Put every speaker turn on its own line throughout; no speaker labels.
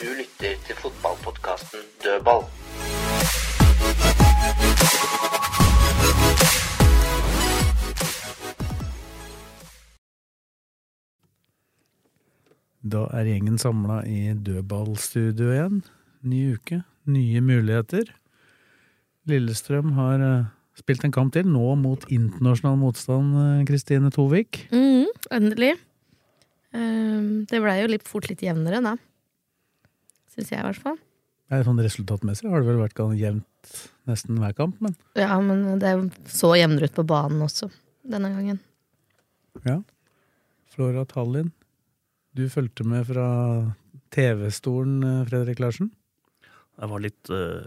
Du lytter til fotballpodkasten Dødball.
Da er gjengen samla i dødballstudio igjen. Ny uke, nye muligheter. Lillestrøm har eh, spilt en kamp til, nå mot internasjonal motstand, eh, Kristine Tovik.
Mhm, endelig. Ehm, det blei jo litt fort litt jevnere, da. Syns jeg, i hvert fall.
Nei, Sånn resultatmessig har det vel vært gan- jevnt nesten hver kamp, men
Ja, men det så jevnere ut på banen også denne gangen.
ja. Flora Tallinn, du fulgte med fra TV-stolen, eh, Fredrik Larsen.
Det var litt eh,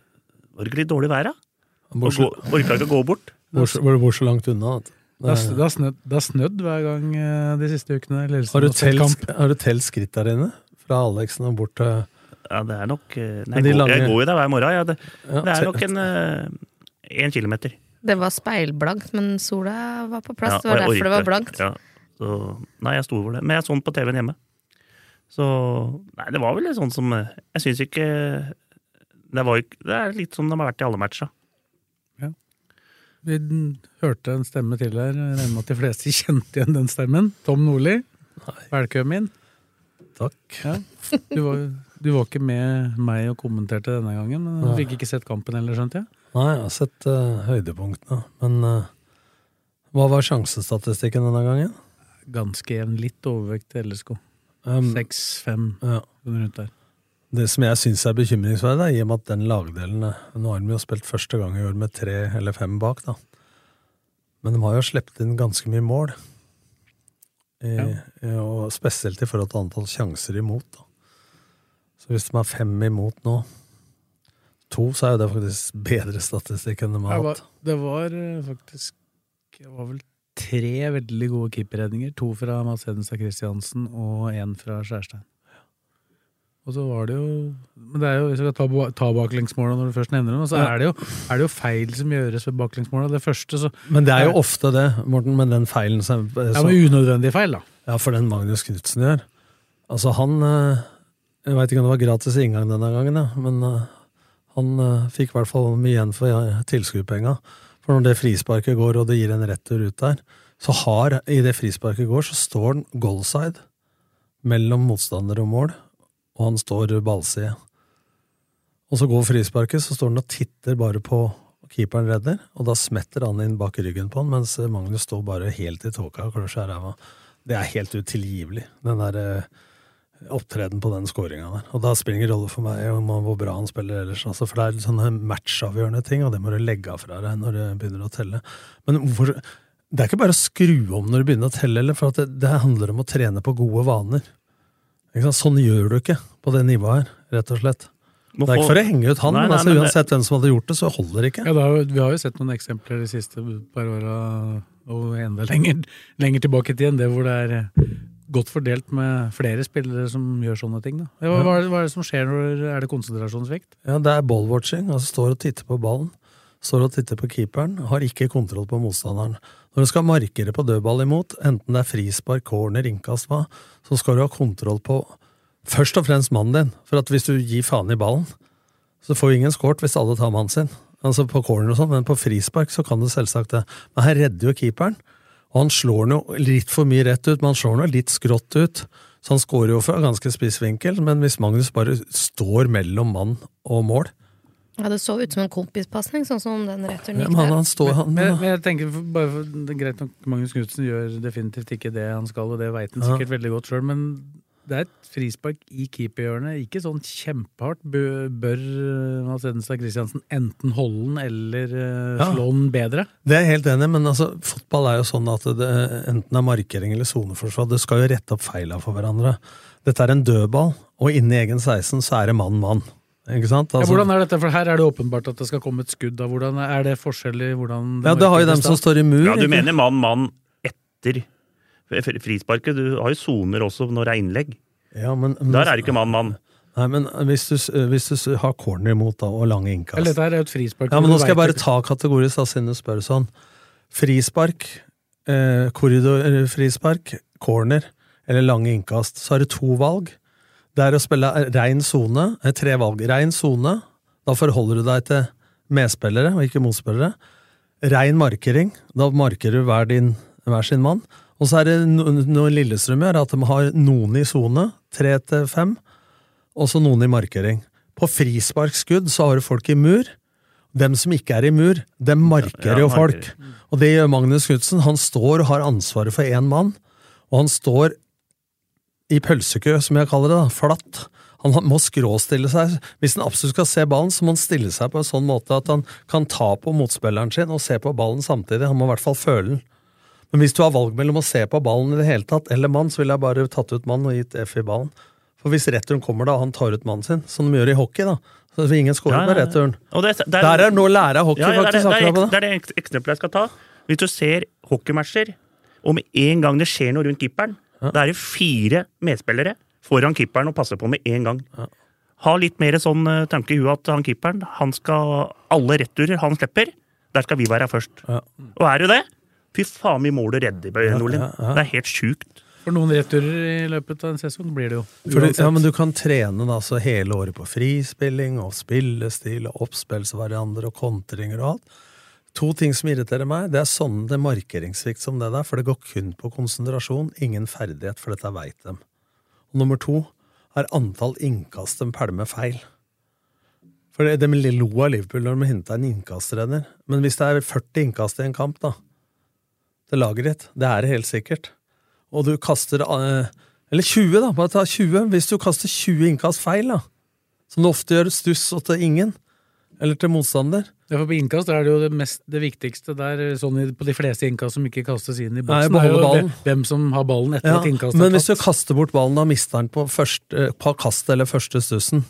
Var det ikke litt dårlig vær, da? Og
Bortsett-
gå- Orka ikke å gå bort.
Bortsett- Var du bor så langt unna? At,
Det har sn- det har snødd, det har snødd hver gang eh, de siste ukene. Lillestrøm
har du
har sett kamp.
telt har du telt skritt der inne? Fra Aleksen og bort til
Ja, det er nok eh, Nei,
Men de
jeg går-
lange-
jeg går jo der hver morgen. Ja, det,
ja,
det
te-
er nok en eh, en kilometer.
Det var speilblankt, men sola var på plass.
Ja,
det var
og jeg
derfor det var
orker
blankt.
ikke. Ja. Så, nei, jeg sto over det. Men jeg så den på TV-en hjemme. Så Nei, det var vel litt sånn som eh, Jeg syns ikke det, var, jo ikke- det er litt som de har vært i alle matcha.
Vi den- hørte en stemme til her. Jeg regner med at de fleste kjente igjen den stemmen. Tom Nordli, velkommen.
Takk.
Ja. Du, var, du var ikke med meg og kommenterte denne gangen, men du
Nei.
fikk ikke sett kampen heller, skjønte jeg.
Nei, jeg har sett eh, høydepunktene. Men eh, hva var sjansestatistikken denne gangen?
Ganske jevn, litt overvekt til LSK.
Um,
6-5
ja.
rundt der.
Det som jeg syns er bekymringsverdig, er i og med at den lagdelen eh, Nå har de jo spilt første gang i år med tre eller fem bak, da. Men de har jo sluppet inn ganske mye mål. I, i- Og spesielt i forhold til antall sjanser imot, da. Så hvis de har fem imot nå To, så er jo det faktisk bedre statistikk enn de har
Det var,
hatt.
det var eh, faktisk Det var vel tre veldig gode keeperredninger. To fra Mads Hedenstad Christiansen og én fra Skjærstein. Og så var det jo Men det er jo, hvis vi skal ta, ba- ta baklengsmåla når du først nevner dem, så
Ja.
er det, jo, er det jo feil som gjøres ved baklengsmåla. Det første så
Men det er jo ofte det, Morten, med den feilen som,
Det
som
var unødvendige feil, da.
Ja, for den Magnus Knutsen gjør. Altså, han eh, Jeg veit ikke om det var gratis inngang denne gangen, ja, men eh, han eh, fikk i hvert fall mye igjen for eh, tilskuerpenga. For når det frisparket går, og det gir en retur ut der, så har I det frisparket går, så står han goalside mellom motstander og mål, og han står ballside. Og så går frisparket, så står han og titter bare på keeperen redder, og da smetter han inn bak ryggen på han, mens eh, Magnus står bare helt i tåka og klør seg i ræva. Det er helt utilgivelig, den der eh, opptreden på den scoringa der. Og da spiller det ingen rolle for meg om han- hvor bra han spiller ellers, altså, for det er sånne matchavgjørende ting, og det må du legge av fra deg når du begynner å telle. Men hvorfor Det er ikke bare å skru om når du begynner å telle, eller, for at det, det handler om å trene på gode vaner. Ikke sant? Sånn gjør du ikke på det nivået her, rett og slett.
Må
Det er ikke
få-
for å henge ut han,
Nei,
men
nei,
altså,
men det-
uansett hvem som hadde gjort det, så holder det ikke.
Ja, det har, jo- vi har jo sett noen eksempler de siste par åra, og enda lenger, lenger tilbake i tiden, det hvor det er eh, godt fordelt med flere spillere som gjør sånne ting. Da. Ja, Hva, hva, er det, hva er det som skjer når Er det konsentrasjonsvekt?
Ja, det er ballwatching, altså står og titter på ballen, står og titter på keeperen, har ikke kontroll på motstanderen. Når du skal markere på dødball imot, enten det er frispark, corner, innkast, hva, så skal du ha kontroll på først og fremst mannen din, for at hvis du gir faen i ballen, så får jo ingen skåret hvis alle tar mannen sin. Altså på corner og sånn, men på frispark så kan du selvsagt det. Men her redder jo keeperen, og han slår nå litt for mye rett ut, men han slår nå litt skrått ut. Så han skårer jo fra ganske spiss vinkel, men hvis Magnus bare står mellom mann og mål
Ja, det så ut som en kompispasning, sånn som den returen
ja,
gikk
men han,
der.
han står, han,
Men, men jeg tenker for, bare for, det er Greit nok Magnus Knutsen gjør definitivt ikke det han skal, og det veit han
Ja.
sikkert veldig godt sjøl, men det er et frispark i keeperhjørnet. Ikke sånn kjempehardt. Bø- Bør eh, Mads Hedenstad Christiansen enten holde den eller eh,
Ja.
slå den bedre?
Det er jeg helt enig i, men altså, fotball er jo sånn at det enten er markering eller soneforsvar. Det skal jo rette opp feila for hverandre. Dette er en dødball, og inne i egen 16 så er det mann-mann. Ikke sant?
Ja,
Altså-
hvordan er dette? For her er det åpenbart at det skal komme et skudd. Da. Hvordan er det forskjell i hvordan
ja, det har jo dem
markeres da?
som står i mur.
Ja, du
ikke?
mener mann, mann etter f- frisparket. Du har jo soner også når det er innlegg.
Ja, men,
Der er det ikke mann, mann.
Nei, men eh, hvis du, s- hvis du s- har corner imot da, og lange innkast
Eller dette her er jo et frispark.
altså. Ja, men
hvor
nå
du
skal jeg
vet
bare
ikke-
ta kategorisk, da, siden du spør sånn. Frispark, eh, korridorfrispark, corner eller lange innkast. Så har du to valg. Det er å spille rein sone, eh, tre valg. Rein sone, da forholder du deg til medspillere og ikke motspillere. Rein markering, da markerer du hver, din, hver sin mann. Og så er det no- noe Lillestrøm gjør, at de har noen i sone, tre til fem, og så noen i markering. På frisparkskudd så har du folk i mur. Dem som ikke er i mur, dem markerer
Ja,
jo
markerer.
folk. Og det gjør Magnus Knutsen. Han står og har ansvaret for én mann, og han står i pølsekø, som jeg kaller det, da, flatt. Han må skråstille seg. Hvis han absolutt skal se ballen, så må han stille seg på en sånn måte at han kan ta på motspilleren sin og se på ballen samtidig. Han må i hvert fall føle den. Men hvis du har valg mellom å se på ballen i det hele tatt, eller mann, så ville jeg bare tatt ut mann og gitt F i ballen. For hvis returen kommer da, og han tar ut mannen sin, som de gjør i hockey, da, så vil ingen score
Ja, ja,
på
ja.
returen.
Og det, det
Der er det noe å lære av hockey,
Ja, ja, det, er,
faktisk.
det, er,
akkurat på
det er det ek- eksempelet jeg skal ta. Hvis du ser hockeymatcher, og med en gang det skjer noe rundt keeperen, da er det fire medspillere foran keeperen og passer på med en gang. Ha litt mer sånn eh, tanke i huet at han keeperen, han skal alle returer han slipper, der skal vi være først.
Ja.
Og er du det, fy faen vi mål du redder, Bøye Nordlien. Det er helt sjukt.
For noen returer i løpet av en sesong blir det jo.
For du,
uansett.
ja, men du kan trene da, så hele året på frispilling og spillestil og oppspillsvarianter og kontringer og alt. To ting som irriterer meg, det er sånne det markeringssvikt som det der, for det går kun på konsentrasjon, ingen ferdighet, for dette veit dem. Og nummer to er antall innkast de pælmer feil. For det, de lo av Liverpool når de henta en innkastrenner, men hvis det er 40 innkast i en kamp, da, til laget ditt, det er det helt sikkert og du kaster eh, Eller 20, da. Bare ta 20. Hvis du kaster 20 innkast feil, da, som du ofte gjør stuss og til ingen, eller til motstander
Ja, for på innkast er det jo det, mest, det viktigste der, sånn i- på de fleste innkast som ikke kastes inn i
Nei,
boksen,
beholde
er jo
ballen.
hvem- hvem som har ballen etter
ja,
at innkastet
Men
er
hvis du
tatt.
kaster bort ballen, da mister den på, første, på kastet eller første stussen.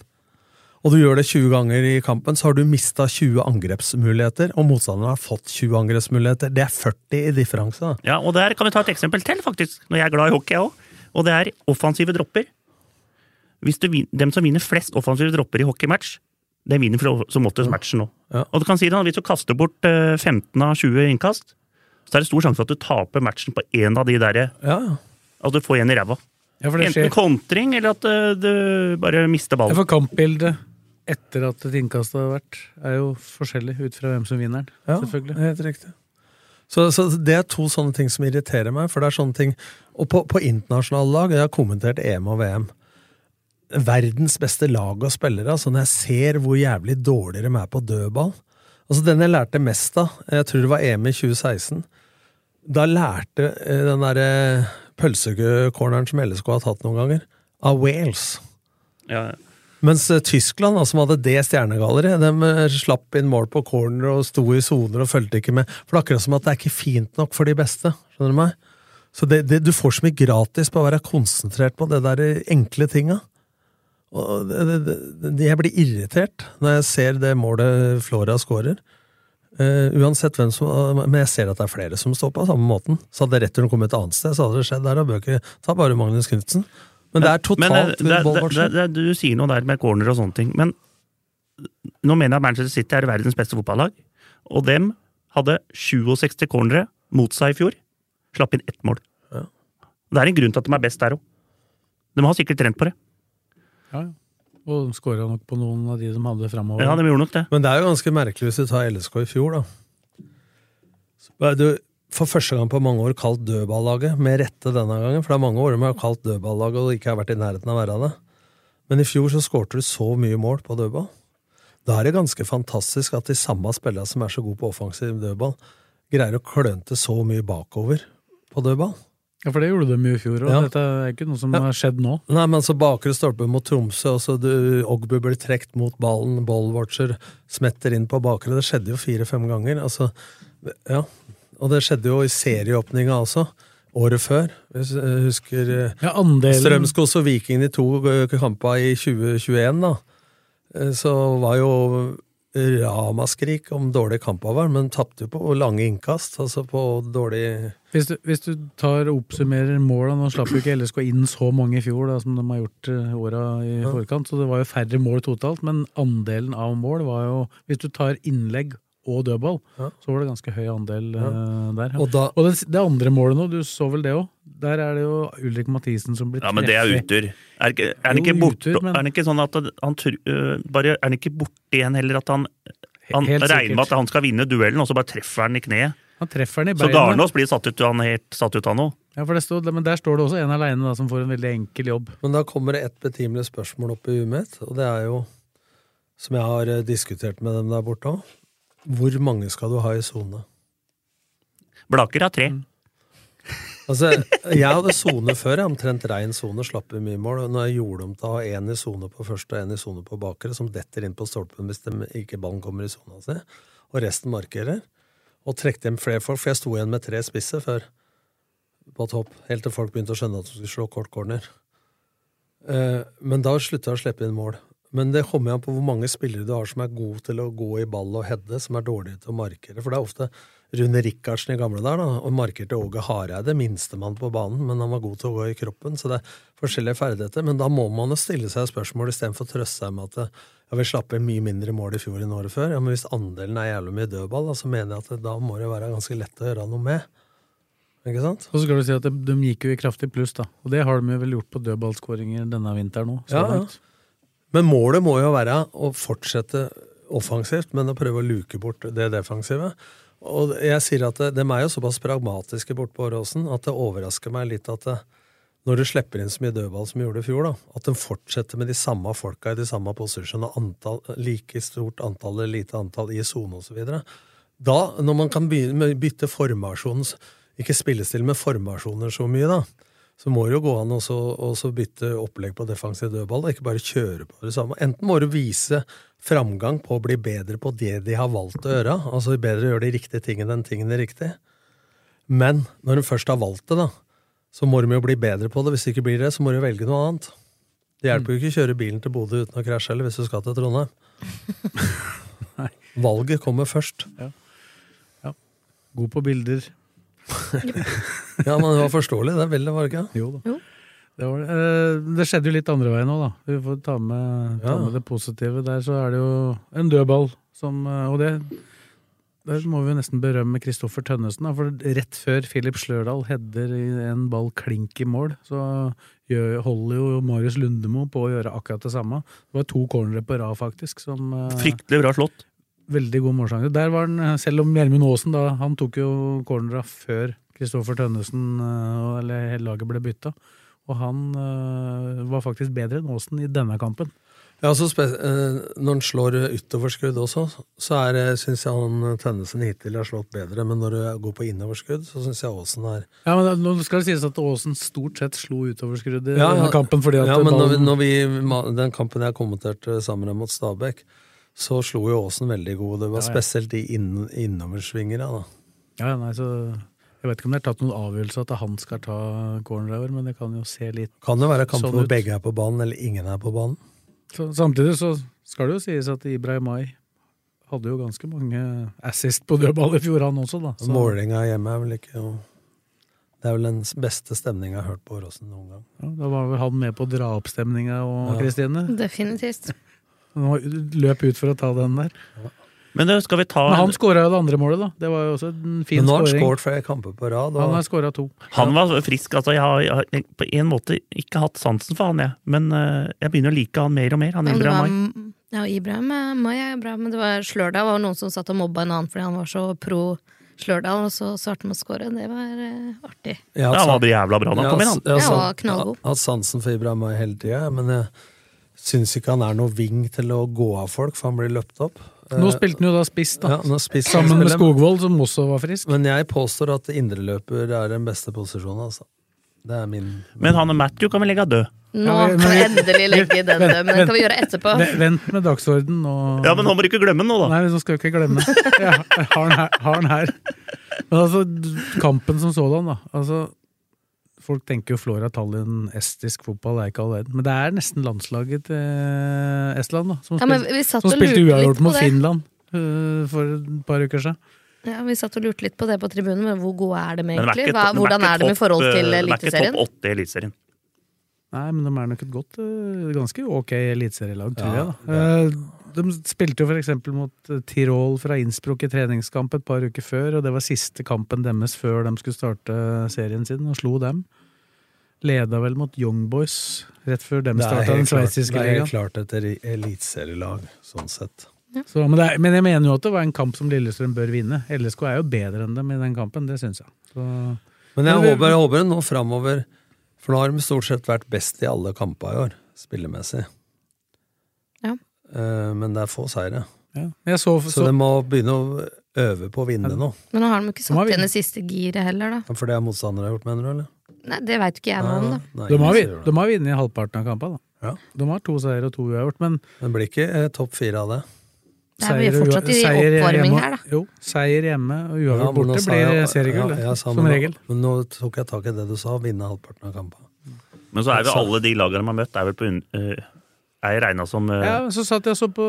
Og du gjør det 20 ganger i kampen, så har du mista 20 angrepsmuligheter, og motstanderen har fått 20 angrepsmuligheter. Det er 40 i differanse. da.
Ja, og der kan vi ta et eksempel til, faktisk, når jeg er glad i hockey òg. Og det er offensive dropper. Hvis du, vin- dem som vinner flest offensive dropper i hockeymatch, de vinner for, som oftest matchen nå.
Ja.
Og du kan si det, Hvis du kaster bort eh, 15 av 20 innkast, så er det stor sjanse for at du taper matchen på én av de derre.
Ja, ja.
At du får en i ræva.
Ja, for det skjer.
Enten kontring, eller at eh, du bare mister
Ja,
ballen.
for kampbildet etter at et innkast har vært, er jo forskjellig ut fra hvem som vinner den,
Ja,
selvfølgelig.
helt riktig. Så, så det er to sånne ting som irriterer meg, for det er sånne ting Og på, på internasjonale lag, jeg har kommentert EM og VM Verdens beste lag og spillere, altså når jeg ser hvor jævlig dårlig de er på dødball Altså den jeg lærte mest av, jeg tror det var EM i 2016 Da lærte eh, den derre pølsekø-corneren som LSK har tatt noen ganger, av Wales.
Ja,
Mens eh, Tyskland, da, som hadde det stjernegalleriet, de eh, slapp inn mål på corner og sto i soner og fulgte ikke med. For det er akkurat som at det er ikke fint nok for de beste. Skjønner du meg? Så det, det, du får så mye gratis på å være konsentrert på det der eh, enkle tinga. Og det, det, det, det- jeg blir irritert når jeg ser det målet Flora scorer. Eh, uansett hvem som eh, Men jeg ser at det er flere som står på samme måten. Så hadde returen kommet et annet sted, så hadde det skjedd. Der har bøker Ta bare Magnus Knutsen. Men det er
Men eh,
totalt
det-
voldbart.
det- det- Du sier noe der med corner og sånne ting, men nå mener jeg at Manchester City er verdens beste fotballag, og dem hadde 67 cornere mot seg i fjor. Slapp inn ett mål. Det er en grunn til at de er best der òg. De har sikkert trent på det.
Ja, ja. Og skåra nok på noen av de som hadde framover.
Ja, de gjorde nok det.
Men det er jo ganske merkelig hvis du tar LSK i fjor, da. Så ble du for første gang på mange år kalt dødballaget, med rette denne gangen. For det er mange år de har kalt dødballaget og ikke har vært i nærheten av å være det. Men i fjor så skårte du så mye mål på dødball. Da er det ganske fantastisk at de samme spillerne som er så gode på offensiv dødball, greier å klønte så mye bakover på dødball.
Ja, for det gjorde de jo i fjor, og
Ja.
dette er ikke noe som
Ja.
har skjedd nå.
Nei, men så bakre stolpe mot Tromsø, og så du- Ogbu blir trukket mot ballen, ballwatcher smetter inn på bakre. Det skjedde jo fire-fem ganger. Altså, ja. Og det skjedde jo i serieåpninga også, året før. Hvis jeg husker eh,
Ja, andelen
Strømskos og Viking de to eh, kampa i 2021, da. Eh, Så var jo ramaskrik om dårlige kampavær, men tapte jo på lange innkast, altså på dårlig
Hvis du, hvis du tar og oppsummerer måla Nå slapp jo ikke LSK inn så mange i fjor da, som de har gjort eh, åra i forkant, så det var jo færre mål totalt, men andelen av mål var jo Hvis du tar innlegg og dødball,
Ja.
så var det ganske høy andel eh, der. Ja.
Og da
Og det, det andre målet nå, du så vel det òg? Der er det jo Ulrik Mathisen som blir
Ja, men det er
treffig.
utur. Er, ikke- er, han
Jo,
ikke borte,
utur, men-
er det ikke sånn at han tr- øh, bare, Er han ikke borte igjen heller at han, han
Helt
regner med
sikkert.
at han skal vinne duellen, og så bare treffer han i kneet?
Han treffer den i
Så
beina.
Garnås blir satt ut, han er helt satt ut av noe.
Ja, for det stod, men der står det også en aleine som får en veldig enkel jobb.
Men da kommer det ett betimelig spørsmål opp i huet mitt, og det er jo, som jeg har eh, diskutert med dem der borte òg, hvor mange skal du ha i sone?
Blaker har
Mm.
tre.
Altså, jeg hadde sone før, jeg omtrent rein sone, slapp i mye mål. og Når jeg gjorde om til å ha én i sone på første og én i sone på bakre, som detter inn på stolpen hvis de ikke ballen kommer i sona si, og resten markerer, og trekte hjem flere folk, for jeg sto igjen med tre spisser før på topp, helt til folk begynte å skjønne at de skulle slå kort corner. Eh, Men da slutta jeg å slippe inn mål. Men det kommer jo an på hvor mange spillere du har som er gode til å gå i ball og heade, som er dårlige til å markere. For det er ofte Rune Rikardsen i gamle dager, da, og markerte Åge Hareide, minstemann på banen, men han var god til å gå i kroppen, så det er forskjellige ferdigheter. Men da må man jo stille seg spørsmål istedenfor å trøste seg med at eh, ja, vi slapp inn mye mindre mål i fjor enn året før. Ja, Men hvis andelen er jævlig mye dødball, da, så mener jeg at det- da må det være ganske lett å gjøre noe med. Ikke sant?
Og så skal du si at de, de gikk jo i kraftig pluss, da. Og det har de jo vel gjort på dødballskåringer denne vinteren òg.
Ja, ja. Men målet må jo være å fortsette offensivt, men å prøve å luke bort det defensive. Og jeg sier at det- dem er jo såpass pragmatiske borte på Åråsen at det overrasker meg litt at det, når du slipper inn så mye dødball som vi gjorde i fjor, da, at de fortsetter med de samme folka i de samme posisjonene, antall, like stort antall eller lite antall i sone osv. Da, når man kan begynne med, bytte formasjons, ikke spillestil, men formasjoner så mye, da, så må det jo gå an også, også bytte opplegg på defensiv dødball, og ikke bare kjøre på det samme. Enten må du vise framgang på å bli bedre på det de har valgt å gjøre, altså bedre å gjøre de riktige tingene enn tingene riktig, men når de først har valgt det, da, så må de jo bli bedre på det. Hvis det ikke blir det, så må de velge noe annet. Det hjelper jo ikke å kjøre bilen til Bodø uten å krasje heller, hvis du skal til Trondheim. Valget kommer først.
God på bilder.
Ja, men det var forståelig, det vel det var det ikke?
Jo da.
Jo.
Det, var, det. Eh, det skjedde jo litt andre veien òg, da. Vi får ta med, ta
Ja.
med det positive. Der så er det jo en dødball som eh, Og det der må vi jo nesten berømme Kristoffer Tønnesen, da, for rett før Filip Slørdal header i en ball klink i mål, så gjør, holder jo Marius Lundemo på å gjøre akkurat det samme. Det var to cornere på rad, faktisk, som eh,
Fryktelig bra slått.
Veldig god målsjanse. Der var han, selv om Gjermund Aasen da, han tok jo cornera før Kristoffer Tønnesen eh, eller hele laget ble bytta. Og han eh, var faktisk bedre enn Aasen i denne kampen.
Ja, så spe eh, Når han slår utoverskudd også, så syns jeg han eh, Tønnesen hittil har slått bedre. Men når du går på innoverskudd, så syns jeg Aasen er
Ja, men da- Nå skal det sies at Aasen stort sett slo utoverskuddet i
Ja, ja.
denne kampen. fordi at
Ja, men når vi,
ballen-
når vi, ma- den kampen jeg kommenterte sammen med mot Stabæk, så slo jo Aasen veldig god. Det var
Ja, ja.
spesielt de inn, innoversvingere, da.
ja, nei, så, Jeg vet ikke om det er tatt noen avgjørelse at han skal ta cornera i år, men det kan jo se litt
Kan det være kamper
Sånn
hvor
ut.
begge er på banen, eller ingen er på banen?
Så, samtidig så skal det jo sies at Ibrahimai hadde jo ganske mange assist på dødball i fjor, han også, da. Så-
Målinga hjemme er vel ikke noe Det er vel den beste stemninga jeg har hørt på Åråsen noen gang.
Ja, da var vel han med på å dra opp stemninga og
Ja.
Kristine.
Definitivt.
Han var- løp ut for å ta den der.
Men øh, skal vi ta
Men han
han,
skåra jo det andre målet, da. Det var jo også en fin
Men nå har han
skåring.
skåret flere kamper på rad. Og...
Han har skåra to.
var frisk, altså. Jeg har, jeg har på en måte ikke hatt sansen for han, jeg. Men øh, jeg begynner å like han mer og mer. Han
Ja, men det
Ibrahim
var,
Mai.
ja, Ibrahim eh, Mai er jo bra, men det var Slørdal var jo noen som satt og mobba en annen fordi han var så pro Slørdal, og så svarte han å score. Det var eh, artig.
Jeg har
Ja,
hatt
han
sa-
var jævla bra da. Kom
altså.
igjen, han.
Jeg har
Ja,
sa-
knallgod.
jeg har hatt sansen for Ibrahim Ay hele tida, men jeg syns ikke han er noe ving til å gå av folk, for han blir løpt opp. Eh,
Nå spilte han jo da spiss, da.
Ja, nå spiser
Sammen med
spiller,
Skogvold, som også var frisk.
Men jeg påstår at indreløper er den beste posisjonen, altså. Det er min
Men han og Matthew kan vi legge død.
Nå
Ja, men-
kan vi endelig legge den
Vent,
død, men den kan vi gjøre etterpå.
Ve- Vent med dagsorden og
Ja, men han må du ikke glemme den nå, da.
Nei, så skal jeg ikke glemme. Ja, jeg har den her. jeg Har den her. Men altså, kampen som sådan, da. Altså, folk tenker jo Flora Tallinn, estisk fotball er ikke all verden. Men det er nesten landslaget til Estland, da. Som,
Ja, men
spilte-
vi satt
som
og
spilte
lurte litt
uavgjort
på
mot
det.
Finland øh, for et par uker siden.
Ja, vi satt og lurte litt på det på tribunen, men hvor gode er de
Men de er
egentlig?
ikke
Hva,
topp- de
hvordan
ikke
er de i
topp,
forhold til
eh, De er ikke
Eliteserien?
topp åtte i Eliteserien.
Nei, men de er nok et godt, øh, ganske ok eliteserielag,
Ja,
tror jeg. da. Eh, De spilte jo for eksempel mot eh, Tirol fra Innsbruck i treningskamp et par uker før, og det var siste kampen deres før de skulle starte eh, serien sin, og slo dem. Leda vel mot Young Boys rett før dem
Det er
starta den
helt klart-
sveitsiske
det er helt
ligaen.
klart et eri- eliteserielag, sånn sett.
Så, men, det er, men jeg mener jo at det var en kamp som Lillestrøm bør vinne. LSK er jo bedre enn dem i den kampen, det syns jeg. Så,
Men jeg
Men vi-
håper, jeg håper nå framover For nå har de stort sett vært best i alle kamper i år, spillemessig.
Ja.
Eh, Men det er få seire.
ja. Men jeg så,
Så
så,
de må begynne å øve på å vinne nå.
Men nå har de jo ikke
De har
satt igjen
vunnet.
det siste giret heller, da.
For det er motstandere har gjort, mener du? eller?
Nei, Det veit ikke jeg noe om, da.
Nei,
de, har,
ingen
vin-
sier det.
de har vunnet halvparten av kampene, da.
Ja.
De har to seier og to uavgjort, men
Det blir ikke eh, topp fire av det.
Det er, vi er
Seier-
fortsatt i
seier
oppvarming
hjemme-
her, da.
Jo, seier hjemme og uavgjort
Ja, men nå
borte
sa
blir
jeg-
seriegull,
ja,
det,
jeg sa,
som
men nå-
regel.
Men nå tok jeg tak i det du sa, vinne halvparten av kampene.
Men så er vel alle de lagene de har møtt, er vel på un eh, Er regna som eh,
Ja, Så satt jeg og så på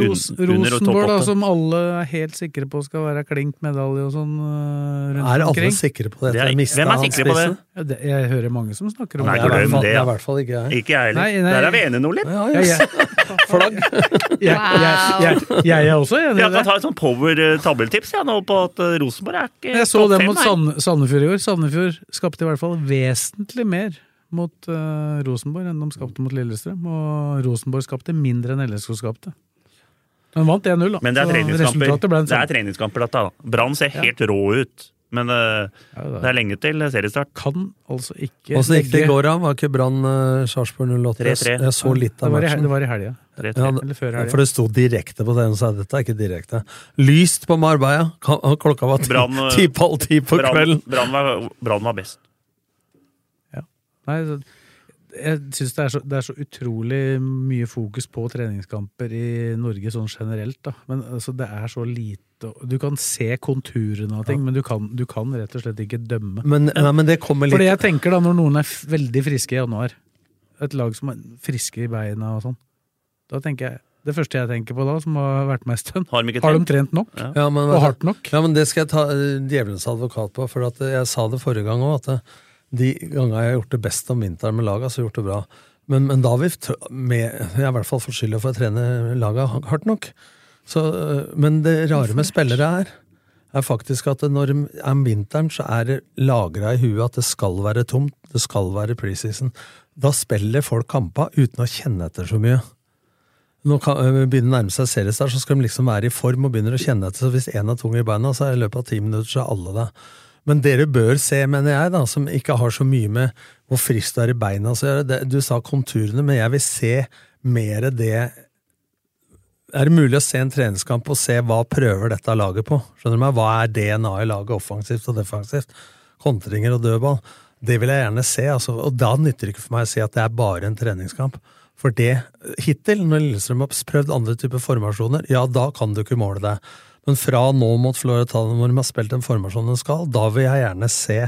Ros
Un- under og topp
Rosenborg, da,
åtte.
som alle er helt sikre på skal være klink medalje og sånn øh, rundt
Er alle
omkring.
sikre på
Det
dette?
er-
Jeg mistet
hvem er
han
sikre på det?
spissen.
Ja, det, jeg hører mange som snakker om
Nei,
Det er i hvert
glem
fall-
det,
Det
ja.
er i hvert fall ikke jeg.
Ikke jeg heller.
Nei, nei.
Der er vi enige, Nordli.
Ja,
Ja,
ja,
jeg,
Flagg!
jeg, jeg, jeg, jeg er også enig i
Jeg kan
det.
ta et sånn power-tabeltips jeg nå på at eh, Rosenborg er ikke
Jeg så
topp
det
fem,
mot
nei.
Sand Sandefjord i år. Sandefjord skapte i hvert fall vesentlig mer mot øh, Rosenborg enn de skapte mot Lillestrøm. Og Rosenborg skapte mindre enn LSK skapte. De vant 1-0, da.
Men det er
så resultatet
treningskamper.
ble sånn. den
Det
samme.
er treningskamper dette, da. Brann ser helt rå ut, men eh, det er lenge til seriestart.
kan altså ikke
Åssen gikk det i
legge-
går, da? Var ikke Brann eh, Sarpsborg 08? Jeg s-
3-3.
Jeg så litt
Det
av
var i, hel-
matchen.
det var i helga.
Rett
Ja,
og slett.
det-
Eller før helga.
for det sto direkte på TV-en, så jeg, dette er ikke direkte. Lyst på Marbella. Ka- Klokka var ti-
Brann, eh,
ti på halv ti på
Brann
kvelden.
Brann var, Brann var best.
Nei, så, jeg syns det, er så- det er så utrolig mye fokus på treningskamper i Norge sånn generelt, da. Men altså, det er så lite Du kan se konturene av ting, men du kan, du kan rett og slett ikke dømme.
Men, nei, men det kommer
For det jeg
litt
tenker da, når noen er f- veldig friske i januar, et lag som er friske i beina og sånn, da tenker jeg Det første jeg tenker på da, som har vært med en stund,
Har de ikke
har de
trent?
trent nok?
ja, men,
Og hardt nok?
Ja, men det skal jeg ta eh, djevelens advokat på, for at eh, jeg sa det forrige gang òg, at eh, de gangene jeg har gjort det best om vinteren med laga, så har jeg gjort det bra. Men, men da har vi tr- med, jeg er i hvert fall for skylda for å trene laga hardt nok. Så, eh, men det rare med spillere er er faktisk at når det er om vinteren, så er det lagra i huet at det skal være tomt, det skal være preseason. Da spiller folk kampa uten å kjenne etter så mye. Når ka- øh, begynner å nærme seg seriestart, så skal de liksom være i form og begynner å kjenne etter. Så hvis én er tung i beina, så er i løpet av ti minutter så er alle det. Men dere bør se, mener jeg, da, som ikke har så mye med hvor frisk du er i beina så gjøre. Det- Du sa konturene, men jeg vil se mer det er det mulig å se en treningskamp og se hva prøver dette laget på? Skjønner du meg? Hva er DNA i laget offensivt og defensivt? Kontringer og dødball. Det vil jeg gjerne se, altså. og da nytter det ikke for meg å si at det er bare en treningskamp. For det, hittil, når Lillestrøm har prøvd andre typer formasjoner, ja, da kan du ikke måle det. Men fra nå mot Florø Tallinn, hvor de har spilt den formasjonen de skal, da vil jeg gjerne se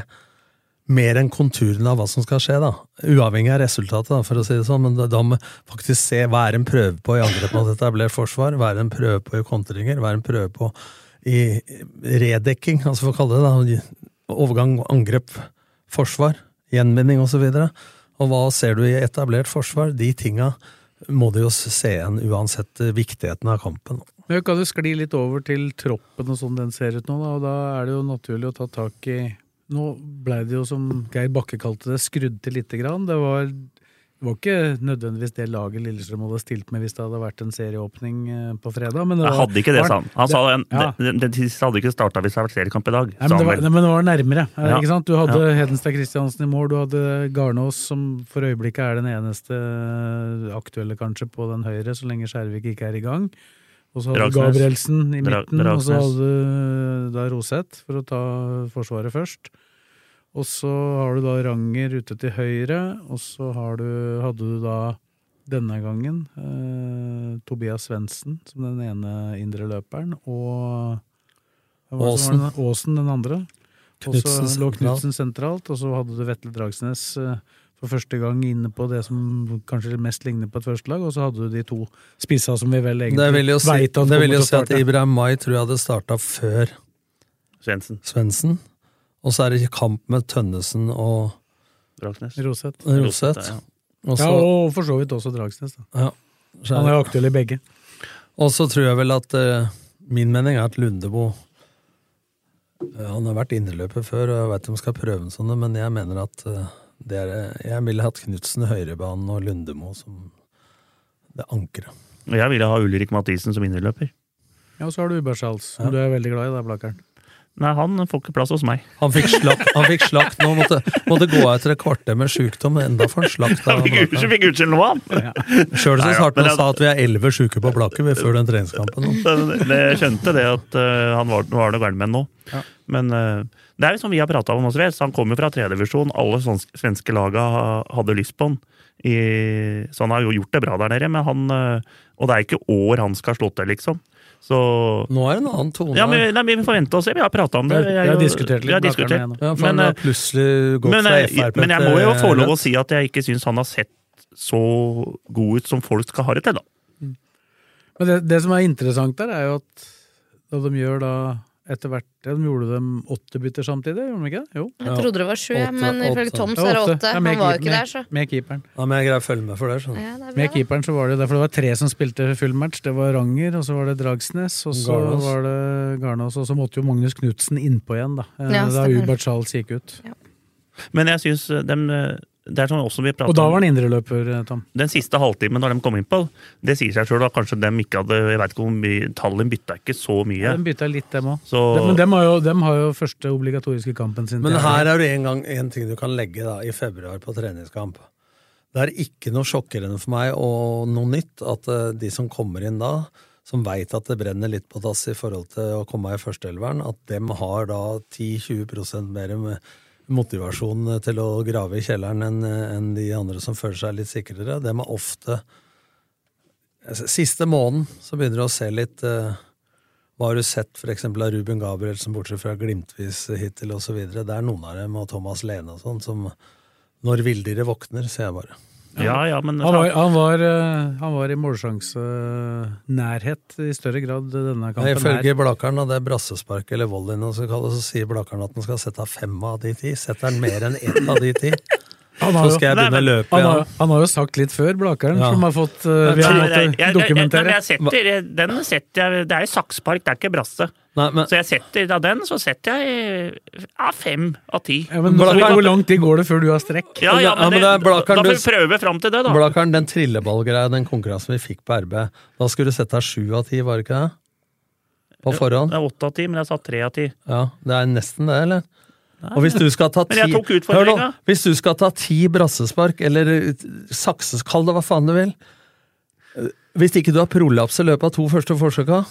mer enn konturene av hva som skal skje, da. Uavhengig av resultatet, da, for å si det sånn, men da- da må vi faktisk se hva er en prøve på i angrep mot etablert forsvar, hva er en prøve på i kontringer, hva er en prøve på i redekking, altså for å kalle det det, da, overgang, angrep, forsvar, gjenvinning osv. videre. og hva ser du i etablert forsvar? De tinga må de jo se igjen, uansett eh, viktigheten av kampen.
Men kan du skli litt over til troppen og sånn den ser ut nå, da, og da er det jo naturlig å ta tak i Nå blei det jo, som Geir Bakke kalte det, skrudd til lite grann. Det var, det var ikke nødvendigvis det laget Lillestrøm hadde stilt med hvis det hadde vært en serieåpning eh, på fredag, men det
Jeg
var
hadde ikke det, sa han. Han sa en,
Ja.
de, de, de hadde ikke starta hvis det hadde vært seriekamp i
Nei,
dag. sa
men, det
han
var,
vel.
nei, men det var nærmere. eh,
Ja.
Ikke sant? Du hadde
Ja.
Hedenstad Kristiansen i mål, du hadde Garnås, som for øyeblikket er den eneste eh, aktuelle kanskje på den høyre, så lenge Skjervik ikke er i gang. Og så hadde du
Dragsnes.
Gabrielsen i
Dra-
midten, og så
Dragsnes.
hadde du da Roseth, for å ta Forsvaret først. Og så har du da Ranger ute til høyre, og så har du, hadde du da denne gangen eh, Tobias Svendsen som den ene indre løperen, og hva var det som var den- Aasen den andre. Og så
Knudsen
lå
sentralt.
Knutsen sentralt, og så hadde du Vetle Dragsnes eh, for første gang inne på det som kanskje mest ligner på et førstelag, og så hadde du de to spissa som vi vel egentlig
Det vil jo si,
vet at
det
kommer
vil
til
jo
å
si at
starte.
Ibrahim Mai tror jeg hadde starta før
Svendsen,
Svendsen. Og så er det kamp med Tønnesen og
Dragsnes.
Roseth.
Roseth.
Ja.
Og
Ja,
så-
og for så vidt også Dragsnes. Da.
ja.
Han er jo aktuell i begge.
Og så tror jeg vel at eh, Min mening er at Lundebo eh, Han har vært indreløper før, og jeg veit de skal prøve ham sånn, men jeg mener at eh, det er, jeg ville hatt Knutsen i høyrebanen og Lundemo som det ankeret.
Og jeg ville ha Ulrik Mathisen som indreløper.
Ja, og så har du Uberschals, som du er veldig glad i, da, Blakkaren.
Nei, han får ikke plass hos meg.
Han fikk slakk, han fikk slakk nå, måtte, måtte gå av etter et kvarter med sjukdom, men enda får han slakt.
Han fikk ut-
Sjøl
fikk utskjell nå, han!
så
Nei, ja,
snart
men
han
det-
sa at vi er elleve sjuke på Blaker vi, før den treningskampen. nå.
Så det- Jeg skjønte det at eh, han var, var noe gærent med han nå. Men eh, det er jo som vi har prata om også, Rez. han kom jo fra tredjedivisjon. Alle svans- svenske laga ha- hadde lyst på han. I, så han har jo gjort det bra der nede, men han eh, Og det er ikke år han skal slå til, liksom. Så
Nå er det en annen tone.
ja, men, nei, men Vi får vente og se. Vi har prata om det.
Vi har-
Jeg er
vi har
jo-
diskutert litt
Vi har
med Blakkaren
diskutert.
igjen nå.
ja, for
men,
han har
eh,
plutselig gått
Men,
fra
eh,
Frp
men jeg må jo få
til eh,
lov å si at jeg ikke syns han har sett så god ut som folk skal ha det til, da.
Men det, det som er interessant der, er jo at da de gjør da etter hvert ja, De gjorde dem åtte bytter samtidig, gjorde de ikke det? Jo.
Jeg trodde det var sju,
Åtte,
men ifølge
åtte.
Tom Mm, så er det åtte.
Ja,
Han var
med
jo
keep-
ikke
med-
der, så.
Med keeperen.
Ja, men jeg greier å følge med for det. Skjønner. du.
Ja, det er bra,
Med
da.
keeperen så var det jo det, for det var tre som spilte full match. Det var Ranger, og så var det Dragsnes, og så
Garnås.
var det Garnås, og så måtte jo Magnus Knutsen innpå igjen, da. eh,
Ja,
da
stemmer.
Hubert Charles gikk ut.
Men jeg syns dem eh, Det er sånn også vi prater
Og da
om-
var han indreløper, eh, Tom.
den siste halvtimen når de kom inn på, det sier seg sjøl at kanskje dem ikke hadde Jeg vet ikke hvor mye Tallen bytta ikke så mye.
Ja. De bytta litt, dem òg.
Så
Men dem har, jo, dem har jo første obligatoriske kampen sin.
Men
til-
her er det en, gang, en ting du kan legge da, i februar på treningskamp. Det er ikke noe sjokkerende for meg og noe nytt at eh, de som kommer inn da, som veit at det brenner litt på dass i forhold til å komme i førsteelveren, at dem har da 10-20 mer med- motivasjon eh, til å grave i kjelleren enn eh, enn de andre som føler seg litt sikrere. Dem er ofte altså, Siste måneden så begynner du å se litt eh, hva har du sett for eksempel av Ruben Gabrielsen, bortsett fra Glimtvis hittil osv.? Det er noen av dem, og Thomas Lene og sånn, som når villdyret våkner, ser jeg bare.
ja, ja, men
Han var, han var, eh, han var i målsjansenærhet i større grad denne
Nei,
kampen. her.
ifølge Blakeren, og det er brassespark eller volley, nå skal kalle det, så sier Blakeren at han skal sette av fem av de ti. Setter han mer enn ett av de ti,
Han har
så
jo-
skal jeg
Nei,
begynne å løpe
Han har,
igjen.
han har jo sagt litt før, Blakeren,
Ja.
som har fått eh, Vi har
Nei, nei,
måttet
jeg- jeg- jeg- nei, men
dokumentere.
jeg setter, eh, den setter jeg Det er jo sakspark, det er ikke brasse.
Nei, men
Så jeg setter av den, så setter jeg eh, ja, fem av ti.
Ja, men,
Blakkaren-
hvor lang tid går det før du har strekk?
Ja,
Ja,
ja,
men
men
det er
det,
Blakkaren,
da
du-
får vi prøve fram til det, da.
Blakeren, den trilleballgreia, den konkurransen vi fikk på RB, da skulle du sette av sju av ti, var det ikke det? På forhånd?
Det er åtte av ti, men jeg sa tre av ti.
Ja, det er nesten det, eller? Og hvis du skal ta ti
Men jeg tok
Hør nå,
utfordringa.
hvis du skal ta ti brassespark, eller eh, sakses, kall det hva faen du vil eh, Hvis ikke du har prolaps i løpet av to første forsøka,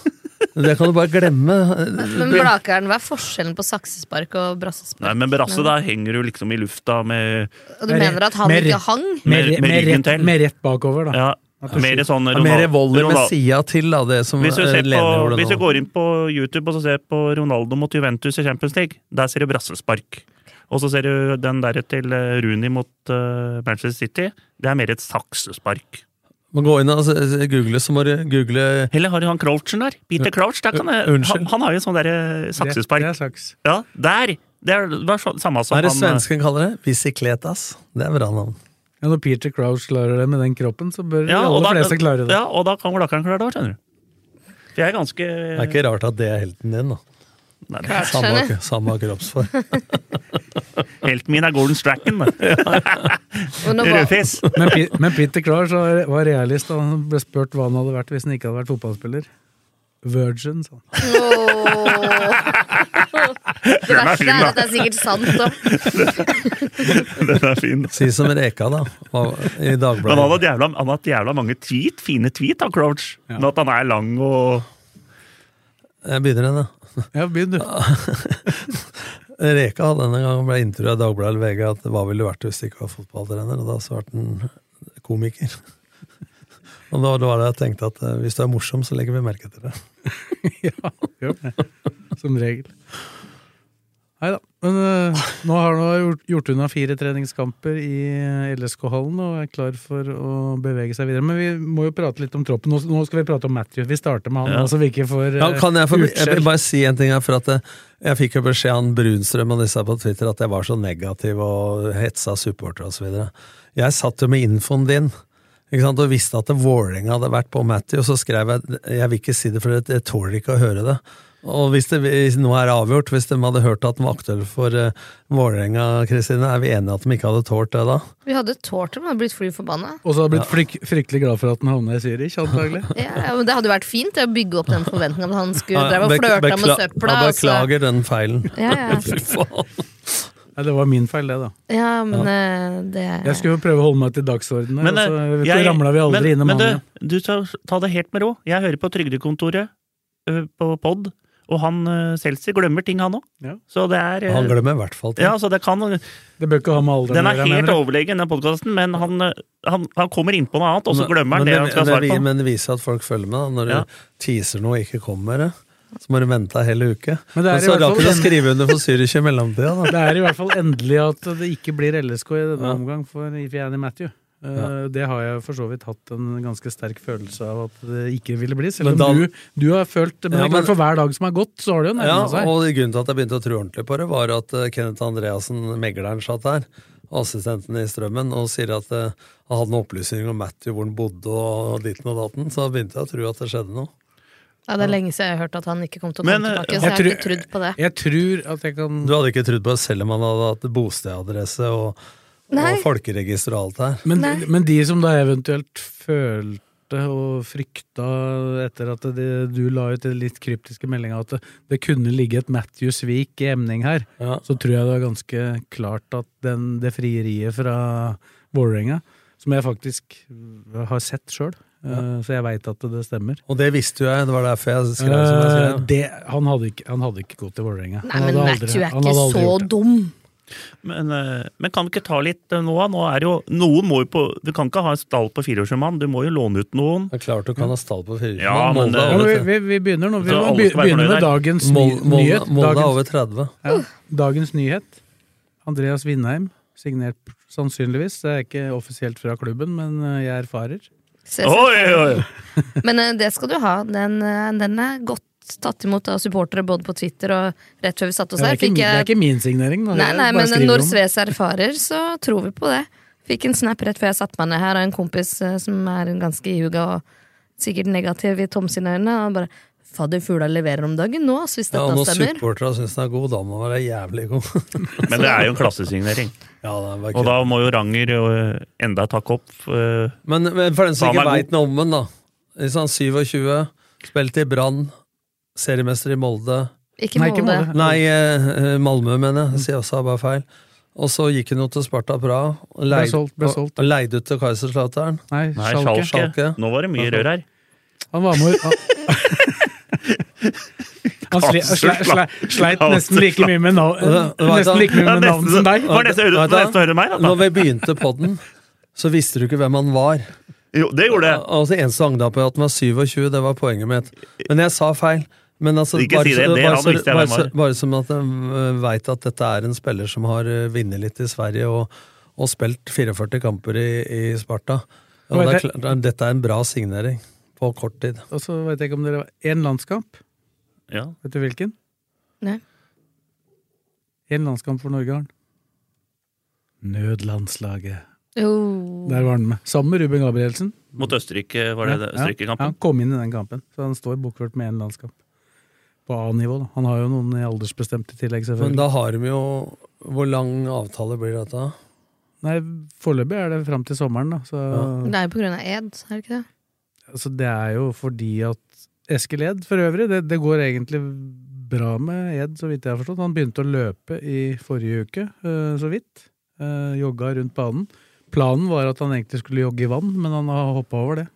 det kan du bare glemme.
Men Blakeren, hva er forskjellen på saksespark og brassespark?
Nei, men brasse, da henger du liksom i lufta med
Og du mener at han
Mer-
ikke hang?
Med,
Med- med
med,
ryggen
rett,
til.
med rett bakover, da.
Ja, mer sånn
Det er Mer
Ronald-
volley med
Ronald-
sida til, da, det som
Hvis du,
eh,
ser på,
Lene gjorde
hvis du
nå.
går inn på YouTube og så ser på Ronaldo mot Juventus i Champions League, der ser du brassespark. Og så ser du den der til eh, Rooney mot eh, Manchester City. Det er mer et saksespark.
Men gå inn og eh, google, så må du google
Eller har du han Crouchen der? Peter Crouch. Der kan jeg,
Unnskyld.
han, han har jo sånn der eh,
Det, det
saksespark.
er saks.
Ja, der! Det er, det var så, samme som
Hva er det
han eh,
svensken kaller det? Bicicletas. Det er bra navn.
Ja, når Peter Crouch klarer det med den kroppen, så bør de
og
aller
da-
fleste klare det.
Ja, og da kan Blakkaren klare det òg, skjønner du. For jeg er ganske
Det er ikke rart at det er helten din, da.
Nei,
Samme, samme kroppsform.
Helten min er Gordon Strachan, da.
Og nå var,
rødfis.
Men, Pe- men Peter Crouch var var realist, og han ble spurt hva han hadde vært hvis han ikke hadde vært fotballspiller. Virgin, sa han.
Åh. Det verste er at det er sikkert sant. Da.
Den er fin.
Si som Reka, da. hva- I
Men han
Dagbladet.
hadde jævla, han hadde jævla mange tweet, fine tweet av Crouch. Men at han er lang og
Jeg begynner den, jeg.
Ja, begynn, du.
Reka hadde denne gangen ble intervjuet i Dagbladet eller VG at hva ville du vært hvis du ikke var fotballtrener? Og da svarte han komiker. Og da var det jeg tenkte at eh, hvis du er morsom, så legger vi merke til det.
ja, gjør det. Som regel. Nei da. Men eh, nå har han gjort, gjort unna fire treningskamper i eh, LSK-hallen og er klar for å bevege seg videre. Men vi må jo prate litt om troppen. Nå, nå skal vi prate om Matthew. Vi starter med han,
Ja.
nå, så vi ikke får
Ja,
eh,
kan jeg, få, jeg
utskjell.
vil bare si en ting her, for at eh, jeg fikk jo beskjed av han Brunstrøm og disse her på Twitter at jeg var så negativ og hetsa supportere og så videre. Jeg satt jo med infoen din ikke sant, og visste at Vålerenga hadde vært på Matty, og så skrev jeg jeg vil ikke si det, for jeg- jeg tåler ikke å høre det. Og hvis det hvis nå er det avgjort, hvis de hadde hørt at den var aktuell for eh, Vålerenga, Kristine, er vi enige at de ikke hadde tålt det da?
Vi hadde tålt det, men hadde blitt fly forbanna.
Og så har jeg blitt fryk, fryktelig glad for at han havna i Zürich, antagelig.
Ja, ja, men det hadde vært fint å bygge opp den forventningen at han skulle dra og
Bek-
flørte med
bekla-
søpla. altså.
Ja,
og så-
Beklager den feilen.
Ja, ja.
Fy faen.
Nei, det var min feil, det, da.
ja, men eh, det
Jeg skulle jo prøve å holde meg til dagsordenen, her, altså,
Men, eh,
og så
jeg-
ramla vi aldri
men,
innom
men
han. ja.
du, du tar, ta det helt med ro. Jeg hører på Trygdekontoret ø, på pod, og han ø, Seltzer glemmer ting, han òg.
Ja.
Så det er ø,
Han glemmer i hvert fall ting.
ja, så det kan, Den
Det bør ikke ha med alderen å
er
gjøre,
helt
mener du?
overlegen, den podkasten, men han, ø, han, han kommer innpå noe annet, og så glemmer han det han skal
det
svare
vi-
på.
Men det viser at folk følger med. Da. Når
Ja.
du teaser noe og ikke kommer, så må du vente ei hel uke.
Men det er
Og
i
så
hvert
rakk
fall
du å
en-
skrive under for Zürich i mellomtida. Da.
Det er i hvert fall endelig at det ikke blir LSK i denne omgang for Ifeani Matthew. Eh, Det har jeg for så vidt hatt en ganske sterk følelse av at det ikke ville bli. Selv
Men
om
da-
du, du har følt Men, det
Ja,
er
men-
klart, for hver dag som har gått, så har det jo nærma
Ja,
seg.
og grunnen til at jeg begynte å tro ordentlig på det, var at eh, Kenneth Andreassen, megleren, satt der, assistenten i Strømmen, og sier at eh, han hadde noen opplysninger om Matthew, hvor han bodde og ditten og datten. Så da begynte jeg å tro at det skjedde noe.
ja, det er lenge siden jeg har hørt at han ikke kom til å
Men,
komme
eh,
tilbake, så jeg har
jeg
ikke trodd på det.
Jeg tror at jeg kan
Du hadde ikke trodd på det selv om han hadde hatt bostedadresse og,
Nei.
og folkeregister og alt det her.
men,
Nei.
men de som da eventuelt følte og frykta etter at det, du la ut den litt kryptiske meldinga at det, det kunne ligge et Matthew Svik i emning her,
Ja.
så tror jeg det er ganske klart at den, det frieriet fra Vålerenga, som jeg faktisk har sett sjøl, så jeg veit at det stemmer
Og det visste jo jeg, det var derfor jeg skrev som jeg
Eh,
skrev.
det, han, hadde ikke, han hadde ikke gått til Vålerenga.
Nei,
Han
men
hadde aldri-
Matthew er
han hadde
ikke
aldri
så
gjort det.
dum.
Men, ø, men kan vi ikke ta litt ø, nå? da? nå er det jo, noen må jo på, du kan ikke ha en stall på 400-mann, du må jo låne ut noen.
Det er klart du kan ha stall på fire.
Ja,
Molde,
men det-
er
Ja, men Mm. vi,
over,
vi, vi begynner nå. Vi
Så
må
alle
be-
skal være
begynne med
fornøyd her.
dagens ny,
Mol- Molde,
nyhet.
Molde er
Dagens,
over 30.
ja, dagens nyhet. Andreas Vindheim, signert sannsynligvis. Det er ikke offisielt fra klubben, men eh, jeg erfarer.
Så jeg synes-
Oi, oi, oi!
Men eh, det skal du ha. Den, eh, den er godt tatt imot av supportere både på Twitter og rett før vi satte oss her.
det, er ikke,
Fikk
det er
jeg,
ikke min signering. da.
nei,
Jeg
nei,
bare
men
skriver
når
om det.
Sves erfarer, så tror vi på det. Fikk en snap rett før jeg satte meg ned her av en kompis eh, som er ganske ihuga og sikkert negativ i Tom sine øyne. Og han bare 'Fadder fugla leverer om dagen nå, ass, hvis
Ja,
dette
og når
stemmer'.
supporterne syns den er god, da må den være jævlig god.
Men det er jo en klassesignering.
ja, det er bare
Og da
kødd.
må jo Ranger ø, enda takke opp. eh, ø,
men, men for den som
Faen,
ikke
den er
veit noe om den, da. Hvis han 27, spilte i Brann, seriemester i Molde
Ikke
Nei, ikke
Molde.
Molde.
Nei, eh, eh, Malmö, mener
Mm.
jeg. Sier jeg også bare feil. Og så gikk han jo til Sparta Praha. og leid-
solgt, ble
og-
solgt.
og Leid ut til Kaiserslautern.
Nei,
Nei,
Schalke.
Schalke.
Schalke.
Nå var det mye rør her.
Han var med Han, han sli, sli, sli, sleit nesten like mye med, nav,
Det- det var
nesten
sånn-
like mye
Ja,
med navn
nesten-
som deg.
var nesten å høre-
Vet du hva?
nesten å høre meg, da.
Når vi begynte podden, så visste du ikke hvem han var.
Jo, det gjorde jeg.
Altså, eneste du angret på at den var 27, det var poenget mitt. Men jeg sa feil. Men altså,
Ikke si det,
så-
det
bare,
han
så-
visste jeg
bare,
hvem var.
så- bare som at jeg veit at dette er en spiller som har eh, vunnet litt i Sverige og, og spilt 44 kamper i, i Sparta. Og
Vet
det er
jeg-
klart, dette er en bra signering på kort tid.
Og så vet jeg ikke om dere var Én landskamp,
Ja.
vet du hvilken?
Nei.
Én landskamp for Norge har han. Nødlandslaget.
Jo.
Der var han med. Sammen med Ruben Gabrielsen.
Mot Østerrike, var det det,
Ja,
Østerrike-kampen?
han kom inn i den kampen, så han står bokført med én landskamp. På A-nivå, da. Han har jo noen i aldersbestemte tillegg,
Men
selvfølgelig.
da har de jo Hvor lang avtale blir dette?
Nei, foreløpig er det fram til sommeren, da. Så,
Det er jo på grunn av ed, er det ikke det?
altså, det er jo fordi at Eskil Ed, for øvrig, det, det går egentlig bra med Ed, så vidt jeg har forstått. Han begynte å løpe i forrige uke, øh, så vidt. eh, Øh, jogga rundt banen. Planen var at han egentlig skulle jogge i vann, men han har hoppa over det.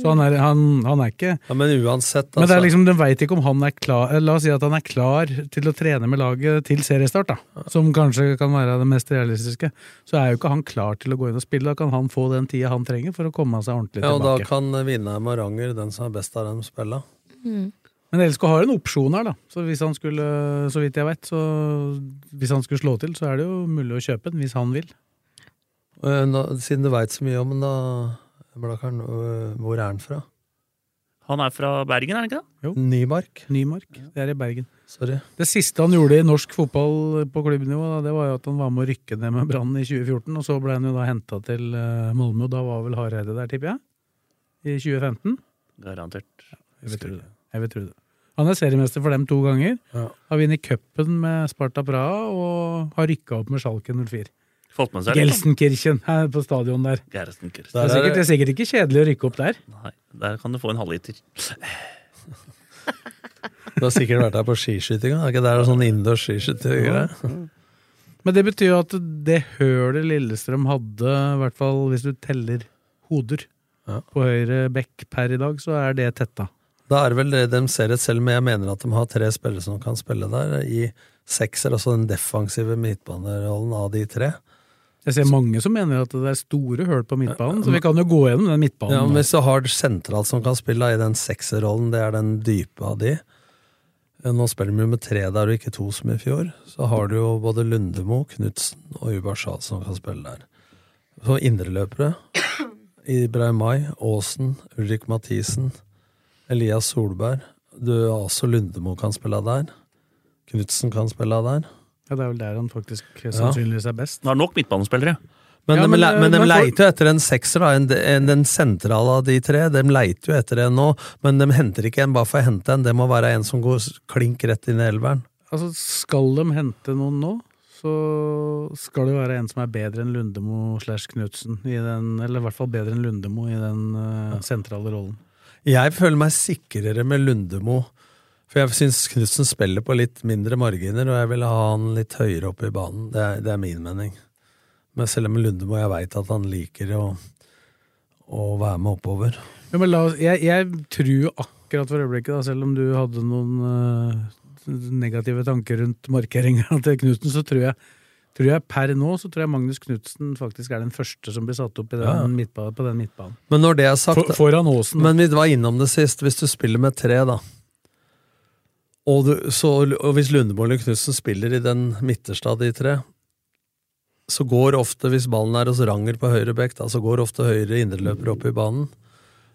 Så han er, han, han er ikke
Ja, men uansett, altså.
Men det er liksom, de veit ikke om han er klar eh, La oss si at han er klar til å trene med laget til seriestart, da. Som kanskje kan være det mest realistiske. Så er jo ikke han klar til å gå inn og spille. Da kan han få den tida han trenger for å komme seg ordentlig
ja, og da
tilbake.
kan Vinheim og Ranger, den som er best av dem, spille.
Men LSK har en opsjon her, da. Så hvis han skulle, så vidt jeg vet, så hvis han skulle slå til, så er det jo mulig å kjøpe den hvis han vil.
Eh, nå- Siden du veit så mye om den, da, Blakkaren, øh, hvor er han fra?
Han er fra Bergen, er han ikke det?
Nymark?
Nymark. Det er i Bergen.
Sorry.
Det siste han gjorde i norsk fotball på klubbnivå, da, det var jo at han var med å rykke ned med Brann i 2014, og så ble han jo da henta til eh, Malmö, og da var vel Hareide der, tipper jeg? I 2015?
Garantert.
Jeg vil tro det. Jeg vil tro det. Han er seriemester for dem to ganger.
Ja.
Har vunnet cupen med Sparta Praha og har rykka opp med Schalke 04.
Fått med seg litt.
Gelsenkirchen her på stadion der.
Gersten Kirsten.
Det
Der
er,
er
sikkert, det
det-
er sikkert ikke kjedelig å rykke opp der.
Nei, der kan du få en halvliter.
Du har sikkert vært der på skiskytinga? Er ikke det er sånn innendørs skiskyting?
Men det betyr jo at det hølet Lillestrøm hadde, i hvert fall hvis du teller hoder
Ja.
på høyre bekk per i dag, så er det tetta.
Da er det vel det de ser et selv, men jeg mener at de har tre spillere som kan spille der. I sekser, altså den defensive midtbanerollen av de tre.
Jeg ser mange som mener at det er store høl på midtbanen, så vi kan jo gå gjennom den midtbanen.
Ja, men
nå.
Hvis du har sentralt som kan spille da, i den sekserrollen, det er den dype av de. Eh, Nå spiller de jo med tre der og ikke to som i fjor. Så har du jo både Lundemo, Knutsen og Ubashal som kan spille der. Så indreløpere. Ibrahimai, Aasen, Ulrik Mathisen, Elias Solberg. Du, også Lundemo kan spille der. Knutsen kan spille der.
Ja, det er vel der han faktisk sannsynligvis er best.
Han har nok midtbanespillere.
Men,
Ja,
de,
men,
le-
eh,
men de
men for-
leiter jo etter en sekser, da, en, en, den sentrale av de tre. De leiter jo etter en nå, men de henter ikke en bare for å hente en. Det må være en som går s- klink rett inn i elveren.
Altså, skal de hente noen nå, så skal det jo være en som er bedre enn Lundemo slash Knutsen, i den- eller i hvert fall bedre enn Lundemo i den eh, sentrale rollen.
Jeg føler meg sikrere med Lundemo, for jeg syns Knutsen spiller på litt mindre marginer, og jeg vil ha han litt høyere oppe i banen. Det er, det er min mening. Men selv om Lundemo jeg veit at han liker å, å være med oppover.
Ja, men la oss, jeg, jeg tror jo akkurat for øyeblikket, da, selv om du hadde noen eh, negative tanker rundt markeringa til Knutsen, så tror jeg, tror jeg per nå så tror jeg Magnus Knutsen faktisk er den første som blir satt opp i den
Ja.
midtba- på den midtbanen.
Men når det er sagt
For, foran Aasen.
Men vi var innom det sist. Hvis du spiller med tre, da Og, du, så, og hvis Lundemoen og Knutsen spiller i den midterste av de tre, så går ofte, hvis ballen er hos Ranger på høyre bekk, da, så går ofte høyre indreløper opp i banen.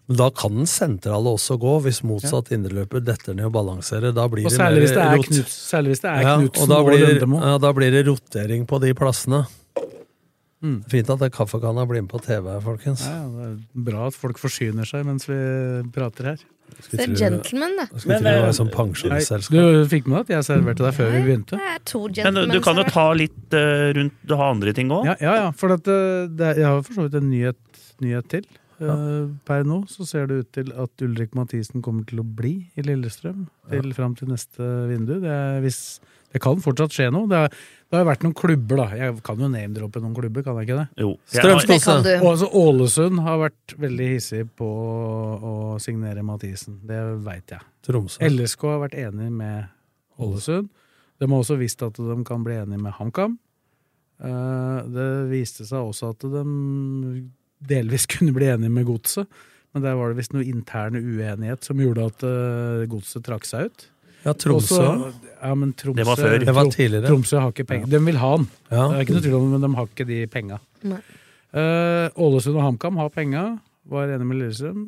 Men da kan den sentrale også gå, hvis motsatt indreløper detter ned og balanserer. Da blir
og særlig hvis det er,
rot-
Knut, særlig hvis det er
Ja, og
Knutsen
da
og,
blir,
Lundemo.
ja, da blir det rotering på de plassene.
Mm.
Fint at det kaffekanna blir med på TV her, folkens.
Ja, det er bra at folk forsyner seg mens vi prater her.
Det er gentleman, det.
Skulle tro
eh,
det var sånn pensjonsselskap.
Du fikk med deg at jeg serverte deg før vi begynte?
Det er to
Men eh,
gentlemen
du kan jo
her.
ta litt eh, rundt Du har andre ting òg.
Ja, ja, ja for at, eh, det, er- jeg har for så vidt en nyhet, nyhet til. Eh, Per nå så ser det ut til at Ulrik Mathisen kommer til å bli i Lillestrøm til fram til neste vindu. Det, er, hvis, det kan fortsatt skje noe. Det, er, det har jo vært noen klubber, da. Jeg kan jo name-droppe noen klubber, kan jeg ikke det?
Jo. Jeg har-
Strømskog.
Det kan du.
Og altså Ålesund har vært veldig hissig på å signere Mathisen. Det veit jeg.
Tromsø.
LSK har vært enig med Ålesund. De har også visst at de kan bli enige med HamKam. Eh, Det viste seg også at de delvis kunne bli enige med Godset, men der var det visst noe interne uenighet som gjorde at eh, Godset trakk seg ut.
Ja, Tromsø.
Også- ja, men Tromsø
Det var før.
Det var tidligere.
Tromsø har ikke penger. De vil ha han.
Ja.
Det er ikke noe tvil om det, men de har ikke de penga.
Nei.
Eh, Ålesund og HamKam har penga, var enig med Lillestrøm.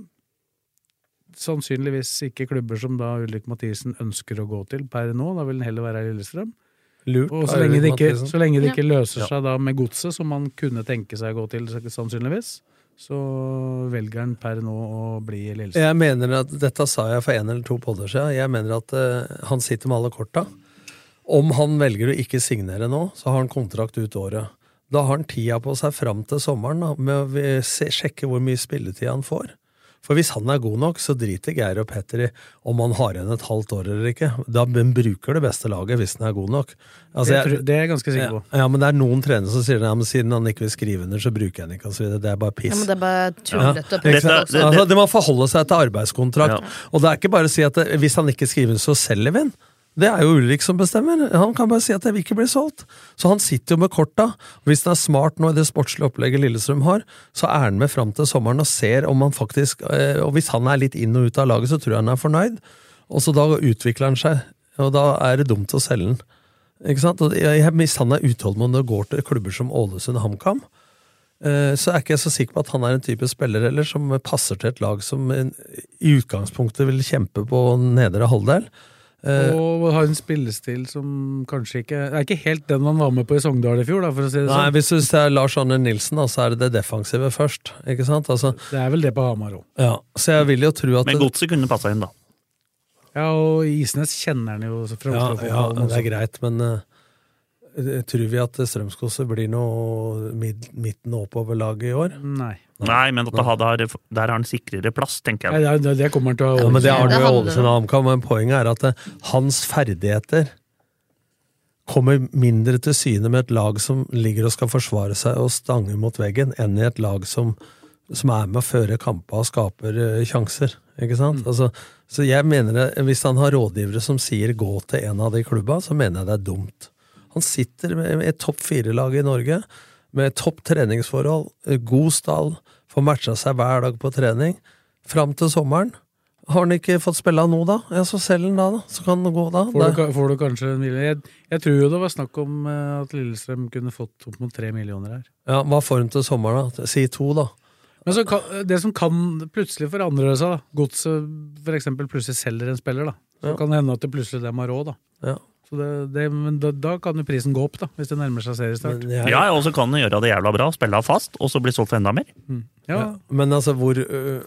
Sannsynligvis ikke klubber som da Ulrik Mathisen ønsker å gå til per nå. Da vil den heller være i Lillestrøm.
Lurt.
Og så
Eirik
lenge det ikke,
Mathisen.
så lenge det ikke løser seg da med godset, som han kunne tenke seg å gå til, sannsynligvis, så velger han per nå å bli i Lillestrøm.
Jeg mener at, Dette sa jeg for en eller to podder siden. Jeg mener at eh, han sitter med alle korta. Om han velger å ikke signere nå, så har han kontrakt ut året. Da har han tida på seg fram til sommeren da, med å vi- se- sjekke hvor mye spilletid han får. For hvis han er god nok, så driter Geir og Petter i om han har igjen et halvt år eller ikke. Da men bruker det beste laget hvis han er god nok. Altså,
det, tror- det er jeg ganske sikker
ja,
på.
ja, men det er noen trenere som sier ja, men siden han ikke vil skrive under, så bruker jeg han ikke. og så videre. Det er bare piss.
Ja, men det er bare
Ja.
tullete å
Ikke
prøve
sant?
Dette- det-
også.
Altså, de må forholde seg til arbeidskontrakt.
Ja.
Og det er ikke bare å si at det, hvis han ikke skriver, så selger vi den. Det er jo Ulrik som bestemmer. Han kan bare si at jeg vil ikke bli solgt. Så han sitter jo med korta. Hvis han er smart nå i det sportslige opplegget Lillestrøm har, så er han med fram til sommeren og ser om han faktisk eh, Og hvis han er litt inn og ut av laget, så tror jeg han er fornøyd. Og så da utvikler han seg, og da er det dumt å selge den. Ikke sant? Og jeg, jeg- hvis han er utålmodig og går til klubber som Ålesund og HamKam, eh, så er ikke jeg så sikker på at han er en type spiller eller som passer til et lag som en- i utgangspunktet vil kjempe på nedre halvdel. Eh,
Og har en spillestil som kanskje ikke Det er ikke helt den man var med på i Sogndal i fjor, da, for å si det
Nei,
sånn.
hvis du ser Lars Arne Nilsen, da, så er det det defensive først. Ikke sant? Altså,
Det er vel det på Hamar òg.
ja. Så jeg vil jo tro at
Men godset kunne passa inn, da.
Ja, og Isnes kjenner han jo fra
ja, altså. ja,
Oslo-fotballen
det er
også.
greit, men eh, tror vi at Strømskose blir noe mid, midten og oppover-lag i år?
Nei.
Nei, men at han har, der har han sikrere plass, tenker
Nei,
jeg.
det, er- det kommer han til å ha
Ja, men det har
Det
du i
handler
Ålesund og HamKam, men poenget er at eh, hans ferdigheter kommer mindre til syne med et lag som ligger og skal forsvare seg og stange mot veggen, enn i et lag som, som er med å føre kamper og skaper eh, sjanser. Ikke sant? Altså, så jeg mener det, Hvis han har rådgivere som sier 'gå til en av de klubba', så mener jeg det er dumt. Han sitter med med et topp fire-lag i Norge, med topp treningsforhold, eh, god stall, får matcha seg hver dag på trening, fram til sommeren. Har han ikke fått spille nå, da? Ja, så selger han da, da. Så kan han gå da.
Får du,
Det-
ka- får du kanskje en million? Jeg, jeg tror jo det var snakk om eh, at Lillestrøm kunne fått opp mot tre millioner her.
Ja, Hva får han til sommeren, da? Si to, da.
Men så kan, det som kan plutselig forandre seg, da Godset for eksempel plutselig selger en spiller, da. Så
Ja.
kan det hende at det plutselig dem har råd, da.
Ja.
Så det, det, men da, da kan jo prisen gå opp, da, hvis det nærmer seg seriestart.
Men, jeg,
Ja, og så kan han gjøre det jævla bra, spille av fast, og så bli solgt for enda mer.
Ja,
ja. men altså, hvor, øh,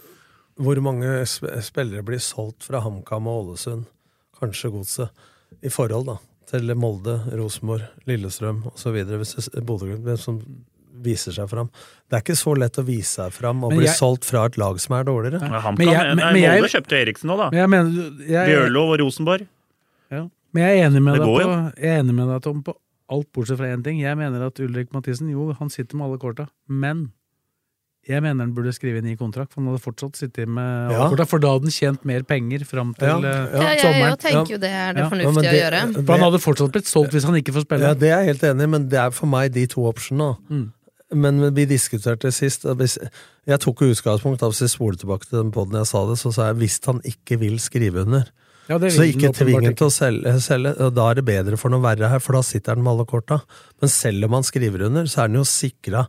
hvor mange sp- spillere blir solgt fra HamKam og Ålesund, kanskje Godset, i forhold da, til Molde, Rosenborg, Lillestrøm osv., hvis det- Bodø-Glimt, hvem som viser seg fram? Det er ikke så lett å vise seg fram og
Men
bli
jeg-
solgt fra et lag som er dårligere.
Men HamKam-
Men jeg- men-
nei,
men jeg-
Molde kjøpte Eriksen nå,
Men
da.
jeg mener jeg,
Bjørlo og Rosenborg.
ja. Men jeg er enig med
Det
deg på,
går jo.
jeg er enig med deg, Tom, på alt bortsett fra én ting. Jeg mener at Ulrik Mathisen jo, han sitter med alle korta, men jeg mener han burde skrive en ny kontrakt, for han hadde fortsatt sittet med alle
Ja.
korta. For da hadde han tjent mer penger
Ja,
fram til eh,
ja,
Ja, jeg,
sommeren.
jeg tenker jo det er det
Ja,
Ja, men
fornuftige å gjøre.
det-
For han hadde fortsatt blitt solgt hvis han ikke får spille.
Ja, det er jeg helt enig i, men det er for meg de to optionene. da.
Mm.
Men vi diskuterte sist at hvis, Jeg tok jo utgangspunkt av hvis jeg spoler tilbake til den poden jeg sa det, så sa jeg hvis han ikke vil skrive under,
Ja, det vil
så
han
ikke
åpenbart
tving han til å selge, selge. og Da er det bedre for han å være her, for da sitter han med alle korta. Men selv om han skriver under, så er han jo sikra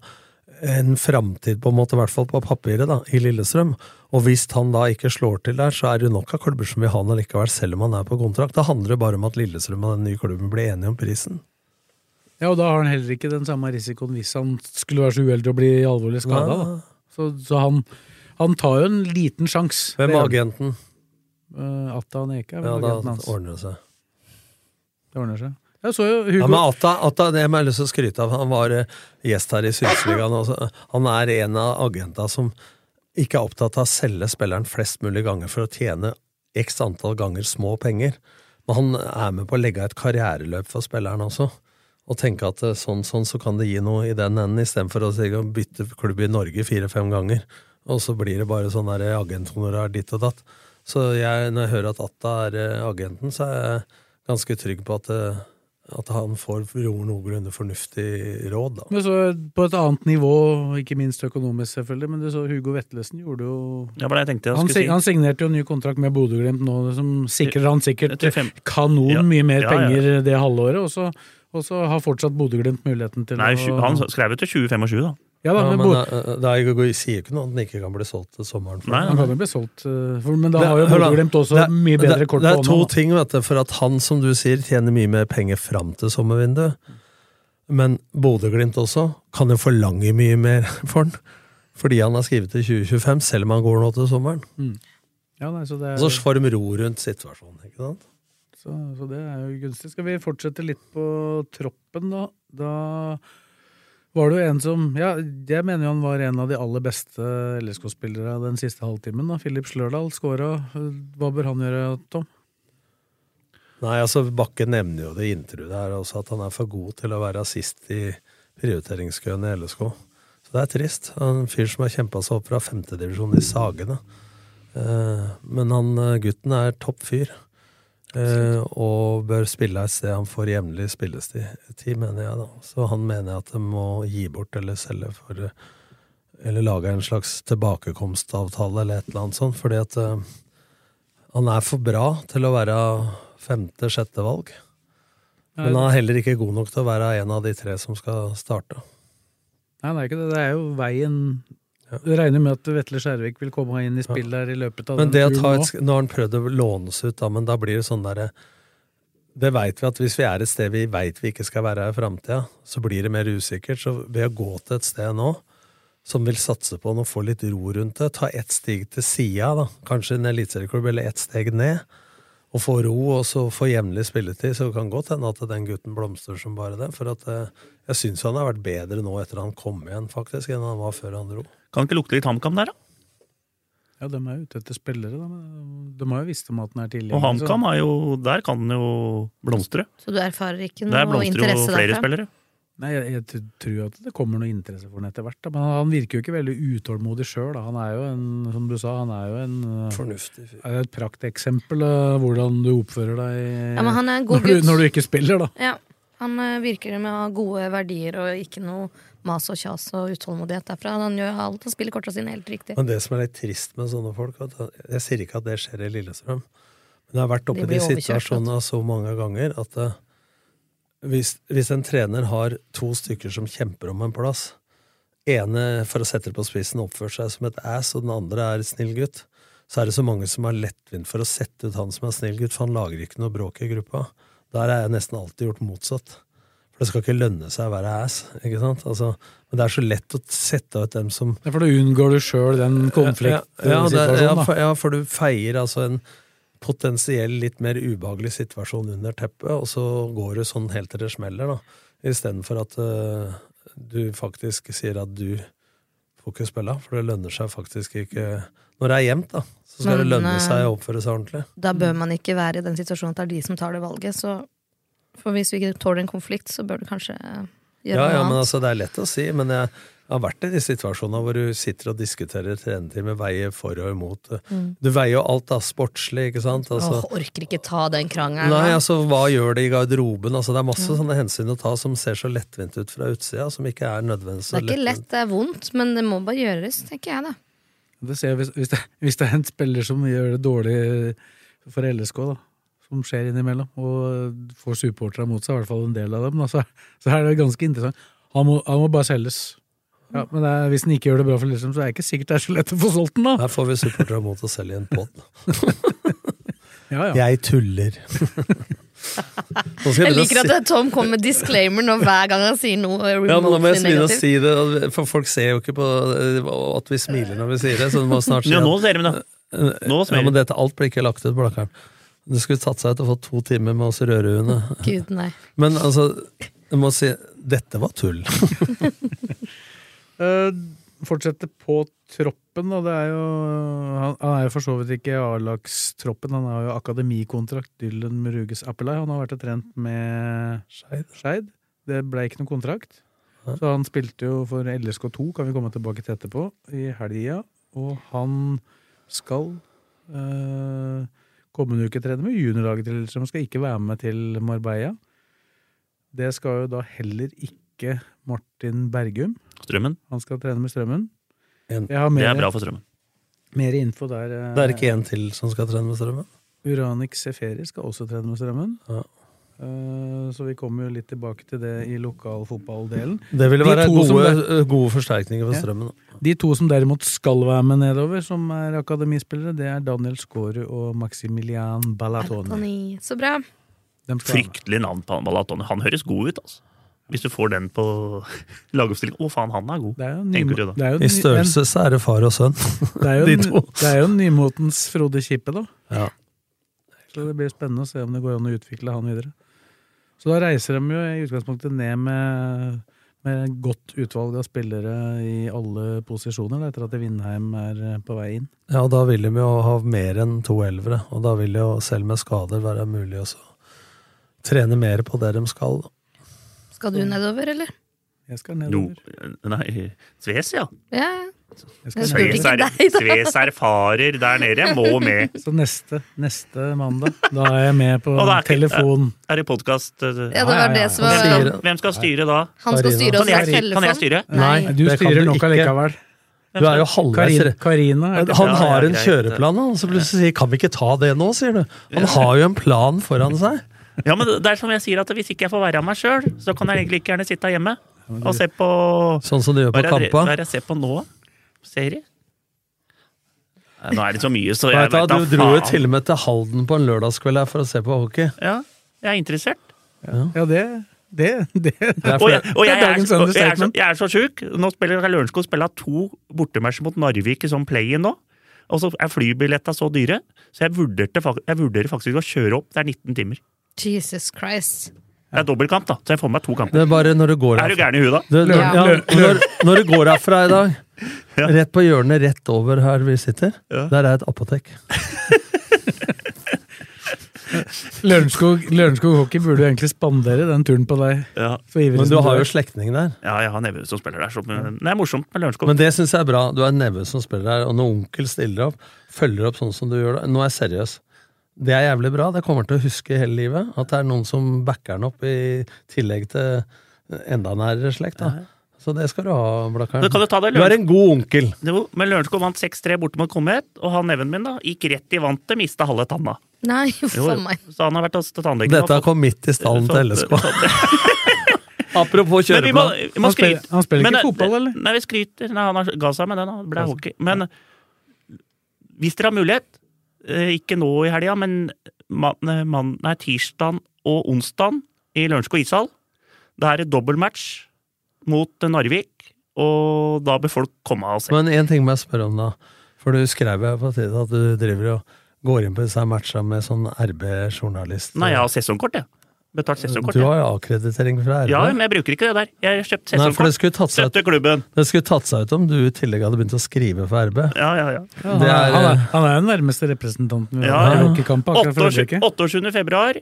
en framtid, på en måte, i hvert fall på papiret, da, i Lillestrøm. Og hvis han da ikke slår til der, så er det jo nok av klubber som vil ha han allikevel, selv om han er på kontrakt. Det handler jo bare om at Lillestrøm og den nye klubben blir enige om prisen.
Ja, og da har han heller ikke den samme risikoen hvis han skulle være så uheldig å bli alvorlig skada.
Nei.
Så, så han, han tar jo en liten sjanse. eh,
Hvem er agenten?
Atta Neke er
Ja,
vel
da
agenten hans.
ordner det seg.
Det ordner seg. Jeg så jo
Ja,
Hugo
men Atta, Atta, det må jeg lyst til å skryte av. Han var eh, gjest her i Sydsligaen. også. Han er en av agenta som ikke er opptatt av å selge spilleren flest mulig ganger for å tjene x antall ganger små penger. Men han er med på å legge et karriereløp for spilleren også. Og tenke at eh, sånn, sånn, så kan det gi noe i den enden, istedenfor å si, å bytte klubb i Norge fire-fem ganger. Og så blir det bare sånn der agenthonorar ditt og datt. Så jeg, når jeg hører at Atta er eh, agenten, så er jeg ganske trygg på at eh, at han får ro- noenlunde fornuftig råd, da.
men så på et annet nivå, ikke minst økonomisk selvfølgelig, men du så Hugo Vetlesen gjorde jo
Det var det jeg tenkte jeg
han, sig-
skulle
han
si.
signerte jo en ny kontrakt med Bodø-Glimt nå, som sikrer han sikkert
Jeg tror fem-
kanon
Ja.
mye mer
Ja, ja.
penger det halvåret, og så, og så har fortsatt Bodø-Glimt muligheten til
Nei,
å
tju- han skrev jo til 2025, da.
Ja da,
Ja,
men
men
Bo-
eh, det er, jo- jeg sier jo ikke noe om den ikke kan bli solgt til sommeren. for
Nei,
det.
Han kan jo bli solgt, eh, for, men da
Det-
har jo
hør da,
Bodø-Glimt også
det er-
mye bedre
det,
kort på
det er to
hånda. da.
ting, vet du. For at han, som du sier, tjener mye mer penger fram til sommervinduet. Men Bodø-Glimt også kan jo forlange mye mer for han. Fordi han har skrevet til 2025, selv om han går nå til sommeren.
Ja, nei, så, det er,
Og så får de ro rundt situasjonen. ikke sant?
så, så det er jo gunstig. Skal vi fortsette litt på troppen, da? Da var det jo en som Ja, jeg mener jo han var en av de aller beste LSK-spillere den siste halvtimen. da. Philip Slørdal skåra. Hva bør han gjøre, Tom?
Nei, altså Bakke nevner jo det i intervjuet her også, at han er for god til å være sist i prioriteringskøen i LSK. Så det er trist. Han er En fyr som har kjempa seg opp fra femtedivisjon i Sagene. Eh, Men han eh, gutten er topp fyr, eh, og bør spille et sted han får jevnlig spillestid, tid, mener jeg da. Så han mener jeg at de må gi bort eller selge for eh, Eller lage en slags tilbakekomstavtale eller et eller annet sånt, fordi at eh, han er for bra til å være femte-sjette valg. Men han
Nei,
er heller ikke god nok til å være en av de tre som skal starte.
nei, det er ikke det. Det er jo veien Du regner med at Vetle Skjervik vil komme inn i spill der i løpet av
Men det å
den
ta
turen
et,
nå.
sk- nå har han prøvd å lånes ut, da, men da blir det sånn derre Det veit vi at hvis vi er et sted vi veit vi ikke skal være her i framtida, så blir det mer usikkert. Så ved å gå til et sted nå som vil satse på noe, få litt ro rundt det, ta ett steg til sida, da, kanskje en eliteserieklubb, eller ett steg ned, og få ro og så få jevnlig spilletid, så det kan godt hende at den gutten blomstrer som bare det. For at eh, jeg syns han har vært bedre nå etter han kom igjen, faktisk, enn han var før han dro.
Kan ikke lukte litt HamKam der, da?
Ja, de er jo ute etter spillere, da. men De har jo visst om at den er tilgjengelig.
Og
så-
HamKam er jo Der kan den jo blomstre.
Så du erfarer ikke
Der
noe
blomstrer jo
interesse
flere
derfra?
spillere.
Nei, jeg, jeg t- tror at det kommer noe interesse for den etter hvert. Da. Men han virker jo ikke veldig utålmodig sjøl. Han er jo en, som du sa, han er jo en øh,
Fornuftig fyr.
er jo et prakteksempel av hvordan du oppfører deg
Ja, men han er en god
når, du,
gutt.
når du ikke spiller, da.
Ja, han eh, virker med å ha gode verdier og ikke noe mas og kjas og utålmodighet derfra. Han gjør alt og spiller korta sine helt riktig.
Men det som er litt trist med sånne folk vet du, Jeg sier ikke at det skjer i Lillestrøm, men jeg har vært oppe
De
i de
blir overkjørt,
situasjonene så mange ganger at eh, hvis, hvis en trener har to stykker som kjemper om en plass ene, for å sette det på spissen, oppfører seg som et ass, og den andre er snill gutt, så er det så mange som er lettvint for å sette ut han som er snill gutt, for han lager ikke noe bråk i gruppa. Der har jeg nesten alltid gjort motsatt. For det skal ikke lønne seg å være ass, ikke sant? Altså, men det er så lett å sette ut dem som
Ja, For da unngår du sjøl den
ja, ja, det,
konfliktsituasjonen.
ja,
da.
for, ja, for du feier altså en potensiell litt mer ubehagelig situasjon under teppet, og så går du sånn helt til det smeller, da. Istedenfor at eh, du faktisk sier at du får ikke spille, for det lønner seg faktisk ikke Når det er jevnt, da, så skal det
Men,
lønne
eh,
seg å oppføre seg ordentlig.
Da bør
Mm.
man ikke være i den situasjonen at det er de som tar det valget. Så for hvis vi ikke tåler en konflikt, så bør du kanskje eh, gjøre
Ja, ja,
noe
men
annet.
altså, det er lett å si, men jeg har vært i de situasjonene hvor du sitter og diskuterer trenertime, veier for og imot. Du veier jo alt da, sportslig, ikke sant? Altså,
Mm. Åh, orker ikke ta den krangelen.
Nei,
da.
altså hva gjør det i garderoben? Altså, det er masse sånne hensyn å ta som ser så lettvint ut fra utsida, som ikke er nødvendigvis
det
så
er ikke lett,
lettvint.
det er vondt, men det må bare gjøres, tenker jeg, da.
Det ser jeg hvis, hvis, det, hvis det er en spiller som gjør det dårlig for LSK, da, som skjer innimellom, og får supporterne mot seg, i hvert fall en del av dem, da, så, så er det ganske interessant. Han må, han må bare selges. Ja, men det er, hvis han ikke gjør det bra for Lillestrøm, så er det ikke sikkert det er så lett å få solgt den, da.
Her får vi supportere mot oss selv i en pod.
Ja, ja.
Jeg tuller. Nå skal
Jeg
begynne å
liker
si-
at Tom kommer med disclaimer nå hver gang han sier noe.
ja, men Da må jeg begynne å
negativt.
si det, for folk ser jo ikke på eh, at vi smiler når vi sier det. Så du må snart si
Ja,
at-
nå ser vi det. Nå
ja, men
smeller det.
dette, alt blir ikke lagt ut på Blakkaren. Det skulle tatt seg ut å få to timer med oss rødruene.
Gud, nei.
Men altså, jeg må si dette var tull.
Eh, fortsette på troppen, da. Det er jo, han, han er jo for så vidt ikke A-lagstroppen, han har jo akademikontrakt, Dylan Muruges Appelai. Han har vært og trent med Skeid. Det ble ikke noen kontrakt.
Nei.
Så han spilte jo for LSK2, kan vi komme tilbake til etterpå, i helga. Og han skal eh, kommende uke trene med juniorlaget til Lillestrøm, skal ikke være med til Marbella. Det skal jo da heller ikke Martin Bergum.
Strømmen.
Han skal trene med strømmen.
En-
Jeg har
Det er
mer,
bra for strømmen.
mer info der. eh,
Det er ikke en til som skal trene med strømmen?
Uranik Seferi skal også trene med strømmen.
Ja.
Eh, Så vi kommer jo litt tilbake til det i lokalfotballdelen.
Det ville
De
være
to
gode,
som
gode forsterkninger for
Ja.
strømmen. da.
De to som derimot skal være med nedover, som er akademispillere, det er Daniel Skårud og Maximilian Ballatoni.
Anthony. Så bra.
De skal være med.
Fryktelig navn på han Balatoni. Han høres god ut, altså. Hvis du får den på lagoppstilling. Å, faen, han er god.
Det er jo,
Tenker
nymo-
du da?
det er jo
I
ny-
størrelse så er det far og sønn.
en- Det er jo,
de
en-
to.
det er jo nymotens Frode Kippe, da.
Ja.
Så det blir spennende å se om det går an å utvikle han videre. Så da reiser de jo i utgangspunktet ned med, Med godt utvalg av spillere i alle posisjoner, da, etter at Vindheim er eh, på vei inn.
Ja, og da vil de jo ha mer enn to elvere, og da vil det jo selv med skader være mulig å så trene mer på det de skal. da.
Skal
Mm.
du nedover, eller?
Jeg skal
Jo,
nedover.
nei, Sves, ja.
Ja,
Jeg
Jeg
skal
spurte
nedover.
Sves, er,
ikke deg, da.
Sves erfarer der nede, må med.
Så neste, neste mandag, da er jeg med på
Og da er ikke-
telefon.
Er det podkast
ja
Hvem
det
Ja, ja,
var det
ja.
som var
Sier-
skal styre da?
Han skal styre oss
Kan
i
jeg, styre- kan
telefon.
jeg styre?
Nei.
Du
det kan
styrer
du
nok
ikke.
allikevel.
Du er jo halvveis
Karin- Karina er
Han har en
Ja, ja, greit.
kjøreplan, og så plutselig sier 'kan vi ikke ta det nå', sier du. Han har jo en plan foran seg.
Ja, men det er som jeg sier at Hvis ikke jeg får være meg sjøl, så kan jeg egentlig ikke gjerne sitte hjemme og se på
Sånn som de gjør på
Hva er det hva er
Kampa.
det jeg ser på nå? Serie? Nei, Nå er det så mye, så jeg
Vet du,
vet da
du dro jo
faen.
til og med til Halden på en lørdagskveld her for å se på hockey.
Ja, jeg er interessert.
Ja, det, det, det.
Det er
Og jeg,
fordi-
Det
og
er
jeg, er,
dagens
så- jeg, er så,
understatement.
jeg er så sjuk. Nå spiller jeg Lørenskog spiller to bortematcher mot Narvik i sånn play-in nå. Og så er flybilletta så dyre, så jeg vurderte, fak- jeg vurderer faktisk å kjøre opp. Det er 19 timer.
Jesus Christ.
Det er dobbeltkamp, da, så jeg får med meg to kamper.
Det er bare når du går
Er du
herfra.
gæren i huet, da?
Du, når,
Ja.
ja, når, når du går herfra i dag, rett på hjørnet rett over her vi sitter,
Ja.
der er et apotek.
Lørenskog, Lørenskog Hockey burde jo egentlig spandere den turen på deg.
Ja,
Så ivrig
Men
som
du har
er.
jo slektning der.
ja jeg har nevø som spiller der. Så, men det er morsomt med Lørenskog.
Men det syns jeg er bra. Du er en nevø som spiller her, og når onkel stiller opp, følger opp sånn som du gjør det Nå er jeg seriøs. Det er jævlig bra. Det kommer han til å huske hele livet. At det er noen som backer han opp i tillegg til enda nærere slekt. da. Så det skal du ha, Blakkaren.
Så kan du ta det
Du er en god onkel.
Det var- Men Lørenskog vant 6-3 borte mot Komet, og han neven min da, gikk rett i vantet, mista halve tanna.
Nei,
Jo,
for meg.
Så han har vært hos tannlegen. og
Dette
fått-
kom midt i stallen til LSK. Apropos
Men vi må,
kjøreplan.
vi må
Han spiller-
skryte.
han spiller ikke
Men, eh,
fotball, eller?
Nei, vi skryter. Nei, han har- ga seg med den, da. Det ble hockey. Men hvis dere har mulighet, eh, ikke nå i helga, men man, man, nei, tirsdag og onsdag i Lørenskog ishall, da er det dobbeltmatch mot eh, Narvik, og da bør folk komme og se.
Men én ting må jeg spørre om, da. For du skrev jo på tide at du driver og går inn på disse matcha med sånn RB-journalist.
Nei, jeg har sesongkort, jeg. Betalt sesongkort.
Du
jeg.
har jo avkreditering fra RB.
Ja, men jeg bruker ikke det der. Jeg har kjøpt
Nei, for det
sesongkort.
skulle, tatt seg ut,
Støtter klubben.
det skulle tatt seg ut om du i tillegg hadde begynt å skrive for RB.
Ja, ja, ja.
Ja, han,
Det
er,
er-
han, er, han er jo den nærmeste representanten vi
Ja,
har i
ja.
hockeykamp akkurat for
28.
øyeblikket.
28. februar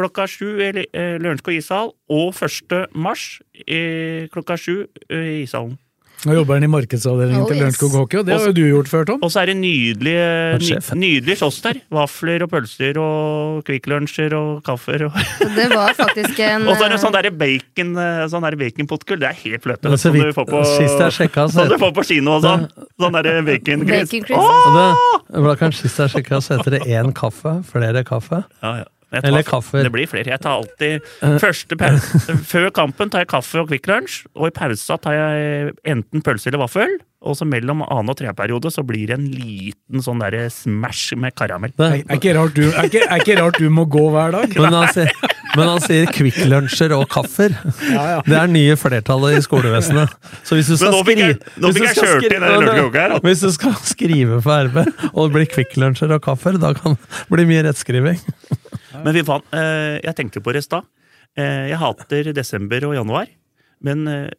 klokka sju i Li- eh, Lørenskog ishall, og 1. mars eh, klokka sju eh, i ishallen.
Nå jobber han i markedsavdelingen
Oh,
til Lørenskog
yes.
Hockey, og det har jo du gjort før, Tom.
Og så er det nydelige,
Vært sjef.
ny- nydelig kiosk der. Vafler og pølser og Kvikklunsjer og kaffer. Og,
Det var faktisk en
og så er det sånn derre bacon, eh, sånn der baconpottgull. Det er helt fløte.
Men så
Som du
vidt,
får på,
sist jeg sjekka, så
som du får på kino og sånn. Sånn derre baconcrisp.
Bacon crisp.
Åh!
Blakkaren, sist jeg sjekka, så heter det én kaffe. Flere kaffe.
Ja, ja. Jeg
Eller kaffe.
Det blir flere. Jeg tar alltid første pause. Før kampen tar jeg kaffe og Kvikk Lunsj, og i pausa tar jeg enten pølse eller vaffel. Og så mellom annen og tredje periode så blir det en liten sånn der smash med karamell.
Det,
Er, er, ikke rart du, er, ikke, er ikke rart du må gå hver dag.
men, han sier, men han sier kvikklunsjer og kaffer. Det er nye flertallet i skolevesenet. Så hvis du skal
nå fikk jeg-
skri-
nå
hvis
fikk
du
jeg
skal
kjørt
skri-
inn den lørdagen her, da.
Hvis du skal skrive for RB, og det blir kvikklunsjer og kaffer, da kan det bli mye rettskriving.
Men vi fant, eh, jeg tenkte på det i stad. Eh, jeg hater desember og januar, men eh,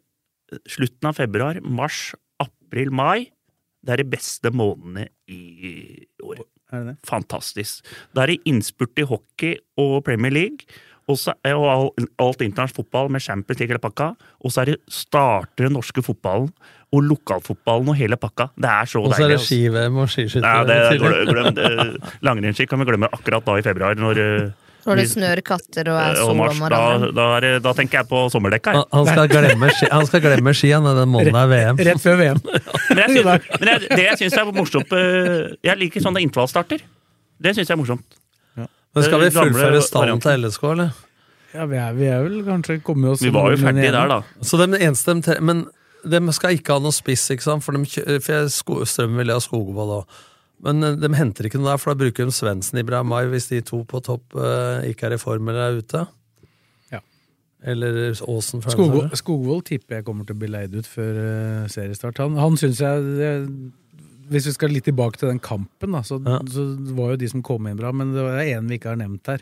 slutten av februar, mars, april, mai, det er de beste månedene i året.
Er det det?
Fantastisk. Da er det innspurt i hockey og Premier League. Og, så, eh, og all, alt internasjonal fotball med Champions League hele pakka. Og så er det starter den norske fotballen og lokalfotballen og hele pakka. Det er så
Og så er
deilig.
det ski-VM og skiskytter.
Nei, det,
i tillegg.
glem, glem, det- Langrennsski kan vi glemme akkurat da i februar, når, eh,
Når det snør katter og er
eh, og
sol
mars.
om
Da,
morgenen.
da, er, det- da tenker jeg på sommerdekka. jeg.
Han- Han skal glemme ski, han skal glemme ski han, den måneden er VM.
Rett før VM.
Men, jeg synes, men jeg, det jeg syns er morsomt eh, Jeg liker sånne intervallstarter. Det syns jeg er morsomt.
Men skal vi
Den gamle
fullføre stallen
varianten.
til LSK, eller?
Ja, vi er, vi er vel kanskje kommet oss
Vi var jo
noenlunde
ferdige der,
igjennom.
da.
Så de eneste de tre, Men de skal ikke ha noe spiss, ikke sant? For, de, kjø- eh, for jeg, sko, Strømmen ville ha Skogvold òg. Men eh, de henter ikke noe der, for da bruker de Svendsen i Brahmai hvis de to på topp eh, ikke er i form eller er ute.
Ja.
Eller Aasen. for den
Skogvold,
saks skyld.
Skogvold tipper jeg kommer til å bli leid ut før eh, seriestart. Han, han syns jeg det- Hvis vi skal litt tilbake til den kampen, da, så,
Ja.
så var jo de som kom inn bra, men det er en vi ikke har nevnt her.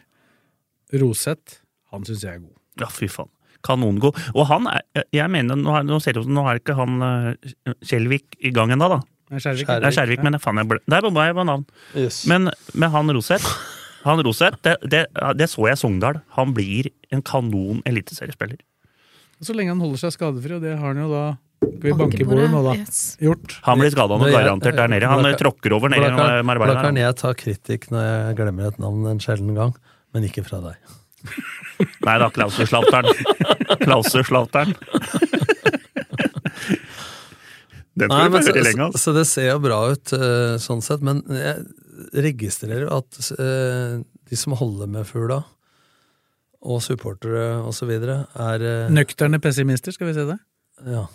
Roseth. Han syns jeg er god.
Ja, fy faen. kanongod. Og han er, jeg mener, nå, er, nå ser det ut som nå er ikke han eh, Skjelvik i gang ennå, da.
Nei, Skjærvik.
Det er Skjervik, men faen, jeg ble, der bomma jeg på navn.
Yes.
Men med han Roseth han Roseth, det, det, det så jeg i Sogndal. Han blir en kanon eliteseriespiller.
Så lenge han holder seg skadefri, og det har han jo da Skal vi
Banke
banke i
på
bordet
det,
nå, da?
yes.
Gjort.
Han blir skada nå,
Men jeg-
garantert, der nede. Han eh, tråkker over nede i Marbella.
Blakkaren,
han.
jeg tar kritikk når jeg glemmer et navn en sjelden gang, men ikke fra deg.
Nei da, Klauseslauteren. Klauseslauteren. Den
Nei,
får
men
du
så,
høre lenge,
så,
altså.
så det ser jo bra ut eh, sånn sett, men jeg registrerer jo at eh, de som holder med fugla, og supportere og så videre, er eh,
Nøkterne pessimister, skal vi se det?
Ja.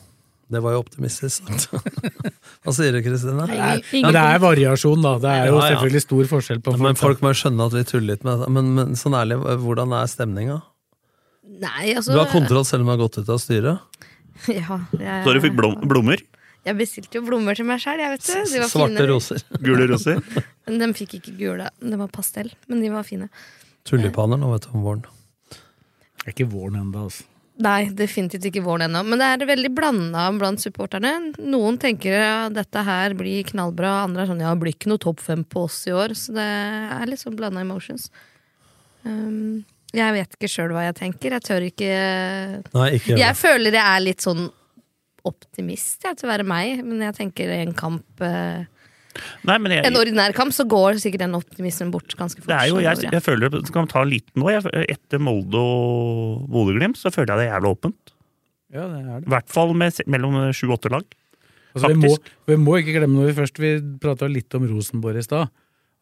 Det var jo optimistisk sagt. Hva sier du, Kristine?
Nei,
Men
ingen
det er variasjon, da. Det er jo
Ja, ja.
selvfølgelig stor forskjell på
Men
folk.
folk må jo skjønne at vi tuller litt med det. Men, men sånn ærlig, hvordan er stemninga?
Nei, altså
Du har kontroll selv om jeg har gått ut av styret?
Ja, jeg,
Så du fikk blom, blommer?
jeg bestilte jo blommer til meg sjøl, jeg, vet du. De var
Svarte
fine.
roser.
Gule roser?
Men De fikk ikke gule, det var pastell, men de var fine.
Tulipaner nå, vet du, om våren.
Det er ikke våren ennå, altså.
Nei, definitivt ikke våren ennå. Men det er veldig blanda blant supporterne. Noen tenker at dette her blir knallbra, andre er sånn ja, det blir ikke noe topp fem på oss i år. Så det er litt sånn blanda emotions. Um, jeg vet ikke sjøl hva jeg tenker. Jeg tør ikke
Nei, ikke gjør
Jeg
det.
føler jeg er litt sånn optimist, jeg, til å være meg. Men jeg tenker i en kamp eh,
Nei, men jeg,
En ordinær kamp, så går sikkert den optimismen bort ganske fort.
det er jo,
sånn
jeg,
går
jeg føler det skal ta en liten nå. Jeg, etter Molde og Bodø-Glimt så føler jeg det er jævlig åpent.
Ja, det er det.
I hvert fall med, se- mellom sju-åtte lag.
Altså, vi, må,
Faktisk.
vi må ikke glemme når vi først Vi prata litt om Rosenborg i stad.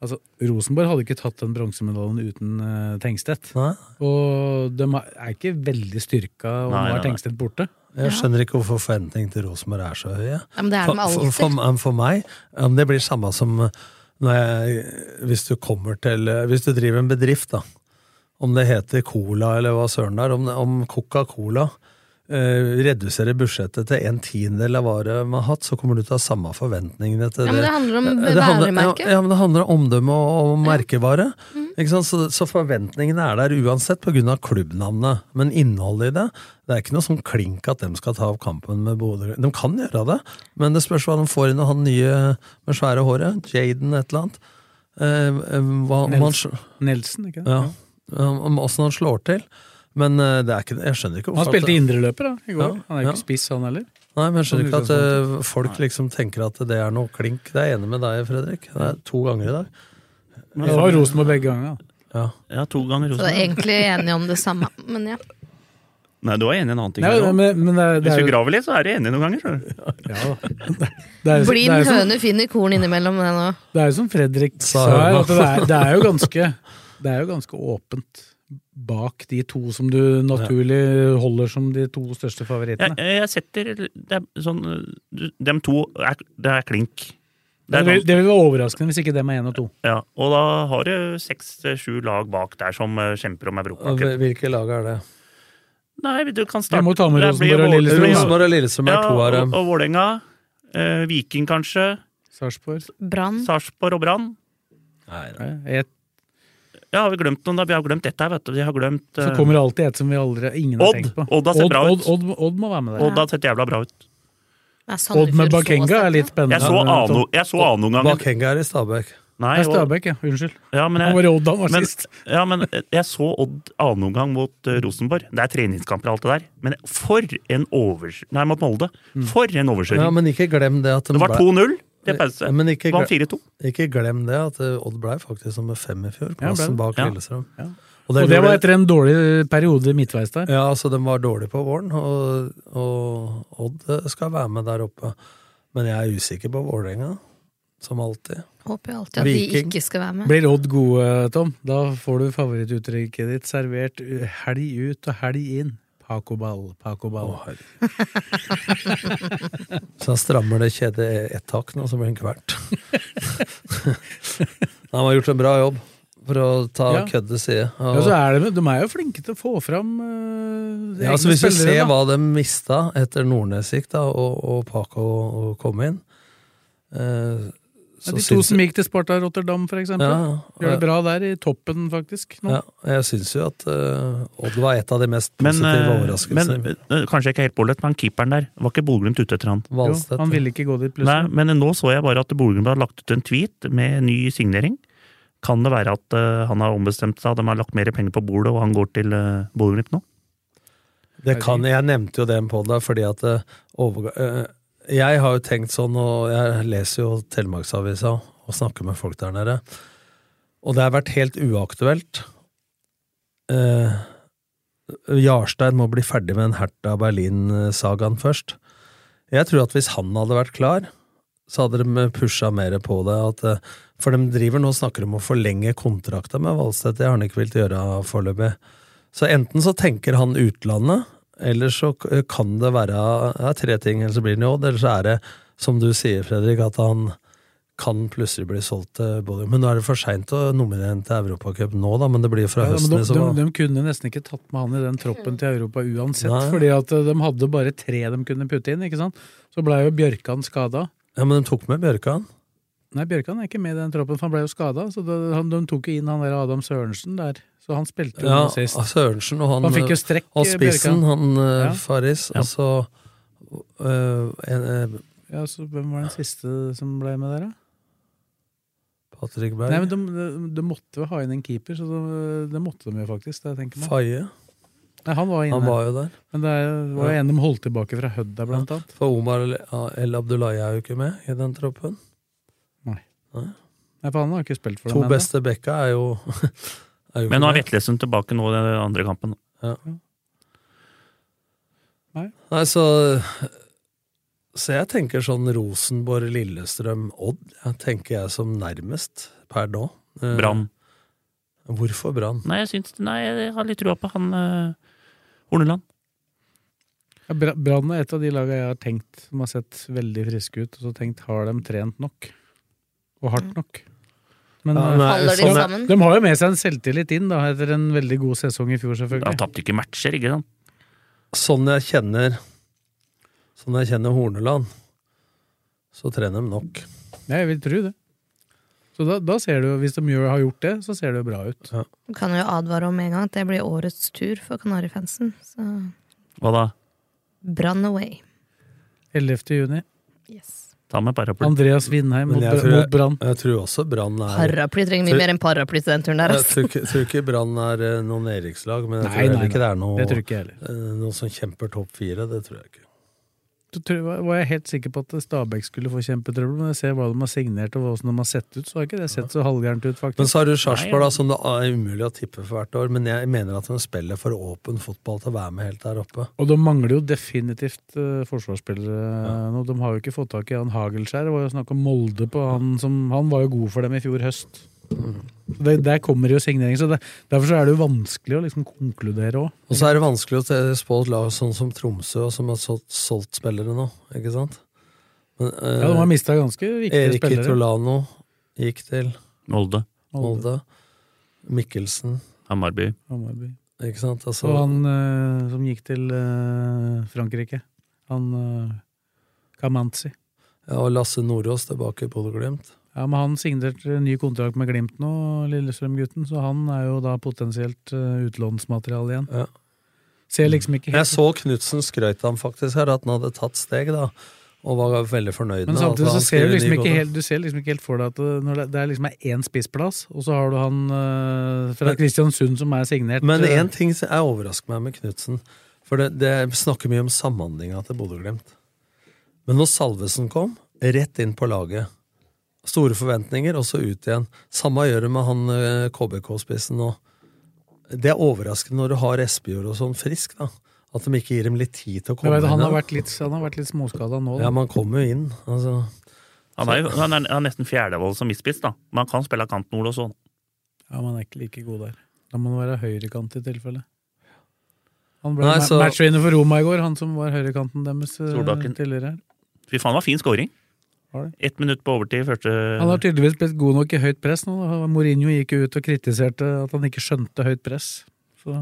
Altså, Rosenborg hadde ikke tatt den bronsemedaljen uten eh, Tengstedt.
Nei,
Og de er ikke veldig styrka om
Nei,
de
nei,
har
nei.
Tengstedt borte.
jeg skjønner ikke hvorfor forventningene til Rosenborg er så høye.
Ja, men det er det med
For, for,
alder.
for, um, for meg, um, det blir samme som uh, når jeg, hvis du kommer til uh, Hvis du driver en bedrift, da. Om det heter Cola eller hva søren det er. Om, om Coca-Cola uh, reduserer budsjettet til en tiendedel av hva de har hatt, så kommer du til å ha samme forventningene til
Ja, men det handler om
Ja, det handler-
væremerket.
Ja, ja, men det handler om omdømme og, og merkevare.
Mm.
Ikke sant? Så, så forventningene er der uansett pga. klubbnavnet. Men innholdet i det Det er ikke noe sånn klink at de skal ta opp kampen med Bodø. De kan gjøre det, men det spørs hva de får inn av han nye med svære håret. Jaden et eller annet. Eh, eh, hva, om han, sl-
Nelson, ikke det?
ja, om om åssen han slår til. Men eh, det er ikke, jeg skjønner ikke
Han
hvorfor at-
spilte indreløper da, i går.
Ja,
han er jo
ja.
ikke spiss, han heller.
Nei, men jeg skjønner ikke
Sånn
at eh, folk liksom tenker at det er noe klink. Det er jeg enig med deg, Fredrik. Det er to ganger i dag.
Det var Rosenborg begge ganger. da.
Ja.
Ja, to
Så jeg er
ganger Rosenborg.
egentlig enige om det samme, men ja.
Nei, du er enig i en annen ting.
Nei,
her også.
men, men det, er- det
Hvis
er
du
jo
graver litt, så er du enig noen ganger. skjønner du.
ja, da. Det er jo- det er jo
Blind
som-
høne finner korn innimellom det nå.
Det er jo som Fredrik sa
Sa
her,
hun.
at det er, det er, jo, ganske, det er jo ganske åpent bak de to som du naturlig holder som de to største favorittene.
Jeg, jeg setter det er sånn du- Dem to er, det er klink. Det
Det
er sånn-
vil, det vil være overraskende hvis ikke dem er én og to.
Ja, og da har du seks-sju lag bak der som eh, kjemper om Europa.
Og hvil- Hvilke lag er det?
Nei, du kan
Jeg
starte
må ta med
Det blir
Rosenborg og
Vål-
Lillestrøm.
det blir-
Rosenborg og Lillestrøm er
Ja,
to av
og,
dem.
og Vålerenga. eh, Viking, kanskje.
Sarpsborg
Brann.
Sarpsborg og Brann.
eh, et-
Ja, har vi glemt noen da? Vi har glemt dette her, vet du. Vi har glemt eh,
Så kommer det alltid et som vi aldri, ingen har
Odd.
tenkt på.
Odd har sett bra ut.
Odd, Odd, Odd må være med der.
Odd har sett jævla bra ut.
Nei, Sandefjord
Odd med
så
Bakenga er
sterkt,
litt
da.
spennende.
Jeg så Ano jeg så Ano noen ganger.
Bakenga er i Stabæk.
Nei,
Det er
og-
Stabæk, ja. Unnskyld.
ja, men
Han var
jeg,
i Odd, han var
men,
sist.
ja, men eh, jeg så Odd annen omgang mot eh, Rosenborg. Det er treningskamper og alt det der. Men for en overs... Nei, mot Molde.
Mm.
For en
Ja,
overkjøring.
men ikke glem det at de
Det var
ble-
2-0 til pause.
Men ikke
Vant
gle-
4-2.
Ikke glem det at eh, Odd blei faktisk nummer fem i fjor,
Ja, ble
plassen
det.
bak
Ja.
Lillestrøm.
Ja.
Og det
Og det var
gjorde-
etter en dårlig periode midtveis der.
Ja, så de var dårlige på våren, og, og Odd eh, skal være med der oppe. Men jeg er usikker på Vålerenga, som alltid.
Håper jo alltid at de
Viking.
ikke skal være med.
Blir Odd gode, Tom, da får du favorittuttrykket ditt servert uh, helg ut og helg inn. Paco Ball, Paco Ball.
Så jeg strammer det kjedet e- ett hakk nå, så blir det en kvert. Han har gjort en bra jobb for å ta
Ja.
kødde side. Og,
Ja, så er det, de er jo flinke til å få fram eh,
ja,
egne
altså, hvis du
spillere.
ser
da.
hva de mista etter Nordnes gikk, da, og, og Paco kom inn, eh, så
de to
syns
som
jeg-
gikk til Sparta Rotterdam, for eksempel.
Ja, eh,
Gjør
ja.
det bra der, i toppen, faktisk. Nå.
Ja, jeg syns jo at eh, Odd var et av de mest
Men,
positive
eh,
overraskelsene.
men eh, kanskje ikke helt pålett, men keeperen der var ikke Bodø-Glimt ute etter han.
Jo,
Valstedt.
han ville ikke gå dit,
Nei,
plutselig.
men nå så jeg bare at Bodø-Glimt har lagt ut en tweet med ny signering. Kan det være at eh, han har ombestemt seg, de har lagt mer penger på bordet, og han går til uh, Bodø-Glimt nå?
Det kan, jeg nevnte jo den på deg, fordi at eh, overga- eh, Jeg har jo tenkt sånn, og jeg leser jo Telemarksavisa og snakker med folk der nede, og det har vært helt uaktuelt. Eh, Jarstein må bli ferdig med den Hertha Berlin-sagaen først. Jeg tror at hvis han hadde vært klar, så hadde de pusha mer på det. At, eh, for de driver nå og snakker om å forlenge kontrakta med Valstedt. Det har han ikke villet gjøre foreløpig. Så enten så tenker han utlandet, eller så k- eh, kan det være ja, tre ting, eller så blir det Odd, eller så er det, som du sier, Fredrik, at han kan plutselig bli solgt til Bodø. Men nå er det for seint å nominere ham til Europacup nå, da, men det blir fra
Ja, men
høsten.
de,
i så
de,
fall.
de kunne nesten ikke tatt med han i den troppen til Europa uansett,
Nei.
fordi at eh, de hadde bare tre de kunne putte inn. ikke sant? Så blei jo Bjørkan skada.
Ja, men de tok med Bjørkan.
Nei, Bjørkan er ikke med i den troppen, for han blei jo skada. Så det, han, de tok jo inn han der Adam Sørensen der, så han spilte jo
Ja,
nå sist.
Sørensen og han,
Han fikk jo strekk,
og spissen,
Bjørkan.
han eh,
Ja.
Faris, og så eh, en, eh,
Ja, så Hvem var den siste som blei med der, da?
Patrick
Nei,
Berg,
men de, de, de måtte jo ha inn en keeper, så de, det måtte de jo faktisk. Det tenker man.
Faye.
Nei, han var inne,
Han var jo der.
men det er- var jo en de holdt tilbake fra Hødda, blant annet.
For Omar El- El Abdullahi er jo ikke med i den troppen.
Nei, for han har ikke spilt for
To
dem ennå.
beste bekka er jo, er jo
Men nå er
med.
Vetlesen tilbake nå i den andre kampen.
Nei, så Så jeg tenker sånn Rosenborg, Lillestrøm, Odd jeg tenker jeg som nærmest per nå. Eh,
Brann.
Hvorfor Brann?
Nei, jeg syns Nei, jeg har litt trua på han eh, Horneland.
Ja, Bra- Brann er et av de lagene jeg har tenkt som har sett veldig friske ut, og så tenkt har de trent nok? Og hardt nok? Men
Ja,
eh,
nei,
Faller de
sånn er-
sammen?
de har jo med seg en selvtillit inn, da, etter en veldig god sesong i fjor,
Han
selvfølgelig.
tapte ikke matcher, ikke sant?
sånn jeg kjenner Sånn jeg kjenner Horneland, så trener de nok.
Ja, jeg vil tro det. Så da, da ser du, jo- hvis de gjør, har gjort det, så ser det jo bra ut.
Kan jo advare om en gang at det blir årets tur for Kanarifansen. Så
Hva da?
brann away.
11. juni.
Yes.
Ta med paraply.
Andreas Vindheim
Men
mot,
jeg
Bra-
tror-
mot Brann.
Jeg tror også Brann er
Paraply trenger mye mer enn paraply til den turen der.
Jeg
ass.
tror ikke, tror ikke Brann er eh, noe nedrykkslag, men jeg
Nei,
tror heller
nei,
ikke det er noe,
Det tror ikke jeg heller.
eh, noe som kjemper topp fire. Det tror jeg ikke.
Så tror- var jeg helt sikker på at Stabæk skulle få kjempetrøbbel, men jeg ser hva de har signert og hvordan de har sett ut, så har ikke det sett så halvgærent ut, faktisk.
Men så har du Sarpsborg, da, som det er umulig å tippe for hvert år. Men jeg mener at de spiller for åpen fotball til å være med helt der oppe.
Og de mangler jo definitivt eh, forsvarsspillere nå. De har jo ikke fått tak i han Hagelskjær. Det var jo snakk om Molde på han som Han var jo god for dem i fjor høst. Så det, der kommer jo signering. Så det, derfor så er det jo vanskelig å liksom konkludere òg.
Og så er det vanskelig å te- spå et lag sånn som Tromsø, og som har solgt, solgt spillere nå. Ikke sant? Men, eh,
Ja, de har mista ganske viktige
Erik
spillere.
Kitolano gikk til
Molde.
Molde.
Molde. Mikkelsen,
Hamarby.
Hammarby.
ikke sant? Altså,
Og han eh, som gikk til eh, Frankrike. Han eh, Kamanzi.
ja, og Lasse Nordås tilbake i Bodø-Glimt.
Ja, men han signerte ny kontrakt med Glimt nå, Lillestrøm-gutten, så han er jo da potensielt eh, utlånsmateriale igjen.
Ja.
Ser liksom ikke
Jeg
helt
så Knutsen skrøt han faktisk her, at han hadde tatt steg, da. Og var veldig fornøyd
Men
med at
samtidig
altså, han
så ser
skrev
du liksom
ny
ikke
kontrakt.
helt, du ser liksom ikke helt for deg at det, når det, det er liksom er én spissplass, og så har du han eh, fra
Men-
Kristiansund som er signert.
Men
eh,
én ting som jeg overrasker meg med Knutsen. For det, det snakker mye om samhandlinga til Bodø-Glimt. Men når Salvesen kom, rett inn på laget. Store forventninger, og så ut igjen. Samme gjør det med han eh, KBK-spissen nå. Det er overraskende når du har Espejord og sånn frisk, da. At de ikke gir dem litt tid til å
jeg
komme
vet, han, har
da.
vært litt, han har vært litt småskada nå. da.
Ja, man kommer jo inn. Altså.
Han er, jo, han er, han er nesten Fjerdavoll som midtspiss, da. Men han kan spille av kanten, Ole, også.
Ja, men han er ikke like god der. Da må han være høyrekant i tilfelle. Han ble
Nei,
ma-
så-
matchvinner for Roma i går, han som var høyrekanten deres eh,
Solbakken.
tidligere. her.
Fy faen, det var fin scoring.
Var det?
Ett minutt på overtid i første
Han har tydeligvis blitt god nok i høyt press nå. da. Mourinho gikk jo ut og kritiserte at han ikke skjønte høyt press. Så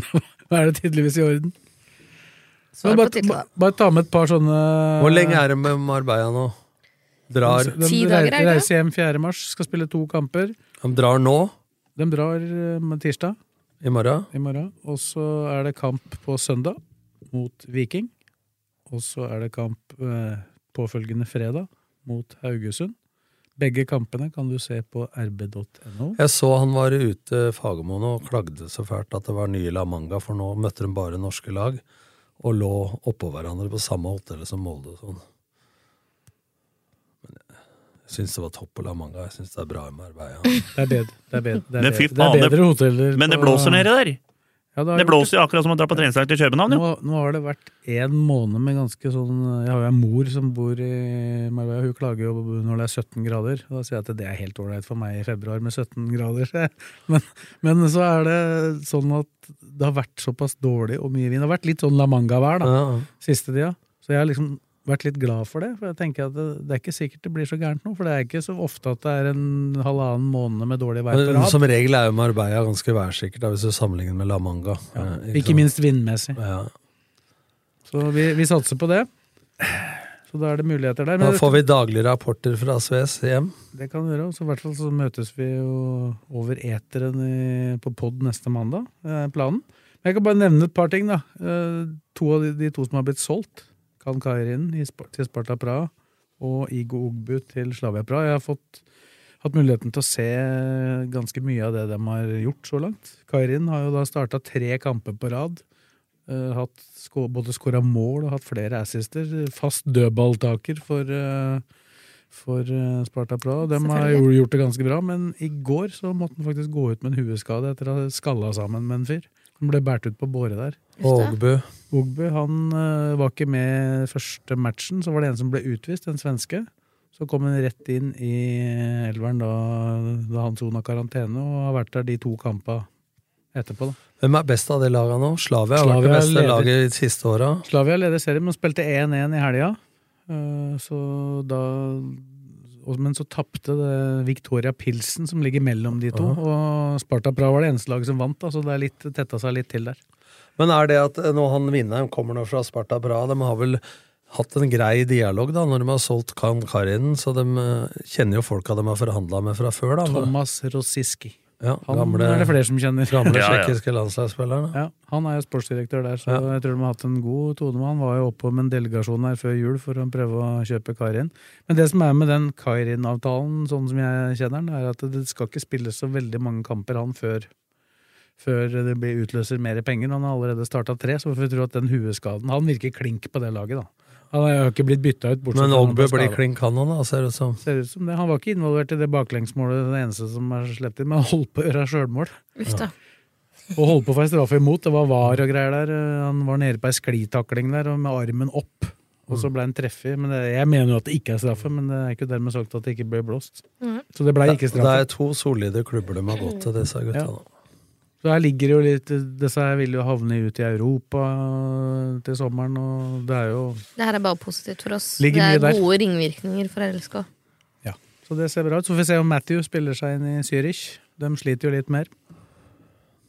nå er det tydeligvis i orden.
Så er det
bare,
på tide, da.
ba- bare ta med et par sånne
Hvor lenge er det med Marbella nå? Drar,
De
Ti dager, er det
rei-
ikke det?
reiser hjem 4. mars, skal spille to kamper.
de drar nå,
De drar eh, med tirsdag
i morgen.
i morgen, og så er det kamp på søndag mot Viking. Og så er det kamp eh, påfølgende fredag mot Haugesund. Begge kampene kan du se på rb.no.
Jeg så han var ute i Fagermoen og klagde så fælt at det var nye La Manga, for nå møtte de bare norske lag og lå oppå hverandre på samme hotell som Molde. og Sånn. Men eh, jeg syns det var topp på La Manga. Jeg syns det er bra i Marbella.
Det er bedre, det er bedre, det er
Men
bedre,
fy
det er
faen, det-
bedre hoteller.
Men det
på-
blåser nede der.
Ja, har
Det
gjort
blåser jo akkurat som å dra på treningslag til København, jo.
Nå, nå har det vært en måned med ganske sånn Jeg har jo en mor som bor i Marbella. Hun klager jo når det er 17 grader. Og da sier jeg at det er helt ålreit for meg i februar med 17 grader. sier jeg. Men, men så er det sånn at det har vært såpass dårlig og mye vind. Det har vært litt sånn La Manga-vær da,
Ja.
siste tida. Så jeg har liksom vært litt glad for det. For jeg tenker at det, det er ikke sikkert det blir så gærent nå. For det er ikke så ofte at det er en halvannen måned med dårlig vær på
Men
rad.
som regel er jo Marbella ganske værsikkert, da, hvis du sammenligner med La Manga. Eh,
Ikke
sant?
minst vindmessig.
Ja.
Så vi, vi satser på det. Så da er det muligheter der.
Da
Men
får vi daglige rapporter fra Sves hjem.
det kan vi gjøre. Så i hvert fall så møtes vi jo over eteren i, på pod neste mandag, er planen. Men jeg kan bare nevne et par ting, da. Eh, To av de, de to som har blitt solgt, Kan Kairin i Spar- til Sparta Praha og Igo Ogbu til Slavia Praha. Jeg har fått hatt muligheten til å se ganske mye av det de har gjort så langt. Kairin har jo da starta tre kamper på rad. eh, hatt sko både skåra mål og hatt flere assister. Fast dødballtaker for, eh, for eh, Sparta Praha. De har jo gjort det ganske bra, men i går så måtte han faktisk gå ut med en hueskade etter å ha skalla sammen med en fyr. Han ble båret ut på båre der.
Ågbu.
Ogbu han eh, var ikke med første matchen, så var det en som ble utvist, en svenske. Så kom han rett inn i eh, elveren da, da han sona karantene, og har vært der de to kampa etterpå. da.
Hvem er best av de laga nå? Slavia har
Slavia
vært det
er
beste
leder.
laget de siste åra.
Slavia leder serien, men spilte 1-1 i helga. Eh, Så da og- Men så tapte det Victoria Pilsen, som ligger mellom de to. Og Sparta Praha var det eneste laget som vant, da, så det er litt, tetta seg litt til der.
Men er det at eh, nå han Vindheim kommer nå fra Sparta Praha, de har vel hatt en grei dialog da, når de har solgt Kan Karin, så de eh, kjenner jo folka de har forhandla med fra før, da.
Thomas Rosiski.
ja,
Han
gamle,
er det flere som kjenner.
gamle
Ja, ja.
tsjekkiske landslagsspilleren.
Ja, Han er jo sportsdirektør der, så
Ja.
jeg tror de har hatt en god tone. med Han var jo oppe med en delegasjon her før jul for å prøve å kjøpe Kairin. Men det som er med den Kairin-avtalen, sånn som jeg kjenner den, er at det skal ikke spilles så veldig mange kamper han før, før det blir utløser mer penger. Han har allerede starta tre, så vi får tro at den hueskaden Han virker klink på det laget, da. Han har jo ikke blitt bytta ut, bortsett
Men
fra han
Ogbu
ble
blir
skadet.
klin kanon, da, ser det ut som.
Ser ut som det. Han var ikke involvert i det baklengsmålet, det eneste som er sluppet inn, men han holdt på å gjøre sjølmål.
Uff da.
Og holdt på å få en straffe imot. Det var var og greier der. Han var nede på ei sklitakling der og med armen opp. Og
Mm.
så ble han treffet. Men det, jeg mener jo at det ikke er straffe, men det er ikke dermed sagt at det ikke ble blåst.
Mm.
Så det ble
Det,
ikke
det
straffe.
er to solide klubber de har gått til, disse gutta.
Ja.
nå.
Så her ligger det jo litt Disse her vil jo havne ut i Europa til sommeren, og det er jo
Det her er bare positivt for oss.
Ligger
det er
mye der.
gode ringvirkninger for LSK.
Ja. Så det ser bra ut. Så får vi se om Matthew spiller seg inn i Zürich. De sliter jo litt mer.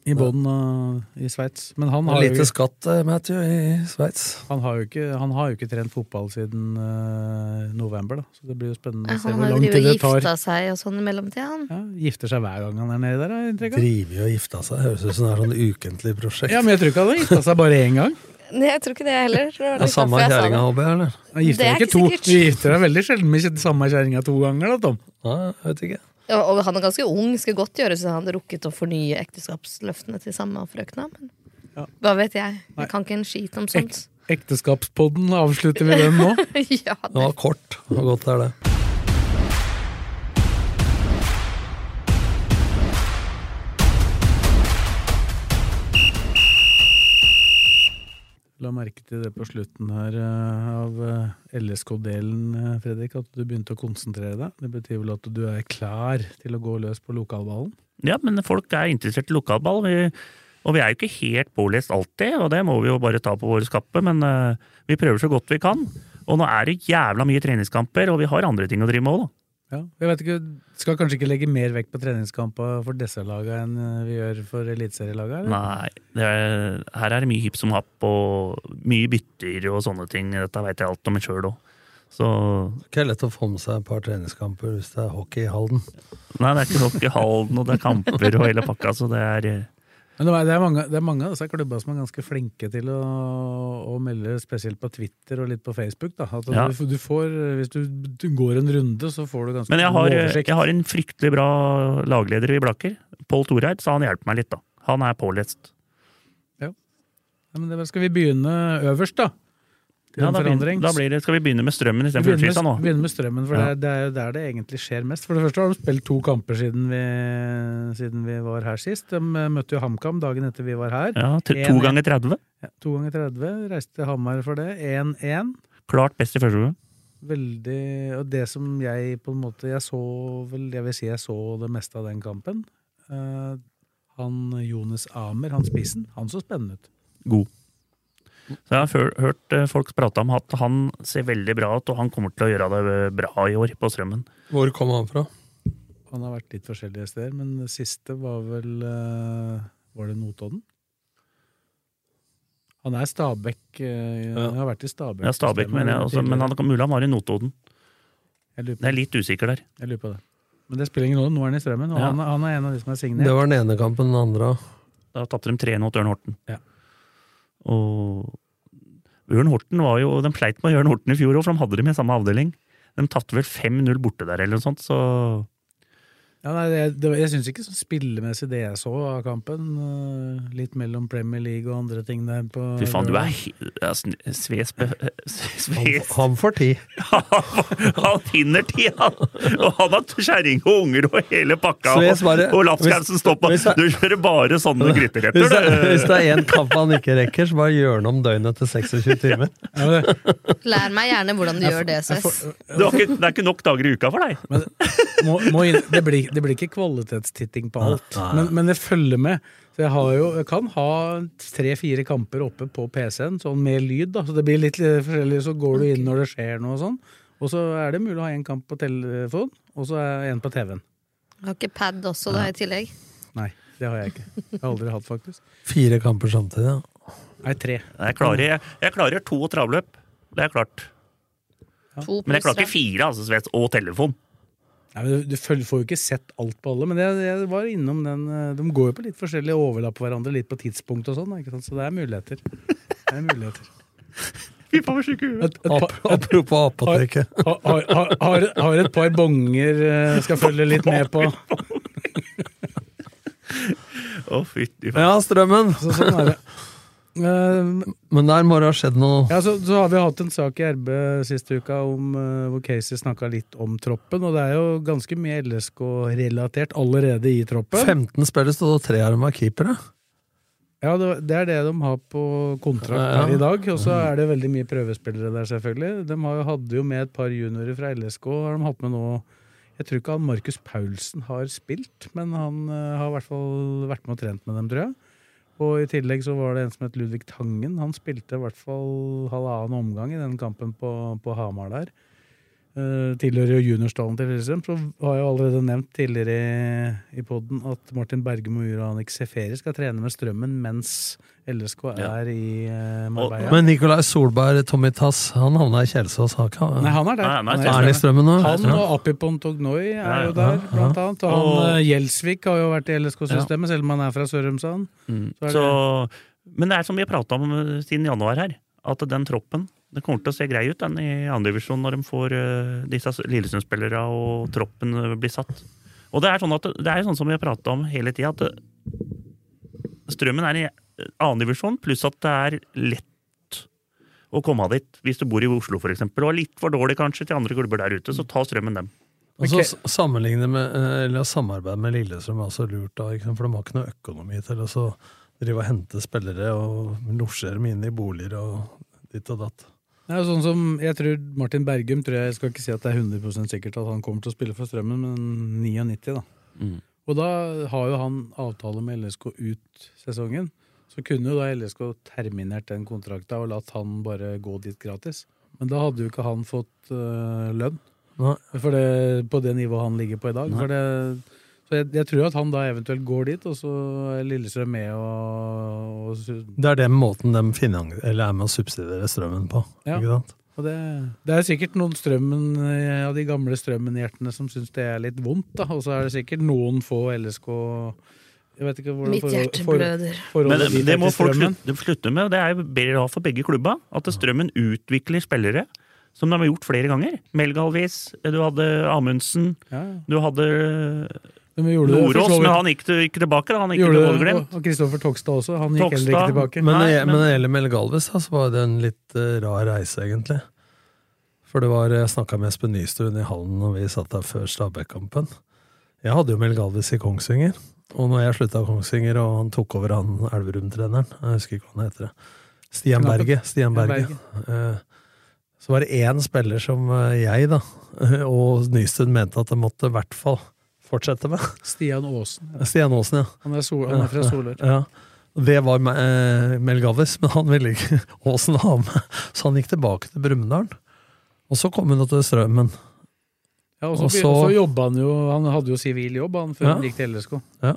I bånn og i Sveits. Men han
Og
har, jo,
lite skatt, eh, Matthew, i Sveits.
han, har jo ikke, han har jo ikke trent fotball siden eh, november, da. Så det blir jo spennende å se
Han
hvor
har
lang tid
drevet
det
og
tar.
gifta seg og sånn i mellomtida, han.
Ja, gifter seg hver gang han er nede der, har jeg inntrykk av.
Driver og gifta seg, høres ut som det er sånn ukentlig prosjekt.
Ja, men jeg tror ikke han har gifta seg bare én gang.
Nei, jeg tror ikke det heller. Det var
Det er
litt
samme
derfor jeg sa
kjerringa,
det.
håper jeg, eller?
Han gifter
Det er
seg ikke
ikke
to.
sikkert.
Du gifter deg veldig sjelden med samme kjerringa to ganger, da, Tom.
Ja, jeg vet ikke.
Ja, Og han er ganske ung, skulle godt gjøres at han hadde rukket å fornye ekteskapsløftene til samme frøkna. Men hva vet jeg?
Nei.
Jeg kan ikke en skit om sånt.
Ekteskapspodden, avslutter vi den nå?
ja,
Det
det.
var kort. Hvor godt er det?
La merke til det på slutten her eh, av eh, LSK-delen, eh, Fredrik, at du begynte å konsentrere deg. Det betyr vel at du er klar til å gå løs på lokalballen?
Ja, men folk er interessert i lokalball. Vi, og vi er jo ikke helt pålest alltid, og det må vi jo bare ta på våre skappe, men eh, vi prøver så godt vi kan. Og nå er det jævla mye treningskamper, og vi har andre ting å drive med òg, da.
Ja. Jeg vet ikke, Skal kanskje ikke legge mer vekt på treningskamper for disse lagene enn eh, vi gjør for eliteserielagene? eller?
Nei, det er, her er det mye hipp som happ og mye bytter og sånne ting. Dette veit jeg alt om sjøl òg. Så
Det er ikke lett å få med seg et par treningskamper hvis det er hockey i Halden.
Nei, det er ikke nok i Halden, og det er kamper og hele pakka, så det er eh,
Men det er- det er mange, det er mange av disse klubba som er ganske flinke til å, å melde, spesielt på Twitter og litt på Facebook. Da. At
Ja.
du, du får, hvis du, du går en runde, så får du ganske
Men jeg
god
har,
oversikt.
jeg har en fryktelig bra lagleder i Blaker, Pål Toreid, så han hjelper meg litt, da. Han er pålest.
Ja, men det, er- skal vi begynne øverst, da? Til
Ja,
en
da, begynner,
forandring.
da blir det, skal vi begynne med strømmen
Vi
istedenfor
begynner
Ullskisa nå.
med, begynner med strømmen, for
Ja.
det, er, det er jo der det egentlig skjer mest. For det første har de spilt to kamper siden vi, siden vi var her sist. De eh, møtte jo HamKam dagen etter vi var her.
Ja, t- to
En-
ganger 30.
Ja, to ganger 30, reiste til Hamar for det. 1-1.
Klart best i første gang.
Veldig Og det som jeg på en måte Jeg så vel Jeg vil si jeg så det meste av den kampen. Eh, han Jonas Amer, han spissen, han så spennende ut.
god. Så jeg har før, hørt eh, folk prate om at han ser veldig bra ut, og han kommer til å gjøre det bra i år på strømmen.
Hvor kom han fra?
Han har vært litt forskjellige steder, men det siste var vel eh, Var det Notodden? Han er Stabæk. eh, Han har vært i Stabæk.
Ja, Stabæk mener jeg også, men han kan mulig han var i Notodden.
jeg, lurer
Jeg
på,
er litt usikker der.
jeg lurer på det. Men det spiller ingen rolle, nå er han i Strømmen, og
Ja.
han, han er en av de som er signert.
Det var den ene kampen, den andre òg.
Da tapte de 3-1 mot Ørn Horten.
Ja.
Og Ørn Horten var jo De pleit med Ørn Horten i fjor òg, for de hadde dem i samme avdeling. De tapte vel 5-0 borte der, eller noe sånt, så
Ja, nei, det, det, jeg syns ikke så spillemessig det jeg så av kampen. eh, litt mellom Premier League og andre ting der. På
Fy faen, du er he- ja, sn- Sves be-
Han,
Sves
han får ti.
Han finner tid, han! Og han har kjerring og unger og hele pakka.
Så jeg
Og,
svarer-
og lapskausen
hvis-
står på.
hvis jeg-
Du kjører bare sånne
Hvis det, hvis
gryteretter, du!
det er én kamp han ikke rekker, så bare gjør han om døgnet til 26 timer.
Ja, men det,
Lær meg gjerne hvordan du gjør det,
jeg
Cess.
får-
Du har ikke, det er ikke nok dager i uka for deg.
men, må, må inn, det, blir, det blir ikke kvalitetstitting på alt, men, men det følger med. Så jeg, har jo, jeg kan ha tre-fire kamper oppe på PC-en, sånn med lyd. da, Så det blir litt eh, forskjellig, så går du inn når det skjer noe og sånn. Og så er det mulig å ha én kamp på telefon, og så er én på TV-en.
Har ikke pad også da i tillegg?
Nei, det har jeg ikke. Jeg har aldri hatt, faktisk.
Fire kamper samtidig. Ja.
Nei, tre.
Jeg klarer, jeg, jeg klarer to travløp. Det er klart.
To
Men jeg
pluss
klarer ikke fire, altså, Svets, og telefon.
Nei, men du, du føl- får jo ikke sett alt på alle, men jeg, jeg var innom den eh, De går jo på litt forskjellige overlapp på hverandre, litt på tidspunkt og sånn, da, ikke sant? så det er muligheter. Det er muligheter.
Fy faen, hvor syk i huet.
Et, et,
Ap
par- et,
apropos apoteket.
har, har, har, har et par bonger eh, skal følge litt med på.
Å, fytti faen.
Ja, strømmen!
Så sånn er det. Eh,
Men der må det ha skjedd noe.
ja, så, så har vi hatt en sak i RB siste uka om, eh, hvor Casey snakka litt om troppen, og det er jo ganske mye LSK-relatert allerede i troppen.
15 spillere stod og tre av dem var keepere.
Ja, det, det er det de har på kontrakt
Ja, ja.
her i dag. Og så er det veldig mye prøvespillere der, selvfølgelig. De har, jo- hadde jo med et par juniorer fra LSK. Har de hatt med nå Jeg tror ikke han Markus Paulsen har spilt, men han eh, har i hvert fall vært med og trent med dem, tror jeg. Og i tillegg så var det en som het Ludvig Tangen. Han spilte i hvert fall halvannen omgang i den kampen på, på Hamar der. Eh, tilhører jo juniorstallen til Lillestrøm. Så har jeg jo allerede nevnt tidligere i, i poden at Martin Bergum og Uranik Seferi skal trene med Strømmen mens LSK er i eh, Marbella.
Men Nikolai Solberg, Tommy Tass, han havna i Kjelsås. har ikke han-
Nei, han er der.
Nei, nei,
Er han i strømmen nå?
Han
Ja.
og Apipon Tognoi er
Ja,
jo der,
ja,
blant annet. Og han
Og-
eh, Gjelsvik har jo vært i LSK-systemet, selv om han er fra Sørumsand. Så er
Mm. Så, men det er som vi har prata om eh, siden januar her, at den troppen den kommer til å se grei ut den i andredivisjon når de får eh, disse Lillesund-spillere og troppen eh, blir satt. Og det er sånn, at, det er jo sånn som vi har prata om hele tida, at eh, strømmen er i annendivisjon, pluss at det er lett å komme av dit hvis du bor i Oslo for eksempel, og er litt for dårlig kanskje til andre klubber der ute, så ta strømmen dem.
Og så
Ok.
s- sammenligne med, eh, eller samarbeid med Lillestrøm er også lurt, da, ikke sant? for de har ikke noe økonomi til å så drive og hente spillere og losje dem inn i boliger og ditt og datt.
Det er jo sånn som, jeg tror Martin Bergum tror jeg, jeg skal ikke si at det er 100 sikkert at han kommer til å spille for Strømmen, men 99, da. Og da har jo han avtale med LSK ut sesongen. Så kunne jo da LSK terminert den kontrakta og latt han bare gå dit gratis. Men da hadde jo ikke han fått øh, lønn
Nei.
for det, på det nivået han ligger på i dag. For det, så jeg, jeg tror at han da eventuelt går dit, og så er Lillestrøm med og, og
Det er den måten de finan- eller er med å subsidiere strømmen på.
Ja.
ikke sant?
Og Og det, det er sikkert noen strømmen eh, av de gamle strømmenhjertene som syns det er litt vondt, da. Og så er det sikkert noen få LSK Jeg vet ikke hvordan
Mitt
forhold-
hjerte
forhold-
bløder.
forholdet
Men
ditt
det
er
må
til
folk
strømmen.
slutte, slutte med. og Det er jo bra for begge klubba at Strømmen utvikler spillere som de har gjort flere ganger. Melgalvis, du hadde Amundsen,
Ja, ja.
du hadde
De gjorde det for så
Nordås,
vidt.
men han gikk til- ikke tilbake. da, Han gikk
Gjorde
til
det,
Vålerenga.
og- Og Kristoffer Togstad også. Han gikk heller
Togstad,
ikke tilbake.
Men,
Nei,
jeg- men
men-
når det gjelder Mel Galvis, da, så var det en litt eh, rar reise, egentlig. For det var, jeg snakka med Espen Nystuen i hallen når vi satt der før Stabæk-kampen. Jeg hadde jo Mel Galvis i Kongsvinger, og når jeg slutta i Kongsvinger, og han tok over han Elverum-treneren Jeg husker ikke hva han heter. det. Stian
Knappen.
Berge. Stian Berge. Eh, Så var det én spiller som eh, jeg, da, og Nystuen mente at det måtte i hvert fall fortsette med.
Stian Aasen.
Stian Aasen, ja.
Han er, sol, han er fra Solør.
Ja. Det var Me- eh, Mel Gavis, men han ville ikke Åsen ha med. Så han gikk tilbake til Brumunddal. Og så kom hun til Strømmen.
Ja, og så,
Og
be-
så-
og så jobba han jo Han hadde jo sivil jobb han før
Ja.
han gikk til LSK.
Ja.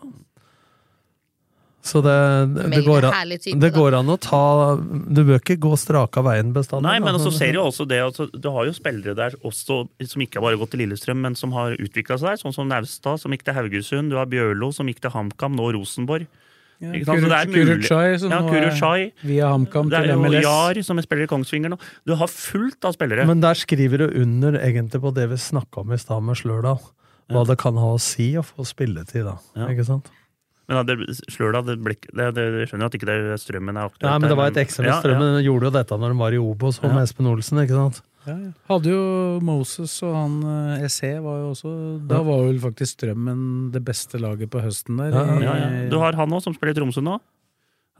Så det, det,
Veldig
går an,
herlig type,
det
da.
går an å ta Du bør ikke gå straka veien bestandig.
Nei,
da.
men også ser du jo også det altså, Du har jo spillere der også, som ikke har bare gått til Lillestrøm, men som har utvikla seg der. Sånn som Naustad, som gikk til Haugesund. Du har Bjørlo, som gikk til HamKam, nå Rosenborg.
Ja,
Ikke sant? Så det er mulig-
Kuruchai, som nå
Ja,
er
Kuruchai.
via HamKam
Det er
til
jo
MLS.
Jahr, som spiller i Kongsvinger nå. Du har fullt av spillere.
Men der skriver du under egentlig på det vi snakka om i stad med Slørdal. Hva det kan ha å si å få spilletid, da.
Ja.
Ikke sant?
Men ja, det, Sløla, det ble, ikke- det, det, jeg skjønner at ikke det, strømmen er aktuelt.
Nei, men det
der,
var et ekstra med Strømmen. De gjorde jo dette når de var i Obos, og med Espen Olsen, ikke sant?
Ja, ja. Hadde jo Moses og han eh, SE var jo også Da var vel faktisk Strømmen det beste laget på høsten der.
Ja,
Ja, ja. Du har han òg, som spiller i Tromsø nå.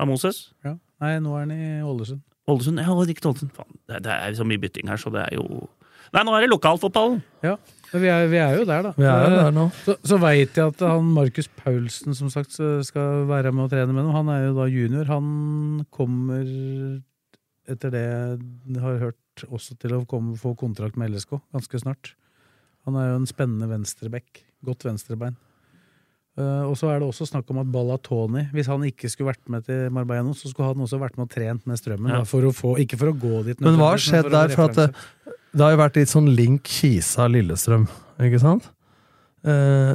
Av Moses.
Ja. Nei, nå er han i Ålesund.
Ålesund. Ja, Rikard Olsen. Faen, det, det er jo så mye bytting her, så det er jo Nei, nå er det lokalfotballen!
Ja, men vi er, vi er jo der, da.
Vi er jo der nå.
Så, så veit jeg at han Markus Paulsen som sagt så skal være med og trene med dem. Han er jo da junior. Han kommer, etter det jeg har hørt, også til å komme, få kontrakt med LSK ganske snart. Han er jo en spennende venstreback. Godt venstrebein. Eh, og så er det også snakk om at Ballatoni, hvis han ikke skulle vært med til Marbella nå, så skulle han også vært med og trent med strømmen.
Ja.
Da, for å få, ikke for å gå dit.
Men hva har
nødvendigvis,
skjedd
men å få
der? For at eh, det,
referanse.
det har jo vært litt sånn link Kisa-Lillestrøm, ikke sant? Eh,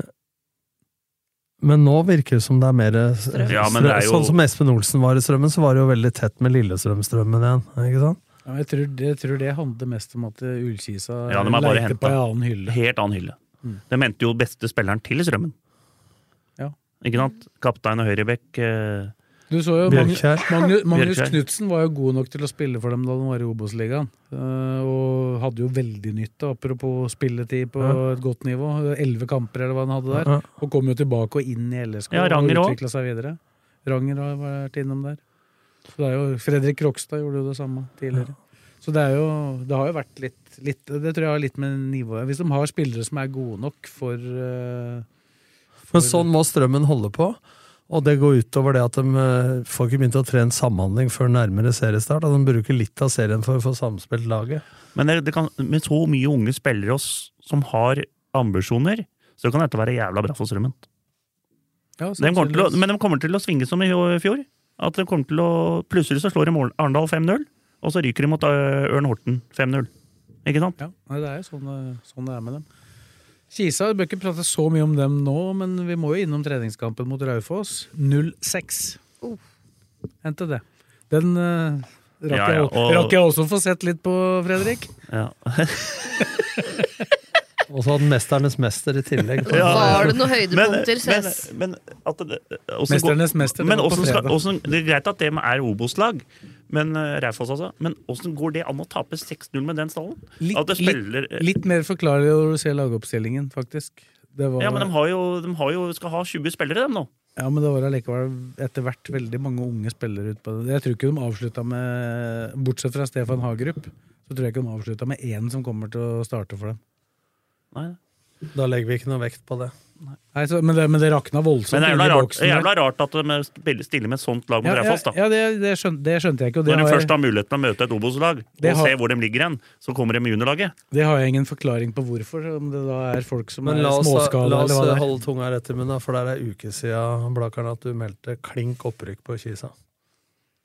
men nå virker det som det er mer eh, strøm.
Ja, men det er jo-
Sånn som Espen Olsen var i Strømmen, så var det jo veldig tett med Lillestrøm-strømmen igjen. ikke sant?
Ja, men jeg, tror, jeg tror det handler mest om at eh, Ullkisa
Ja, de er bare
leter på
hentet.
en annen hylle.
Helt annen hylle.
Mm.
De mente jo beste spilleren til strømmen.
Ja.
Ikke sant? Kaptein og høyrebekk. eh,
Du så jo Magnus,
Bjørkjær.
Magnus, Magnus
Bjørkjær.
Knutsen var jo god nok til å spille for dem da han var i Obos-ligaen. eh, Og hadde jo veldig nytte, apropos spilletid på
Ja.
et godt nivå. Elleve kamper eller hva han hadde der.
Ja.
Og kom jo tilbake og inn i LSK
Ja,
og
Ranger også.
utvikla seg videre. Ranger har vært innom der. Så det er jo, Fredrik Krokstad gjorde jo det samme tidligere. Så det, er jo, det har jo vært litt, litt Det tror jeg har litt med nivået Hvis de har spillere som er gode nok for eh,
Men sånn må Strømmen holde på. Og det går utover det at de eh, får ikke begynt å trene samhandling før nærmere seriestart. og de bruker litt av serien for å få samspilt laget.
Men det, det kan, med så mye unge spillere oss, som har ambisjoner, så kan dette være jævla bra for strømmen.
ja, sånn
De kommer til å,
sannsynligvis.
men de kommer til å svinge som i fjor. At de kommer til å, Plutselig så slår de Arn- Arendal 5-0, og så ryker de mot øh, Ørn Horten 5-0. Ikke sant?
Ja, nei, det er jo sånn, det- sånn det er med dem. Kisa, vi bør ikke prate så mye om dem nå, men vi må jo innom treningskampen mot Raufoss. 0-6.
Oh.
Endte det. Den eh, rakk,
Ja,
jeg,
ja,
og...
og-
rakk jeg også å få sett litt på, Fredrik.
Ja.
Og så hadde Mesternes mester i tillegg.
Var det noen
Men,
høydepunkter?
men,
Ses.
men at det, også,
Mesternes mester, det
Men
var på
hvordan skal,
fredag.
hvordan, det er greit at det er Obos-lag, men øh, Raufoss altså. Men åssen går det an å tape 6-0 med den stallen?
Litt,
at det spiller
litt, litt mer forklarlig når du ser lagoppstillingen, faktisk. Det var,
Ja, men de, har jo, de har jo, skal ha 20 spillere, dem nå.
det var allikevel etter hvert veldig mange unge spillere utpå det. Jeg tror ikke de avslutta med Bortsett fra Stefan Hagerup, så tror jeg ikke de avslutta med én som kommer til å starte for dem.
Nei.
Da legger vi ikke noe vekt på det.
Nei, så, men, det, men det rakna voldsomt.
Men det er
inn
jævla
Sånn i
rart,
boksen
det er
der.
jævla rart at de spiller- stiller med et sånt lag mot
ja,
Raufoss, da.
ja, ja, det, det, skjønte, det skjønte jeg ikke, og det
Når de
har,
først har muligheten å møte et Obos-lag,
Det
og
har-
se hvor de ligger hen, så kommer de med juniorlaget.
jeg, det har jeg ingen forklaring på hvorfor. Om det da er folk som
Men
er
la oss, da-
småskala
la oss
eller hva det er.
holde tunga rett i munnen, da, for det er ei uke siden Blakkaren, at du meldte klink opprykk på Kisa.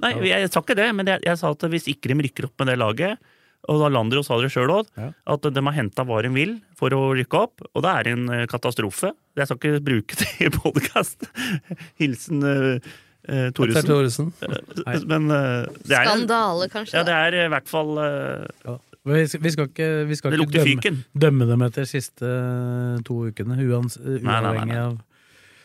Nei, jeg, jeg sa ikke det, men jeg, jeg sa at hvis ikke de rykker opp med det laget, Og da Landro sa det sjøl òg,
Ja.
at de har henta hva de vil for å rykke opp. Og det er en eh, katastrofe. Jeg skal ikke bruke det i podkast. Hilsen eh, eh,
Det er
Thoresen.
Thoresen.
Nei.
Men eh, det er, en-
Skandale, kanskje.
ja, det er i hvert fall eh,
Men Vi skal, vi skal ikke, vi skal
Det
ikke
lukter
dømme,
fyken.
dømme dem etter siste eh, to ukene, uans,
nei, nei,
uavhengig
nei.
av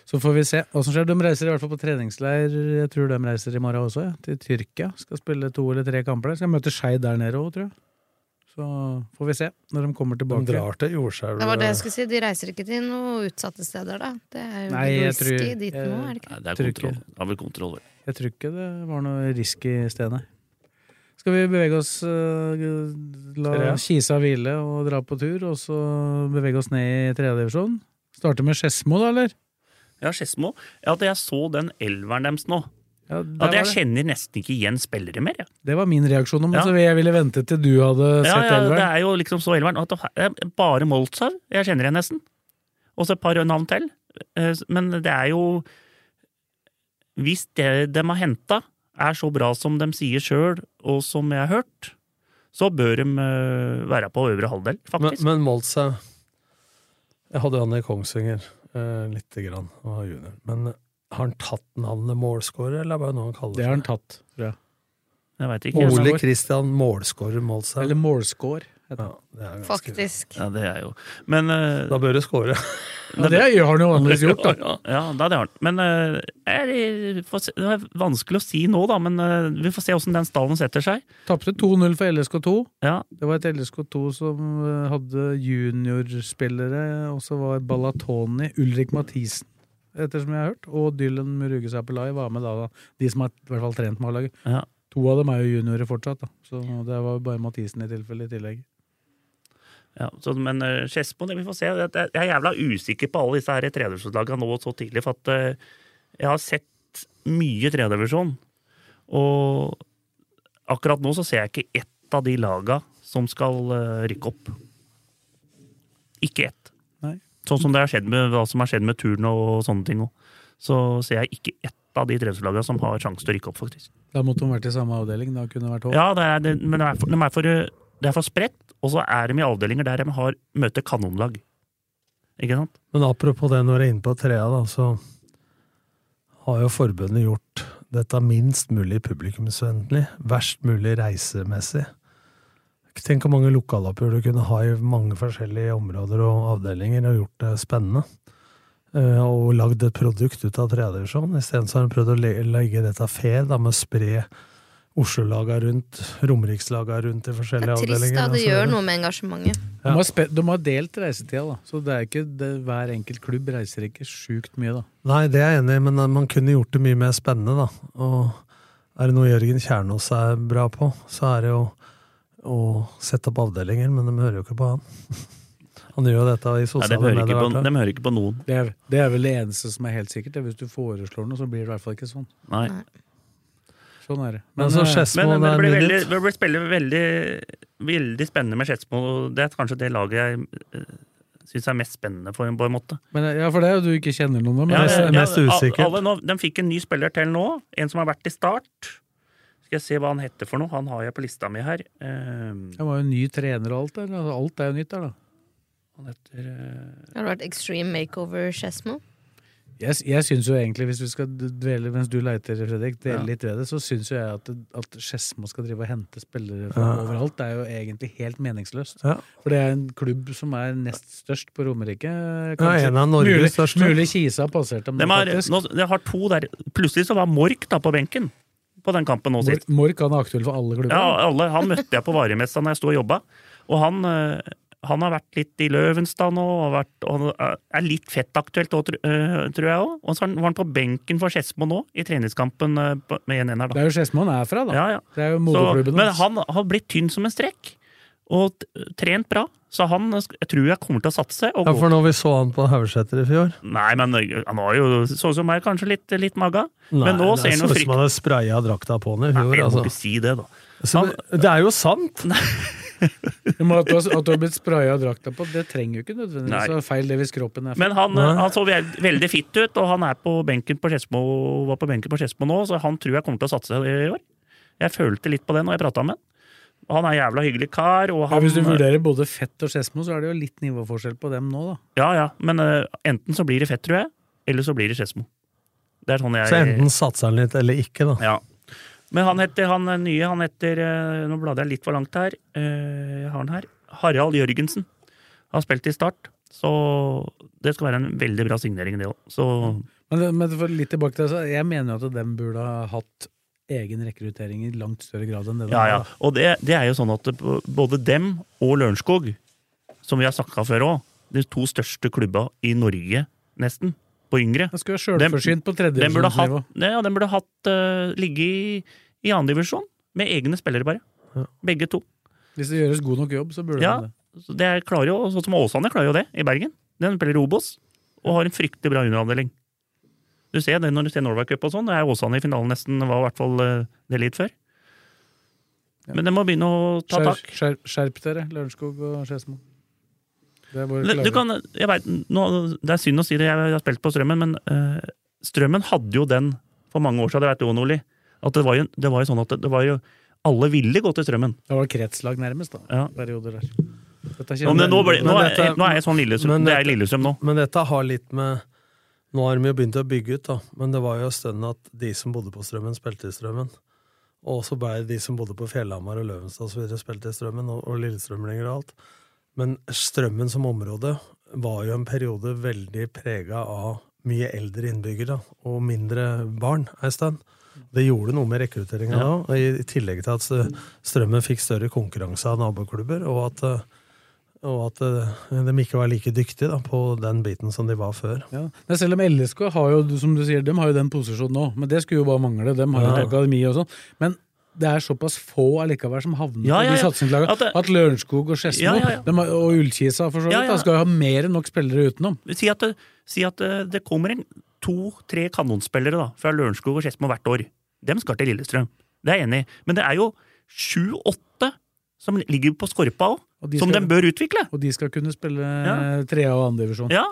Så får vi se hva som skjer. De reiser i hvert fall på treningsleir. Jeg tror de reiser i morgen også, ja. til Tyrkia. Skal spille to eller tre kamper der. Skal møte Skeid der nede òg, tror jeg. Så får vi se når de kommer
De
tilbake.
drar til jordskjelv.
Det var det jeg skulle si. De reiser ikke til noen utsatte steder, da. Det er jo
Nei, jeg
risky
tror-
dit nå, er det ikke?
Nei, det er
Tror ikke.
kontroll. Det er vel kontroll, vel.
Jeg tror ikke det var noe risk i stedet. Skal vi bevege oss eh, La
Tre.
Kisa hvile og dra på tur, og så bevege oss ned i tredjedivisjon? Starte med Skedsmo, da, eller?
Ja, Skedsmo. Ja, at jeg så den elveren deres nå.
Ja,
At
der var
jeg
det.
kjenner nesten ikke igjen spillere mer. jeg.
Det var min reaksjon, men
Ja.
så jeg ville vente til du hadde sett
Ja, ja, det
elveren.
er jo liksom så elveren. At det er bare Moltsav jeg kjenner igjen, nesten. Og så et par navn til. Eh, Men det er jo Hvis det de har henta, er så bra som de sier sjøl, og som jeg har hørt, så bør de eh, være på øvre halvdel,
Men,
faktisk.
men Moltze Jeg hadde han i Kongsvinger eh, lite grann, han var junior. Men eh, har han tatt navnet målskårer, eller er det bare noe han
Det
kaller
har han tatt, tror jeg.
jeg veit ikke.
seg?
jeg-
Ole Christian Målskårer Moltze.
Eller målscore. heter det.
Ja, det er ganske-
Faktisk.
Ja, det er jo Men eh,
Da bør du skåre.
Ja, det gjør han jo vanligvis gjort, da.
Ja, ja da det har han. Men eh, er, får se, det er vanskelig å si nå, da. Men eh, vi får se åssen den stallen setter seg.
Tapte 2-0 for LSK2.
Ja,
Det var et LSK2 som eh, hadde juniorspillere, og så var Balatoni, Ulrik Mathisen, ettersom jeg har hørt, og Dylan Muruge Sapelai var med da, da. De som har i hvert fall trent med A-laget.
Ja.
To av dem er jo juniorer fortsatt, da. Så det var jo bare Mathisen i tilfelle i tillegg.
ja så, Men eh, Skedsmo, det vi får se. Det- det- Jeg er jævla usikker på alle disse her tredjevisjonslagene nå så tidlig, for at eh, jeg har sett mye tredjevisjon. Og akkurat nå så ser jeg ikke ett av de laga som skal eh, rykke opp. Ikke ett.
Nei.
Sånn som det har skjedd med hva som har skjedd med turn og sånne ting òg. Så ser jeg ikke ett av de tredjevisjonslagene som har sjanse til å rykke opp, faktisk.
Da måtte de vært i samme avdeling, da kunne det vært håp.
Ja, det er, det, men det er for, de er for, det er for spredt, og så er de i avdelinger der de har møter kanonlag. Ikke sant?
Men apropos det, når jeg er inne på trea, da, så har jo forbundet gjort dette minst mulig publikumsvennlig, verst mulig reisemessig. Tenk hvor mange lokaloppgjør du kunne ha i mange forskjellige områder og avdelinger, og gjort det spennende. Eh, Og lagd et produkt ut av tredjedivisjon. Isteden så har de prøvd å le- legge dette fair, da, med å spre Oslo-laga rundt, Romerikslaga rundt i
Det
forskjellige
er trist,
avdelinger.
da.
og
altså?
Det
så videre.
gjør noe med engasjementet.
De har, spe de har delt reisetida, da. Så det er ikke det, hver enkelt klubb reiser ikke sjukt mye, da.
Nei, det er jeg enig i, men eh, man kunne gjort det mye mer spennende, da. Og er det noe Jørgen Kjernås er bra på, så er det jo å sette opp avdelinger, men de hører jo ikke på han. Han gjør jo dette i
Nei, de,
sosiale
hører
medier.
ikke på,
hvert fall.
de hører ikke på noen.
Det er, det er vel det eneste som er helt sikkert. Det. er Hvis du foreslår noe, så blir det i hvert fall ikke sånn.
Nei.
Sånn er det.
Men så
eh,
Skedsmo,
Men,
det
men det
er
blir
mye
veldig,
nytt.
det blir spille veldig, veldig spennende med Skedsmo. og Det er kanskje det laget jeg uh, syns er mest spennende for en, på en måte.
men, ja, for det er jo du ikke kjenner noen av. Men
Ja,
det,
ja,
er-
ja. mest usikkert.
Alle nå, de fikk en ny spiller til nå, en som har vært i start. Skal jeg se hva han heter for noe. Han har jeg på lista mi her. Eh,
det var jo ny trener og alt der. Altså, alt er jo nytt der, da.
han heter eh,
Har det vært Extreme Makeover Skedsmo?
Jeg, s- jeg syns jo egentlig, hvis vi skal d- dvele mens du leiter, Fredrik, dele
Ja.
litt ved det, så syns jo jeg at, at Skedsmo skal drive og hente spillere fra
Ja.
overalt. Det er jo egentlig helt meningsløst.
Ja.
For det er en klubb som er nest størst på Romerike.
Ja,
kanskje.
en av Norges
mulig,
største.
Mulig Kisa har passert dem,
De har,
faktisk.
nå, de har to der. Plutselig så var Mork da på benken på den kampen nå sist.
Mor- Mork han er aktuell for alle klubber.
Ja, alle, han møtte jeg på varemessa når jeg sto og jobba. Og han, eh, han har vært litt i Løvenstad nå, og, har vært, og han er litt fettaktuelt òg, eh, tror jeg òg. Og så var han på benken for Skedsmo nå, i treningskampen eh, på- med 1-1 her,
Det
da.
er jo Skedsmo han er fra, da.
Ja, ja.
Det er jo
Så,
moderklubben
men
hans.
han har blitt tynn som en strekk, og t- trent bra. Så han eh, sk- jeg tror jeg kommer til å satse. Og
Ja,
gå
for når vi så han på Haugeseter i fjor
Nei, men eh, han har jo sånn som meg, kanskje litt, litt maga.
Nei,
Men nå
det
ser
er
han jo
sånn som
frykt...
han hadde spraya drakta på han i
Nei,
fjor.
jeg må
Altså.
ikke si det, da.
Så det, det er jo sant!
Men at, du har, at du har blitt spraya og drakta på, det trenger jo ikke
Nei.
nødvendigvis å være feil det hvis kroppen er feil.
Men han,
Nei.
han så vel- veldig fitt ut, og han er på benken på Skedsmo, var på benken på Skedsmo nå, så han tror jeg kommer til å satse i år. Jeg følte litt på det når jeg prata med han. Og han er en jævla hyggelig kar. Og
Ja,
han,
hvis du vurderer både Fett og Skedsmo, så er det jo litt nivåforskjell på dem nå, da.
Ja, ja, men eh, enten så blir det fett, tror jeg, eller så blir det Skedsmo. Det er sånn jeg
Så enten satser han litt, eller ikke, da.
Ja. Men han heter han er nye, han heter eh, Nå blader jeg litt for langt her. Eh, Jeg har han her. Harald Jørgensen. Har spilt i Start. Så det skal være en veldig bra signering, det òg. Så
Men, det- men for litt tilbake til det, så jeg mener jo at dem burde ha hatt egen rekruttering i langt større grad enn det de
ja, ja.
har, da.
Og det, det er jo sånn at det- både dem og Lørenskog, som vi har snakka før òg, de to største klubba i Norge, nesten, på yngre,
De skulle være
Dem-
sjølforsynt på
den burde hatt,
tredjedivisjonsnivå.
ja, den burde hatt eh, ligge i, i andredivisjon med egne spillere, bare.
Ja.
Begge to.
Hvis det gjøres god nok jobb, så burde
Ja.
de det.
Så det er- klarer jo, sånn som Åsane klarer jo det i Bergen. Den spiller i Obos og har en fryktelig bra underavdeling. Du ser det når du ser Norway Cup og sånn. Det er Åsane i finalen nesten, var i hvert fall eh, det litt før. Men de må begynne å ta
Skjerp,
tak.
skjerp, skjerp dere, Lørenskog og Skedsmo. Det er vår
Du
klare-
du kan, jeg vet, nå, det er synd å si det, jeg har spilt på Strømmen, men eh, Strømmen hadde jo den for mange år siden, det vet du òg, Nordli. At det var, jo, det var jo sånn at det, det var jo Alle ville gå til Strømmen.
Det var kretslag nærmest, da.
Ja.
Perioder der. Dette
Ja, men nå, ble,
men
nå, er,
dette-
nå er jeg sånn Lillestrøm.
men
Det er
dette-
Lillestrøm nå.
Men dette har litt med Nå har de jo begynt å bygge ut, da, men det var jo en stund at de som bodde på Strømmen, spilte i Strømmen. Og så ble de som bodde på Fjellhamar og Løvenstad og så videre, spilte i Strømmen, og, og Lillestrømlinger og alt. Men Strømmen som område var jo en periode veldig prega av mye eldre innbyggere og mindre barn ei stund. Det gjorde noe med rekrutteringa da, og i i tillegg til at eh, Strømmen fikk større konkurranse av naboklubber, og at eh, og at eh, de ikke var like dyktige da, på den biten som de var før.
Ja. Men selv om LSK har jo, som du sier, dem har jo den posisjonen nå, men det skulle jo bare mangle. Dem har jo et
Ja.
akademi og sånn. Men det er såpass få allikevel som havner
Ja, ja,
på de
ja.
satsingslagene.
At det-
At, Lørenskog og Skedsmo
Ja, ja, ja.
dem har- og Ullkisa for så vidt,
Ja, ja.
da skal jo ha mer enn nok spillere utenom.
Si at, det- si at det, det kommer en to-tre kanonspillere da, fra Lørenskog og Skedsmo hvert år. Dem skal til Lillestrøm. Det er jeg enig i. Men det er jo sju-åtte som ligger på skorpa òg,
Og de
som
skal-
de bør utvikle.
Og de skal kunne spille
Ja.
trea og andredivisjon.
Ja,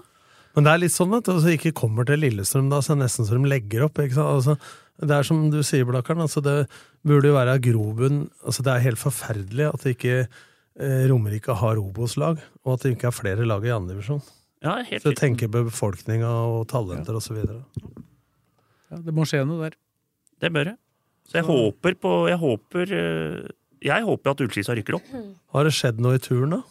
Men det er litt sånn at de ikke kommer til Lillestrøm, da, så det er nesten så de legger opp. Ikke sant? Altså, det er som du sier, Blakkaren, altså, det burde jo være grobunn altså, Det er helt forferdelig at ikke eh, Romerike har Obos-lag, og at det ikke er flere lag i andre divisjon.
ja helt
Så
riktig.
tenker på befolkninga og talenter og så videre.
Ja, det må skje noe der.
Det bør jeg. Så jeg håper på Jeg håper, eh, jeg håper at Ullskisa rykker opp.
Har det skjedd noe i turen, da?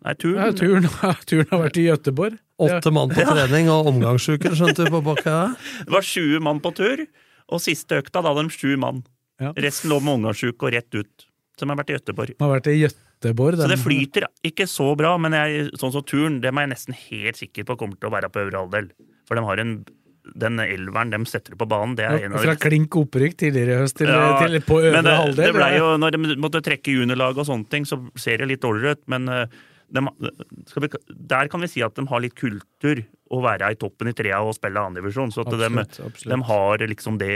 Nei,
Ja,
turen
turen, turen har vært i Gøteborg. Ja.
Åtte mann på trening og omgangsuker, skjønte du, på bakka her.
Det var sju mann på tur, og siste økta da hadde de sju mann.
Ja.
Resten lå med omgangssjuke og rett ut. Som har vært i Gøteborg.
Den har vært i Gøteborg.
Så
den-
det flyter ikke så bra, men jeg, sånn som turen, dem er jeg nesten helt sikker på kommer til å være på øvre halvdel. For de har en, den elveren de setter på banen, det er en av
Fra
de
klink opprykk tidligere i høst til,
Ja,
til på øvre
men det,
halvdel.
det ble
eller?
jo, når de måtte trekke juniorlaget og sånne ting, så ser det litt dårligere ut, men eh, dem- skal vi, der kan vi si at de har litt kultur å være i toppen i trea og spille andredivisjon. Så at de,
Absolutt, absolutt.
de har liksom det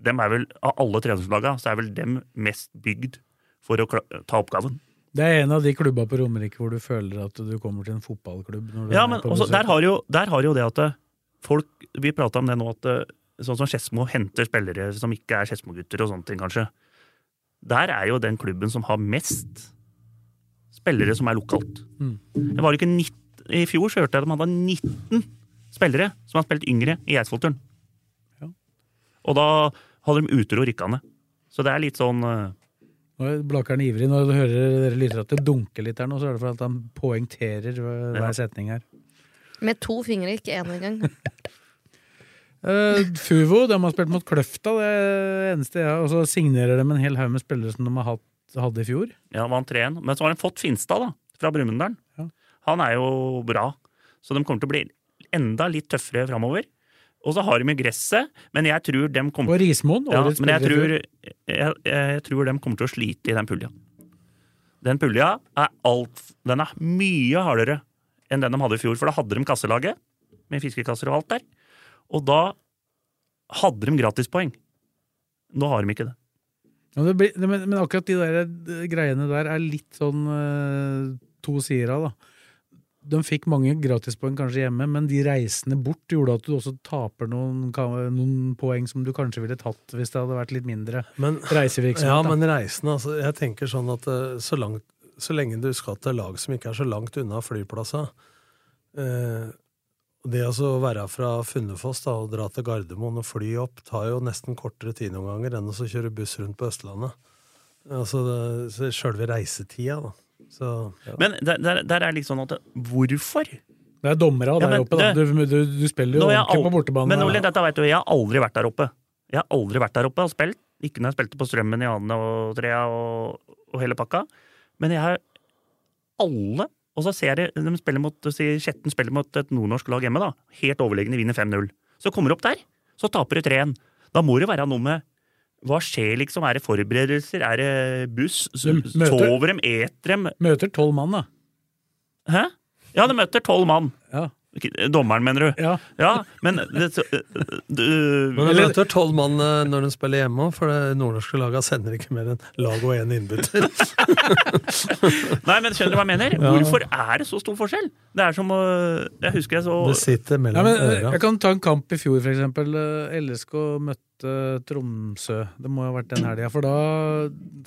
de er vel, Av alle treningslagene så er vel dem mest bygd for å kla- ta oppgaven.
Det er en av de klubba på Romerike hvor du føler at du kommer til en fotballklubb. Når du
Ja,
er
men
på
også,
besøk.
der, har jo, der har jo det at det- folk Vi prata om det nå, at det- sånn som Skedsmo henter spillere som ikke er Skedsmo-gutter og sånne ting, kanskje. Der er jo den klubben som har mest spillere som er lokalt.
Mm.
Det var ikke 19, I fjor så hørte jeg at de hadde 19 spillere som har spilt yngre i Eidsvollturen.
Ja.
Og da hadde de utro rykkende. Så det er litt sånn eh,
Nå er Blakkaren ivrig. Når du hører dere lytter at det dunker litt her nå, så er det fordi han poengterer øh,
Ja.
hver setning her.
Med to fingre, ikke én engang.
Eh, Fuvo de har spilt mot Kløfta, det er det eneste jeg har. Og så signerer de en hel haug med spillere som de har hatt, hadde i fjor.
Ja, vant 3-1. Men så har de fått Finstad, da, fra Brumunddal.
Ja.
Han er jo bra, så de kommer til å bli enda litt tøffere framover. Og så har de jo gresset, men jeg tror de
Og
kommer,
Rismoen.
ja,
årets
men
spiller
jeg
i
tror,
fjor.
jeg, jeg tror de kommer til å slite i den pulja. Den pulja er alt Den er mye hardere enn den de hadde i fjor, for da hadde de kasselaget med fiskekasser og alt der. Og da hadde de gratispoeng. Nå har de ikke det.
Ja, det blir, men, men akkurat de der eh, greiene der er litt sånn eh, to sider av, da. de fikk mange gratispoeng kanskje hjemme, men de reisene bort gjorde at du også taper noen, ka- noen poeng som du kanskje ville tatt hvis det hadde vært litt mindre
Men,
reisevirksomhet.
ja,
da.
men reisende, altså. Jeg tenker sånn at eh, så, langt, så lenge du skal til lag som ikke er så langt unna flyplasser eh, Det altså å være fra Funnefoss da, og dra til Gardermoen og fly opp tar jo nesten kortere tid noen ganger enn å så kjøre buss rundt på Østlandet. Altså det- så sjølve reisetida, da. Så
Men der, der, der er liksom at Hvorfor?
Det er dommere
Ja,
der
men
oppe, da. Du,
det-
du, du spiller jo
Nå har jeg
ordentlig
al-
på bortebane.
Men Ole, dette vet du, jeg har aldri vært der oppe. Jeg har aldri vært der oppe og spilt. Ikke når jeg spilte på Strømmen i Ane og Trea og, og hele pakka. Men jeg har alle Og så ser jeg det, de spiller mot, si, Skjetten spiller mot et nordnorsk lag hjemme, da. Helt overlegne vinner 5-0. Så kommer du opp der, så taper du 3-1. Da må det være noe med hva skjer, liksom? Er det forberedelser? Er det buss? S-
Du møter-
Sover dem? Eter dem?
Møter tolv mann, da.
Hæ? Ja, de møter tolv mann.
Ja.
Ikke- Dommeren, mener du?
ja.
Ja, men det, så- eh, du,
Men de
eller-
møter tolv mann eh, når de spiller hjemme òg, for det nordnorske laget sender ikke mer enn lag og én innbytter.
Nei, men skjønner du hva jeg mener? Hvorfor er det så stor forskjell? Det er som å Jeg husker jeg
Det
så
sitter
Ja,
mellom
men eh,
øra.
Jeg kan ta en kamp i fjor, for eksempel. Eh, LSK møtte Tromsø. Det må ha vært den helga, for da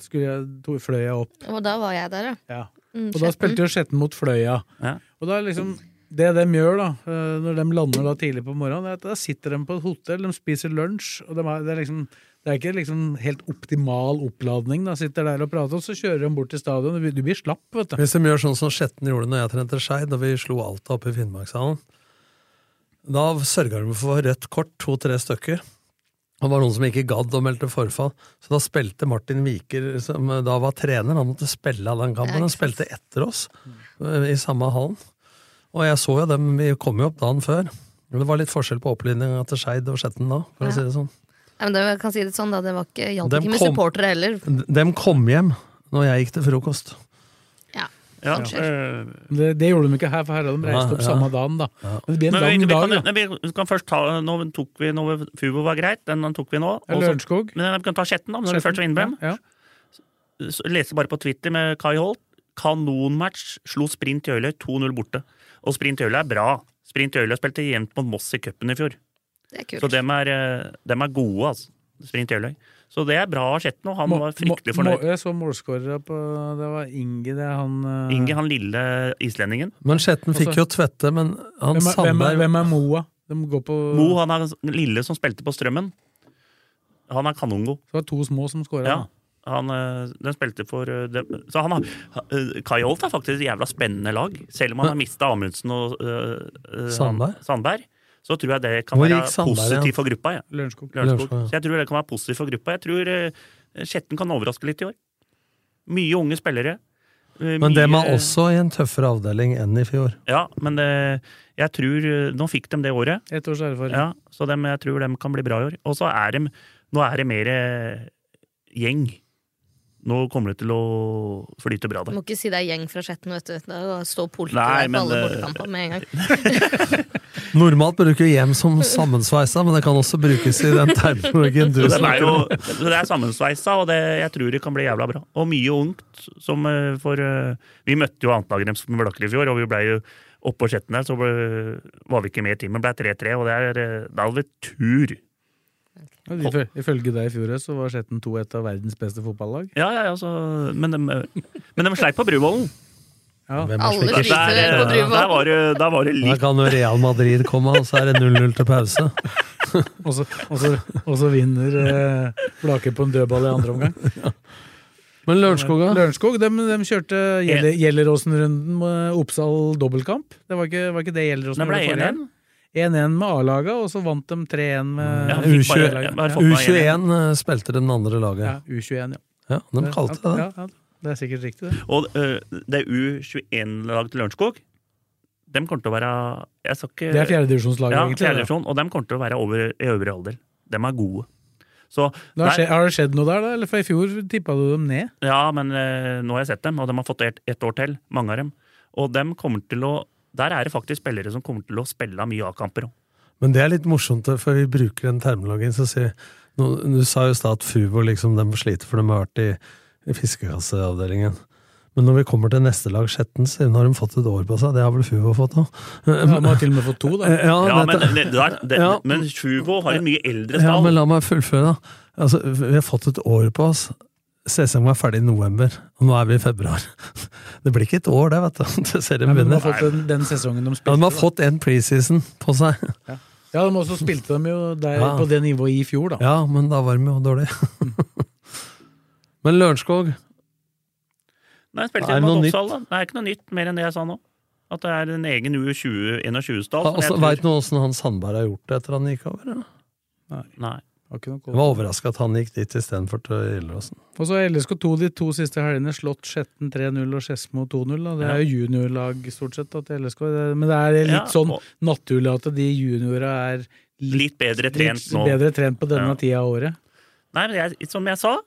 skulle jeg, to, fløy jeg opp.
Og da var jeg der, ja.
Ja.
Mm,
Og da
Skjetten.
spilte jo Skjetten mot Fløya.
Ja.
Og da er liksom det de gjør, da, eh, når de lander da tidlig på morgenen, er at da sitter de på et hotell, de spiser lunsj, og de er, det er liksom det er ikke liksom helt optimal oppladning. da Sitter der og prater, og så kjører de bort til stadion. Du blir- Du blir slapp, vet du.
Hvis de gjør sånn som Skjetten gjorde når jeg trente Skeid, da vi slo Alta oppe i Finnmarkshallen, da sørga de for rødt kort, to-tre stykker. Og det var noen som ikke gadd og meldte forfall, så da spilte Martin Viker, som da var trener, han måtte spille av den
Ja,
kampen.
ikke
Han spilte etter oss eh, i samme hallen. Og jeg så jo dem, vi kom jo opp dagen før. Men det var litt forskjell på opplinninga til Skeid og Skjetten da,
Ja.
for å si det sånn.
Ja, men det, jeg kan si det sånn, da. Det var ikke, hjalp
Dem
ikke med
kom-
supportere heller.
De kom hjem når jeg gikk til frokost.
Ja.
ja,
Skjer.
øh,
Det, det gjorde de ikke her, for her hadde de reist opp
Ja, ja.
samme dagen, da. Men det blir en
Men vi, vi,
lang dag,
kan,
da.
nei, vi vi kan først ta Nå tok vi noe Fubo var greit, den, den tok vi nå.
Ja,
og så-
Lørenskog.
Men vi kan ta Skjetten, da. Når vi først var inne på dem.
Ja, ja.
Så Leste bare på Twitter med Kai Holt. Kanonmatch. Slo Sprint Jøle 2-0 borte. Og Sprint Jøle er bra. Sprint Jøle spilte jevnt mot Moss i cupen i fjor.
Det er
Så
kult.
dem er, eh, dem er gode, altså. Sprint Jøle. Så det er bra av Skjetten, og han
Må-
var
må-
fryktelig
må-
fornøyd.
Jeg så målskårere på Det var Inge, det er han eh,
Inge, han lille islendingen.
Men Skjetten fikk
Altså-
jo tvette, men han
hvem, er, hvem, er,
Sandberg
hvem er Moa? De går på
Mo, han er den lille som spilte på Strømmen. Han er kanongod.
Det var to små som skåra.
Ja. Han, eh, den spilte for eh, dem. Så han har eh, Kai Holt er faktisk et jævla spennende lag. Selv om han har mista Amundsen og eh, eh, han-
Sandberg?
Sandberg, så tror jeg det kan
Hvor
være
gikk Sandberg igjen?
positivt for gruppa. Ja.
Lørenskog.
Lørenskog.
Lørenskog, ja.
Så jeg tror det kan være positivt for gruppa. Jeg tror uh, Skjetten kan overraske litt i år. Mye unge spillere. Eh,
Men dem er
mye-
også i en tøffere avdeling enn i fjor.
Ja, men eh, jeg tror eh, Nå fikk de det året.
Ett års erfaring.
Ja, så dem, jeg tror de kan bli bra i år. Og så er de Nå er det mer eh, gjeng. Nå kommer det til å flyte bra
Du
der.
må ikke si det er gjeng fra Skjetten, vet du. Da står politiet
Nei,
der på
eh,
men
alle
det-
bortekampene med en gang.
Normalt bruker hjem som sammensveisa, men det kan også brukes i den terminologien du
Så dem er
snakker
jo,
om.
så det er sammensveisa, og det, jeg tror det kan bli jævla bra. Og mye ungt. Som eh, for eh, Vi møtte jo annetlaget deres med Blakker i fjor, og vi ble jo oppå Skjetten der, så ble, var vi ikke med i timen. Ble 3-3, og det er, eh, da hadde vi tur.
Ja, de føl- Ifølge deg i fjor så var Skjetten 2 et av verdens beste fotballag.
Ja, ja, ja, så, men, de, men de sleit på Bruvollen.
Ja.
Hvem er
Alle
slik?
Der, eh,
sliter
der,
på Bruvollen.
var det- der var det
Der
litt
kan jo Real Madrid komme, og så er det 0-0 til pause.
Og så- Og så- og så vinner eh, Blake på en dødball i andre omgang.
Men Lørenskoga
Lørenskog de, kjørte Gjelle- Gjelleråsen-runden med Oppsal dobbeltkamp. Det var ikke, var ikke det Gjelleråsen
Det ble
gjorde forrige
1-1.
gang? 1-1 med A-laget, og så vant de 3-1 med
Ja,
U21.
fikk bare- jeg bare fått meg en igjen.
U21 eh, spilte den andre
Ja,
laget.
U21, ja.
Ja, De kalte det det.
Ja, ja, det er sikkert riktig, det.
Og øh, det U21-laget til Lørenskog, dem kommer til å være jeg skal ikke,
Det er fjerdedivisjonslaget,
ja,
egentlig.
fjerde
det.
divisjon, og dem kommer til å være over, i øvre halvdel. Dem er gode. Så,
Det har,
nei,
skje, har det skjedd noe der, da? Eller for i fjor tippa du dem ned?
ja, men øh, nå har jeg sett dem, og de har fått ett ett år til, mange av dem. Og dem kommer til å der er det faktisk spillere som kommer til å spille av mye A-kamper. også.
Men det er litt morsomt, for vi bruker den terminologien som sier nå- Du sa jo i stad at Fubo liksom, de sliter for de har vært i, i fiskekasseavdelingen. Men når vi kommer til neste lag, Skjettens, nå har de fått et år på seg. Det har vel Fuvo fått òg.
Ja, man har til og med fått to, da.
Ja,
Ja, men,
dette-
det, det er- det,
Ah, Ja.
men Sjuvo har en mye eldre
Ja,
stall.
men la meg fullføre, da. Altså, vi har fått et år på oss. Sesongen var ferdig i november, og nå er vi i februar. Det blir ikke et år, det, vet du. til
Nei,
serien
men de
begynner.
har fått den, den sesongen de
Ja,
spilte.
de har
da.
fått en preseason på seg.
Ja, de også spilte de jo der
Ja.
på det nivået i fjor, da.
Ja, men da var de jo dårlige. Men Lørenskog
Nei, spilte
Er det
jeg
noe
mot
nytt?
Oppsal, da. Det er ikke noe nytt mer enn det jeg sa nå. At det er en egen U20-21-stall.
altså, Veit du åssen Hans Sandberg har gjort det etter han gikk over? Ja?
Nei.
Har ikke noe
Jeg var overraska at han gikk dit istedenfor til Gjelleråsen.
Og så har LSK2 de to siste helgene slått Skjetten 3-0 og Skedsmo 2-0. da. Det er jo juniorlag stort sett da, til LSK, det- men det er litt
Ja,
sånn
og
naturlig at de juniora er litt,
litt bedre trent
litt
nå.
bedre trent på denne
Ja.
tida av året.
Nei, men jeg, som jeg sa,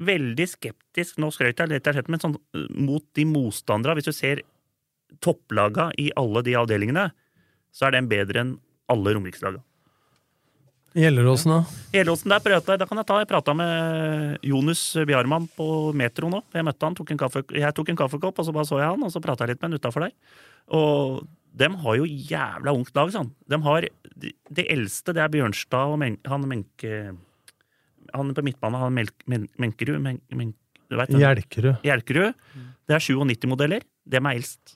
veldig skeptisk Nå skrøt jeg litt, av Skjetten, men sånn, eh, mot de motstanderne Hvis du ser topplaga i alle de avdelingene, så er den bedre enn alle Romerikslaga.
Gjelleråsen, da?
Helåsen, der prøvde jeg, da kan jeg ta, jeg prata med Jonus Bjarmann på Metro nå. Jeg møtte han, tok en kaffe, jeg tok en kaffekopp, og så bare så jeg han, og så prata jeg litt med han utafor der. Og dem har jo jævla ungt lag, sånn. De har de, de eldste, det er Bjørnstad og Men, han Menke... Han på midtbanen, han Melk, Men, Menkerud Men, Men, du vet hvem?
Hjelkerud.
Hjelkerud. Det er 97-modeller. Dem er eldst.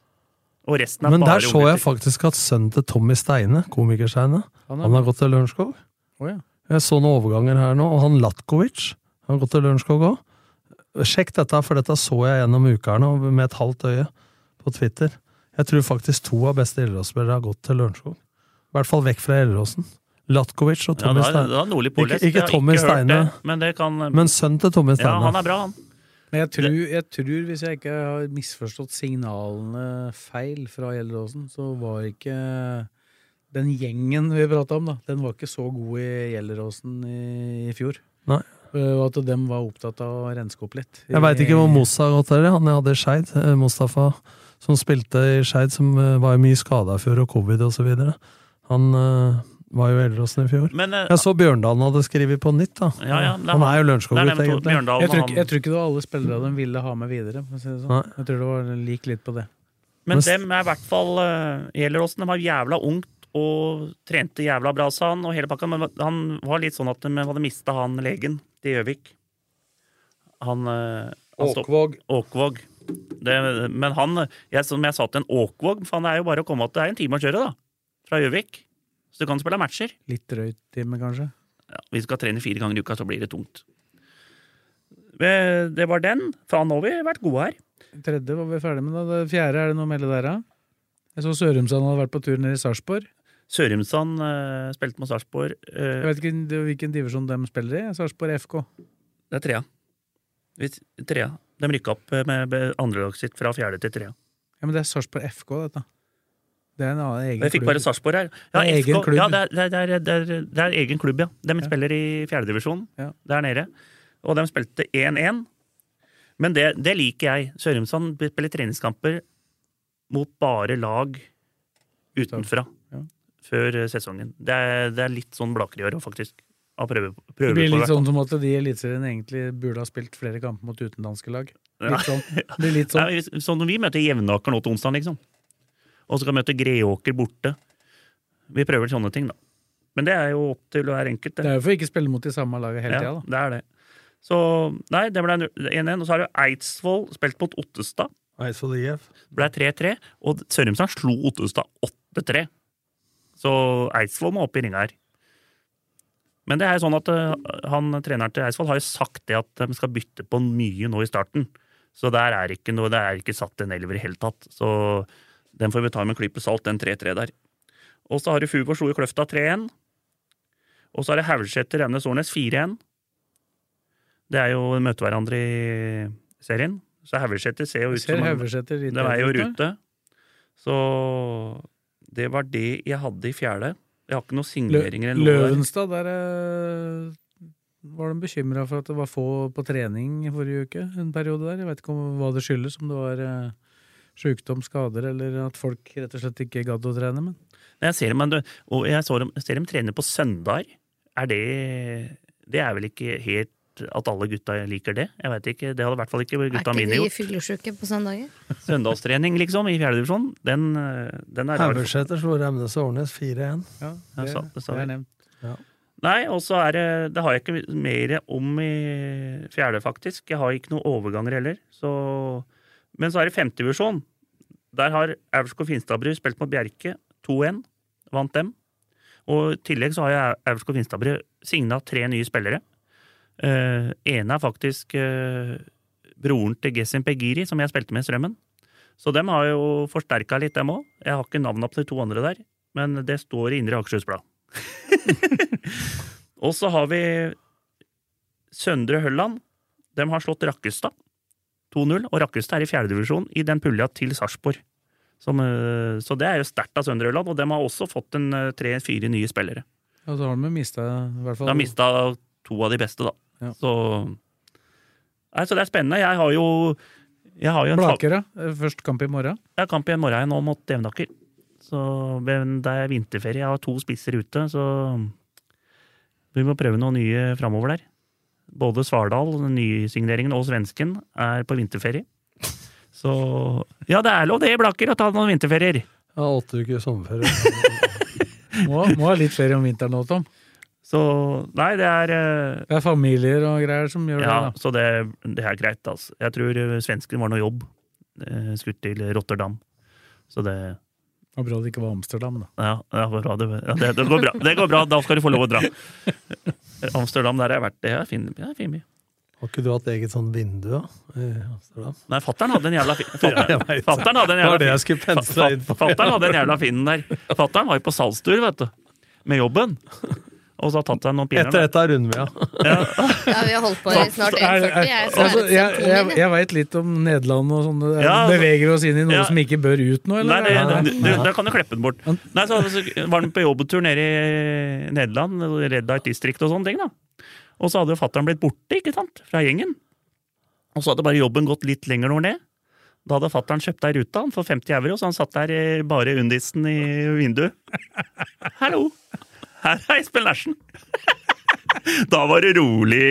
Og resten er
Men
bare
der så jeg
unggutter.
faktisk at sønnen til Tommy Steine, komikersteine,
Han er-
han har gått til Lørenskog.
Å, ja.
Jeg så noen overganger her nå, og han Latkovic har gått til Lørenskog òg. Sjekk dette, for dette så jeg gjennom uka her nå, med et halvt øye på Twitter. Jeg tror faktisk to av beste Gjellerås-spillere har gått til Lørenskog. I hvert fall vekk fra Gjelleråsen. Latkovic og
ja,
Tommy
da,
Steine.
da, Nordli Poles.
Ikke- ikke
Jeg har
Tommy
hørt
Steine.
det, Men det kan
Men sønnen til Tommy
Ja, han
Steine.
er bra, han.
Men jeg tror, jeg tror, hvis jeg ikke har misforstått signalene feil fra Gjelleråsen, så var ikke den gjengen vi prata om, da, den var ikke så god i Gjelleråsen i, i fjor.
Nei.
Eh, Og at dem var opptatt av å renske opp litt.
Jeg veit ikke hvor
Eh,
Mossa har gått der. Han jeg hadde i Skeid, eh, Mustafa, som spilte i Skeid, som eh, var mye skada i fjor, og covid og så videre. Han eh, var jo i Gjelleråsen i fjor.
Men eh,
Jeg så Bjørndalen hadde skrevet på nytt, da.
Ja, ja, det er
han
han.
er jo
Det er
Lørenskog-gutt,
den to-
egentlig.
Bjørndalen
jeg tror,
og
ikke,
han.
jeg tror ikke det var alle spillere de ville ha med videre. For å si det
Nei.
sånn. Jeg tror det var lik litt på det.
Men
Men-
dem er i hvert fall eh, Gjelleråsen. De var jævla ungt og trente jævla bra, sa han. Og hele pakka, men han var litt sånn at de hadde mista han legen til Gjøvik. Han, eh, han stopp- Åkvåg. Det, men han jeg, Som jeg sa til en Åkvåg for han er jo bare å komme at Det er en time å kjøre, da. Fra Gjøvik. Så du kan spille matcher.
Litt drøyt time, kanskje.
ja, vi skal trene fire ganger i uka, så blir det tungt. Eh, Det var den. Faen, nå har vi vært gode her.
Tredje var vi ferdig med, da. Det fjerde, er det noe å melde der, da? Jeg så Sørumsand hadde vært på tur nede i Sarpsborg.
Sørumsand eh, spilte mot Sarpsborg. eh,
Jeg vet ikke det- hvilken divisjon de spiller i. Sarpsborg FK.
det er trea. Hvis- trea. De rykka opp eh, med be- andrelaget sitt fra fjerde til trea.
Ja, men det er Sarpsborg FK, dette. Det er en annen egen
Jeg fikk bare Sarpsborg her. Ja,
Det er
FK,
egen klubb.
Ja, det, er, det, er, det, er, det er egen klubb, ja. De spiller i fjerdedivisjon
Ja.
der nede. Og de spilte 1-1. Men det, det liker jeg. Sørumsand spiller treningskamper mot bare lag utenfra
Ja.
før eh, sesongen. Det er, det er litt sånn Blaker i år, faktisk. Av prøve,
Det
prøve
blir litt
på, i hvert
sånn som at de i Eliteserien egentlig burde ha spilt flere kamper mot utenlandske lag.
Ja.
Litt sånn. Det blir litt
fall.
sånn.
Nei, hvis- Sånn når vi møter Jevnaker nå til onsdag, liksom. Og så kan vi møte Greåker borte. Vi prøver sånne ting, da. Men det er jo opp til hver enkelt.
Det er jo for å ikke spille mot de samme lagene hele tida, da.
Ja, det er det. Så nei, det ble 1-1. Og så har jo Eidsvoll spilt mot Ottestad.
Eidsvoll IF.
Ble 3-3. Og Sørumsand slo Ottestad 8-3. Så Eidsvoll må opp i ringa her. Men det er jo sånn at eh, han, treneren til Eidsvoll har jo sagt det at de skal bytte på mye nå i starten. Så der er ikke noe, det er ikke satt en elver i hele tatt. Så den får vi ta med en klype salt, den 3-3 der. Og så har du Fugård slo i Kløfta 3-1. Og så er det Haugsæter Emnes Årnes 4-1. Det er jo møte hverandre i serien. Så Haugsæter ser jo ut
Ser
som han-
Haugesæter litt
den er jo i
bedre ut, da.
rute. Så det var det jeg hadde i fjerde. Jeg har ikke noen signeringer
Lø
eller noe der.
Løvenstad, der eh, var de bekymra for at det var få på trening i forrige uke. En periode der. Jeg veit ikke om, hva det skyldes, om det var eh, sjukdom, skader, eller at folk rett og slett ikke gadd å trene. Men
Men Jeg ser dem, men du- og jeg så dem, jeg ser dem trene på søndager. Er det Det er vel ikke helt at alle gutta liker det. Jeg vet ikke, Det hadde i hvert fall ikke
Er
gutta
ikke
mine
de
gjort.
fyllesyke på søndager?
Søndagstrening, liksom, i fjerdedivisjon, den, eh, den er rar.
Haugeseter slo Remnes og Årnes 4-1.
Ja,
Ja,
det,
sa- det sa
det er
vi.
nevnt.
Nei, og så er det Det har jeg ikke mer om i fjerde, faktisk. Jeg har ikke noen overganger heller. Så, men så er det femtedivisjon. Der har Aurskog Finstadbru spilt mot Bjerke 2-1. Vant dem. Og i tillegg så har jeg Aurskog Finstadbru signa tre nye spillere. Eh, ene er faktisk eh, broren til Gessim Pegiri, som jeg spilte med i Strømmen. Så dem har jo forsterka litt, dem òg. Jeg har ikke navnene på de to andre der, men det står i Indre Akershus Blad. Og så har vi Søndre Hølland. De har slått Rakkestad 2-0, og Rakkestad er i fjerdedivisjon i den pulja til Sarpsborg. Som, eh, Så det er jo sterkt av Søndre Hølland, og de har også fått en eh, tre-fire nye spillere.
Og så har de mista i hvert
De
fall
har mista to av de beste, da.
Ja.
Så Nei, Så det er spennende. Jeg har jo jeg har jo en fa-
Blaker, ja. Først eh, kamp i morgen.
jeg har kamp i morgen igjen nå mot Jevnaker. Så, men det er vinterferie. Jeg har to spisser ute, så vi må prøve noen nye framover der. Både Svardal, den nysigneringen, og svensken er på vinterferie. Så Ja, det er lov det, Blakker, å ta noen vinterferier.
Ja, åtte uker sommerferie.
Må, må ha litt ferie om vinteren nå, Tom.
Så Nei, det er eh,
Det er familier og greier som gjør
Ja,
det.
så det, det er greit, altså. Jeg tror eh, svensken var noe jobb. eh, Skutt til Rotterdam. Så det
da. Det var bra det ikke var Amsterdam, da.
Ja, ja, det, bra, det, ja det, det går bra. Det går bra, da skal du få lov å dra. Amsterdam, der har jeg vært. Det er fin, det er fin by.
Har ikke du hatt eget sånn vindu da, i Amsterdam?
Nei, fattern hadde en jævla fin
Ja, jeg vet det.
Fattern hadde en
Det var det
jævla
jeg skulle pensle
fin
inn på.
Fattern hadde en jævla fin der. Fattern var jo på salgstur, vet du. Med jobben. Og så har tatt seg noen pinner.
Etter
da.
dette er Rundmia.
Ja, vi har holdt på i snart 1,40. Jeg er så
Altså, jeg jeg,
æressentronen min, jeg.
jeg veit litt om Nederland og sånn. det er-
Ja, altså-
Beveger oss inn i noe
Ja.
som ikke bør ut nå,
Nei,
eller?
det,
Ja,
det,
ja.
det, da kan du klippe den bort. Nei, så, så var han på jobbetur nede i Nederland, Red Light District og sånne ting, da. Og så hadde jo fattern blitt borte, ikke sant, fra gjengen. Og så hadde bare jobben gått litt lenger nord ned. Da hadde fattern kjøpt ei rute han for 50 euro, så han satt der eh, bare i undisen i vinduet. Hallo! Her er Espen Larsen! Da var det rolig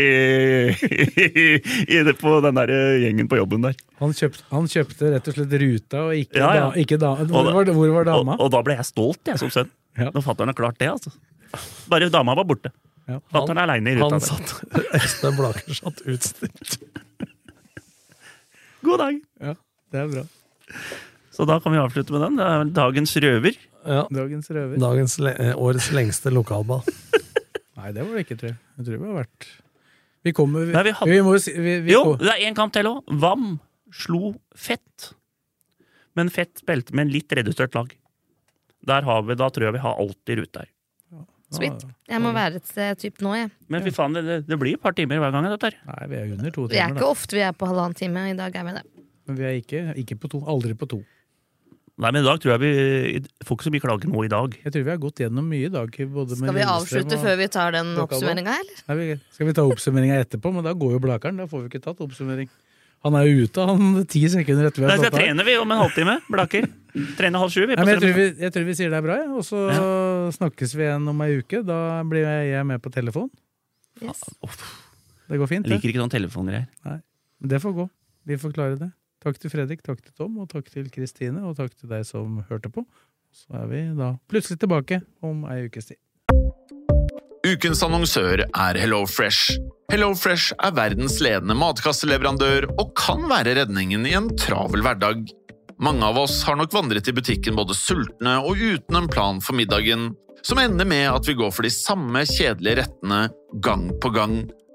i det på den der gjengen på jobben der.
Han, kjøpt, han kjøpte rett og slett ruta, og ikke,
Ja, ja.
Da, ikke da, hvor,
da-
var, det- hvor var dama?
Og, og da ble jeg stolt, jeg, som sønn.
Ja.
Når fatter'n har klart det, altså. Bare dama var borte.
Ja.
Fatter'n er aleine i ruta.
Han
der.
satt, Espen Blaker satt utstilt.
God dag!
Ja, det er bra.
Så da kan vi avslutte med den. Det er vel dagens røver.
Ja.
Dagens røver.
Dagens le eh, årets lengste lokalball.
Nei, det var det ikke, tror jeg. Jeg tror det har vært Vi kommer Vi,
Nei, vi hadde-
vi må jo si vi, vi,
Jo, det er én kamp til òg. Vam slo Fett. Men Fett spilte med en litt redusert lag. Der har vi, Da tror jeg vi har alt i rute her.
Sweet. Jeg må være et sted typ nå, jeg.
Men fy faen, det, det blir et par timer hver gang. dette her.
Nei, vi er under to
Det er
timer,
ikke
da.
ofte vi er på halvannen time. I dag er vi det.
Men vi er ikke, ikke på to. Aldri på to.
Nei, men i dag tror jeg vi får ikke så mye klager nå i dag.
Jeg tror vi har gått gjennom mye i dag. Både med
Skal vi
Lillestrøm
avslutte
og-
før vi tar den
Klokka nå.
oppsummeringa, eller?
Nei, vi, skal vi ta oppsummeringa etterpå? Men da går jo Blakeren. Da får vi ikke tatt oppsummering. Han er jo ute, han, ti sekunder etter vi
Nei,
har
så
tatt av.
trener vi om en halvtime. Blaker. Trener halv sju. Vi er
Nei,
på
men jeg
strømmen.
tror, vi, jeg tror vi sier det er bra, ja. og så snakkes vi igjen om ei uke. Da blir jeg jeg med på telefon. Ah,
Yes.
Det går fint,
Jeg
det.
liker ikke sånne telefongreier.
Men Det får gå. Vi får klare det. Takk til Fredrik, takk til Tom, og takk til Kristine, og takk til deg som hørte på. Så er vi da plutselig tilbake om ei ukes tid.
Ukens annonsør er HelloFresh. HelloFresh er verdens ledende matkasseleverandør og kan være redningen i en travel hverdag. Mange av oss har nok vandret i butikken både sultne og uten en plan for middagen, som ender med at vi går for de samme kjedelige rettene gang på gang.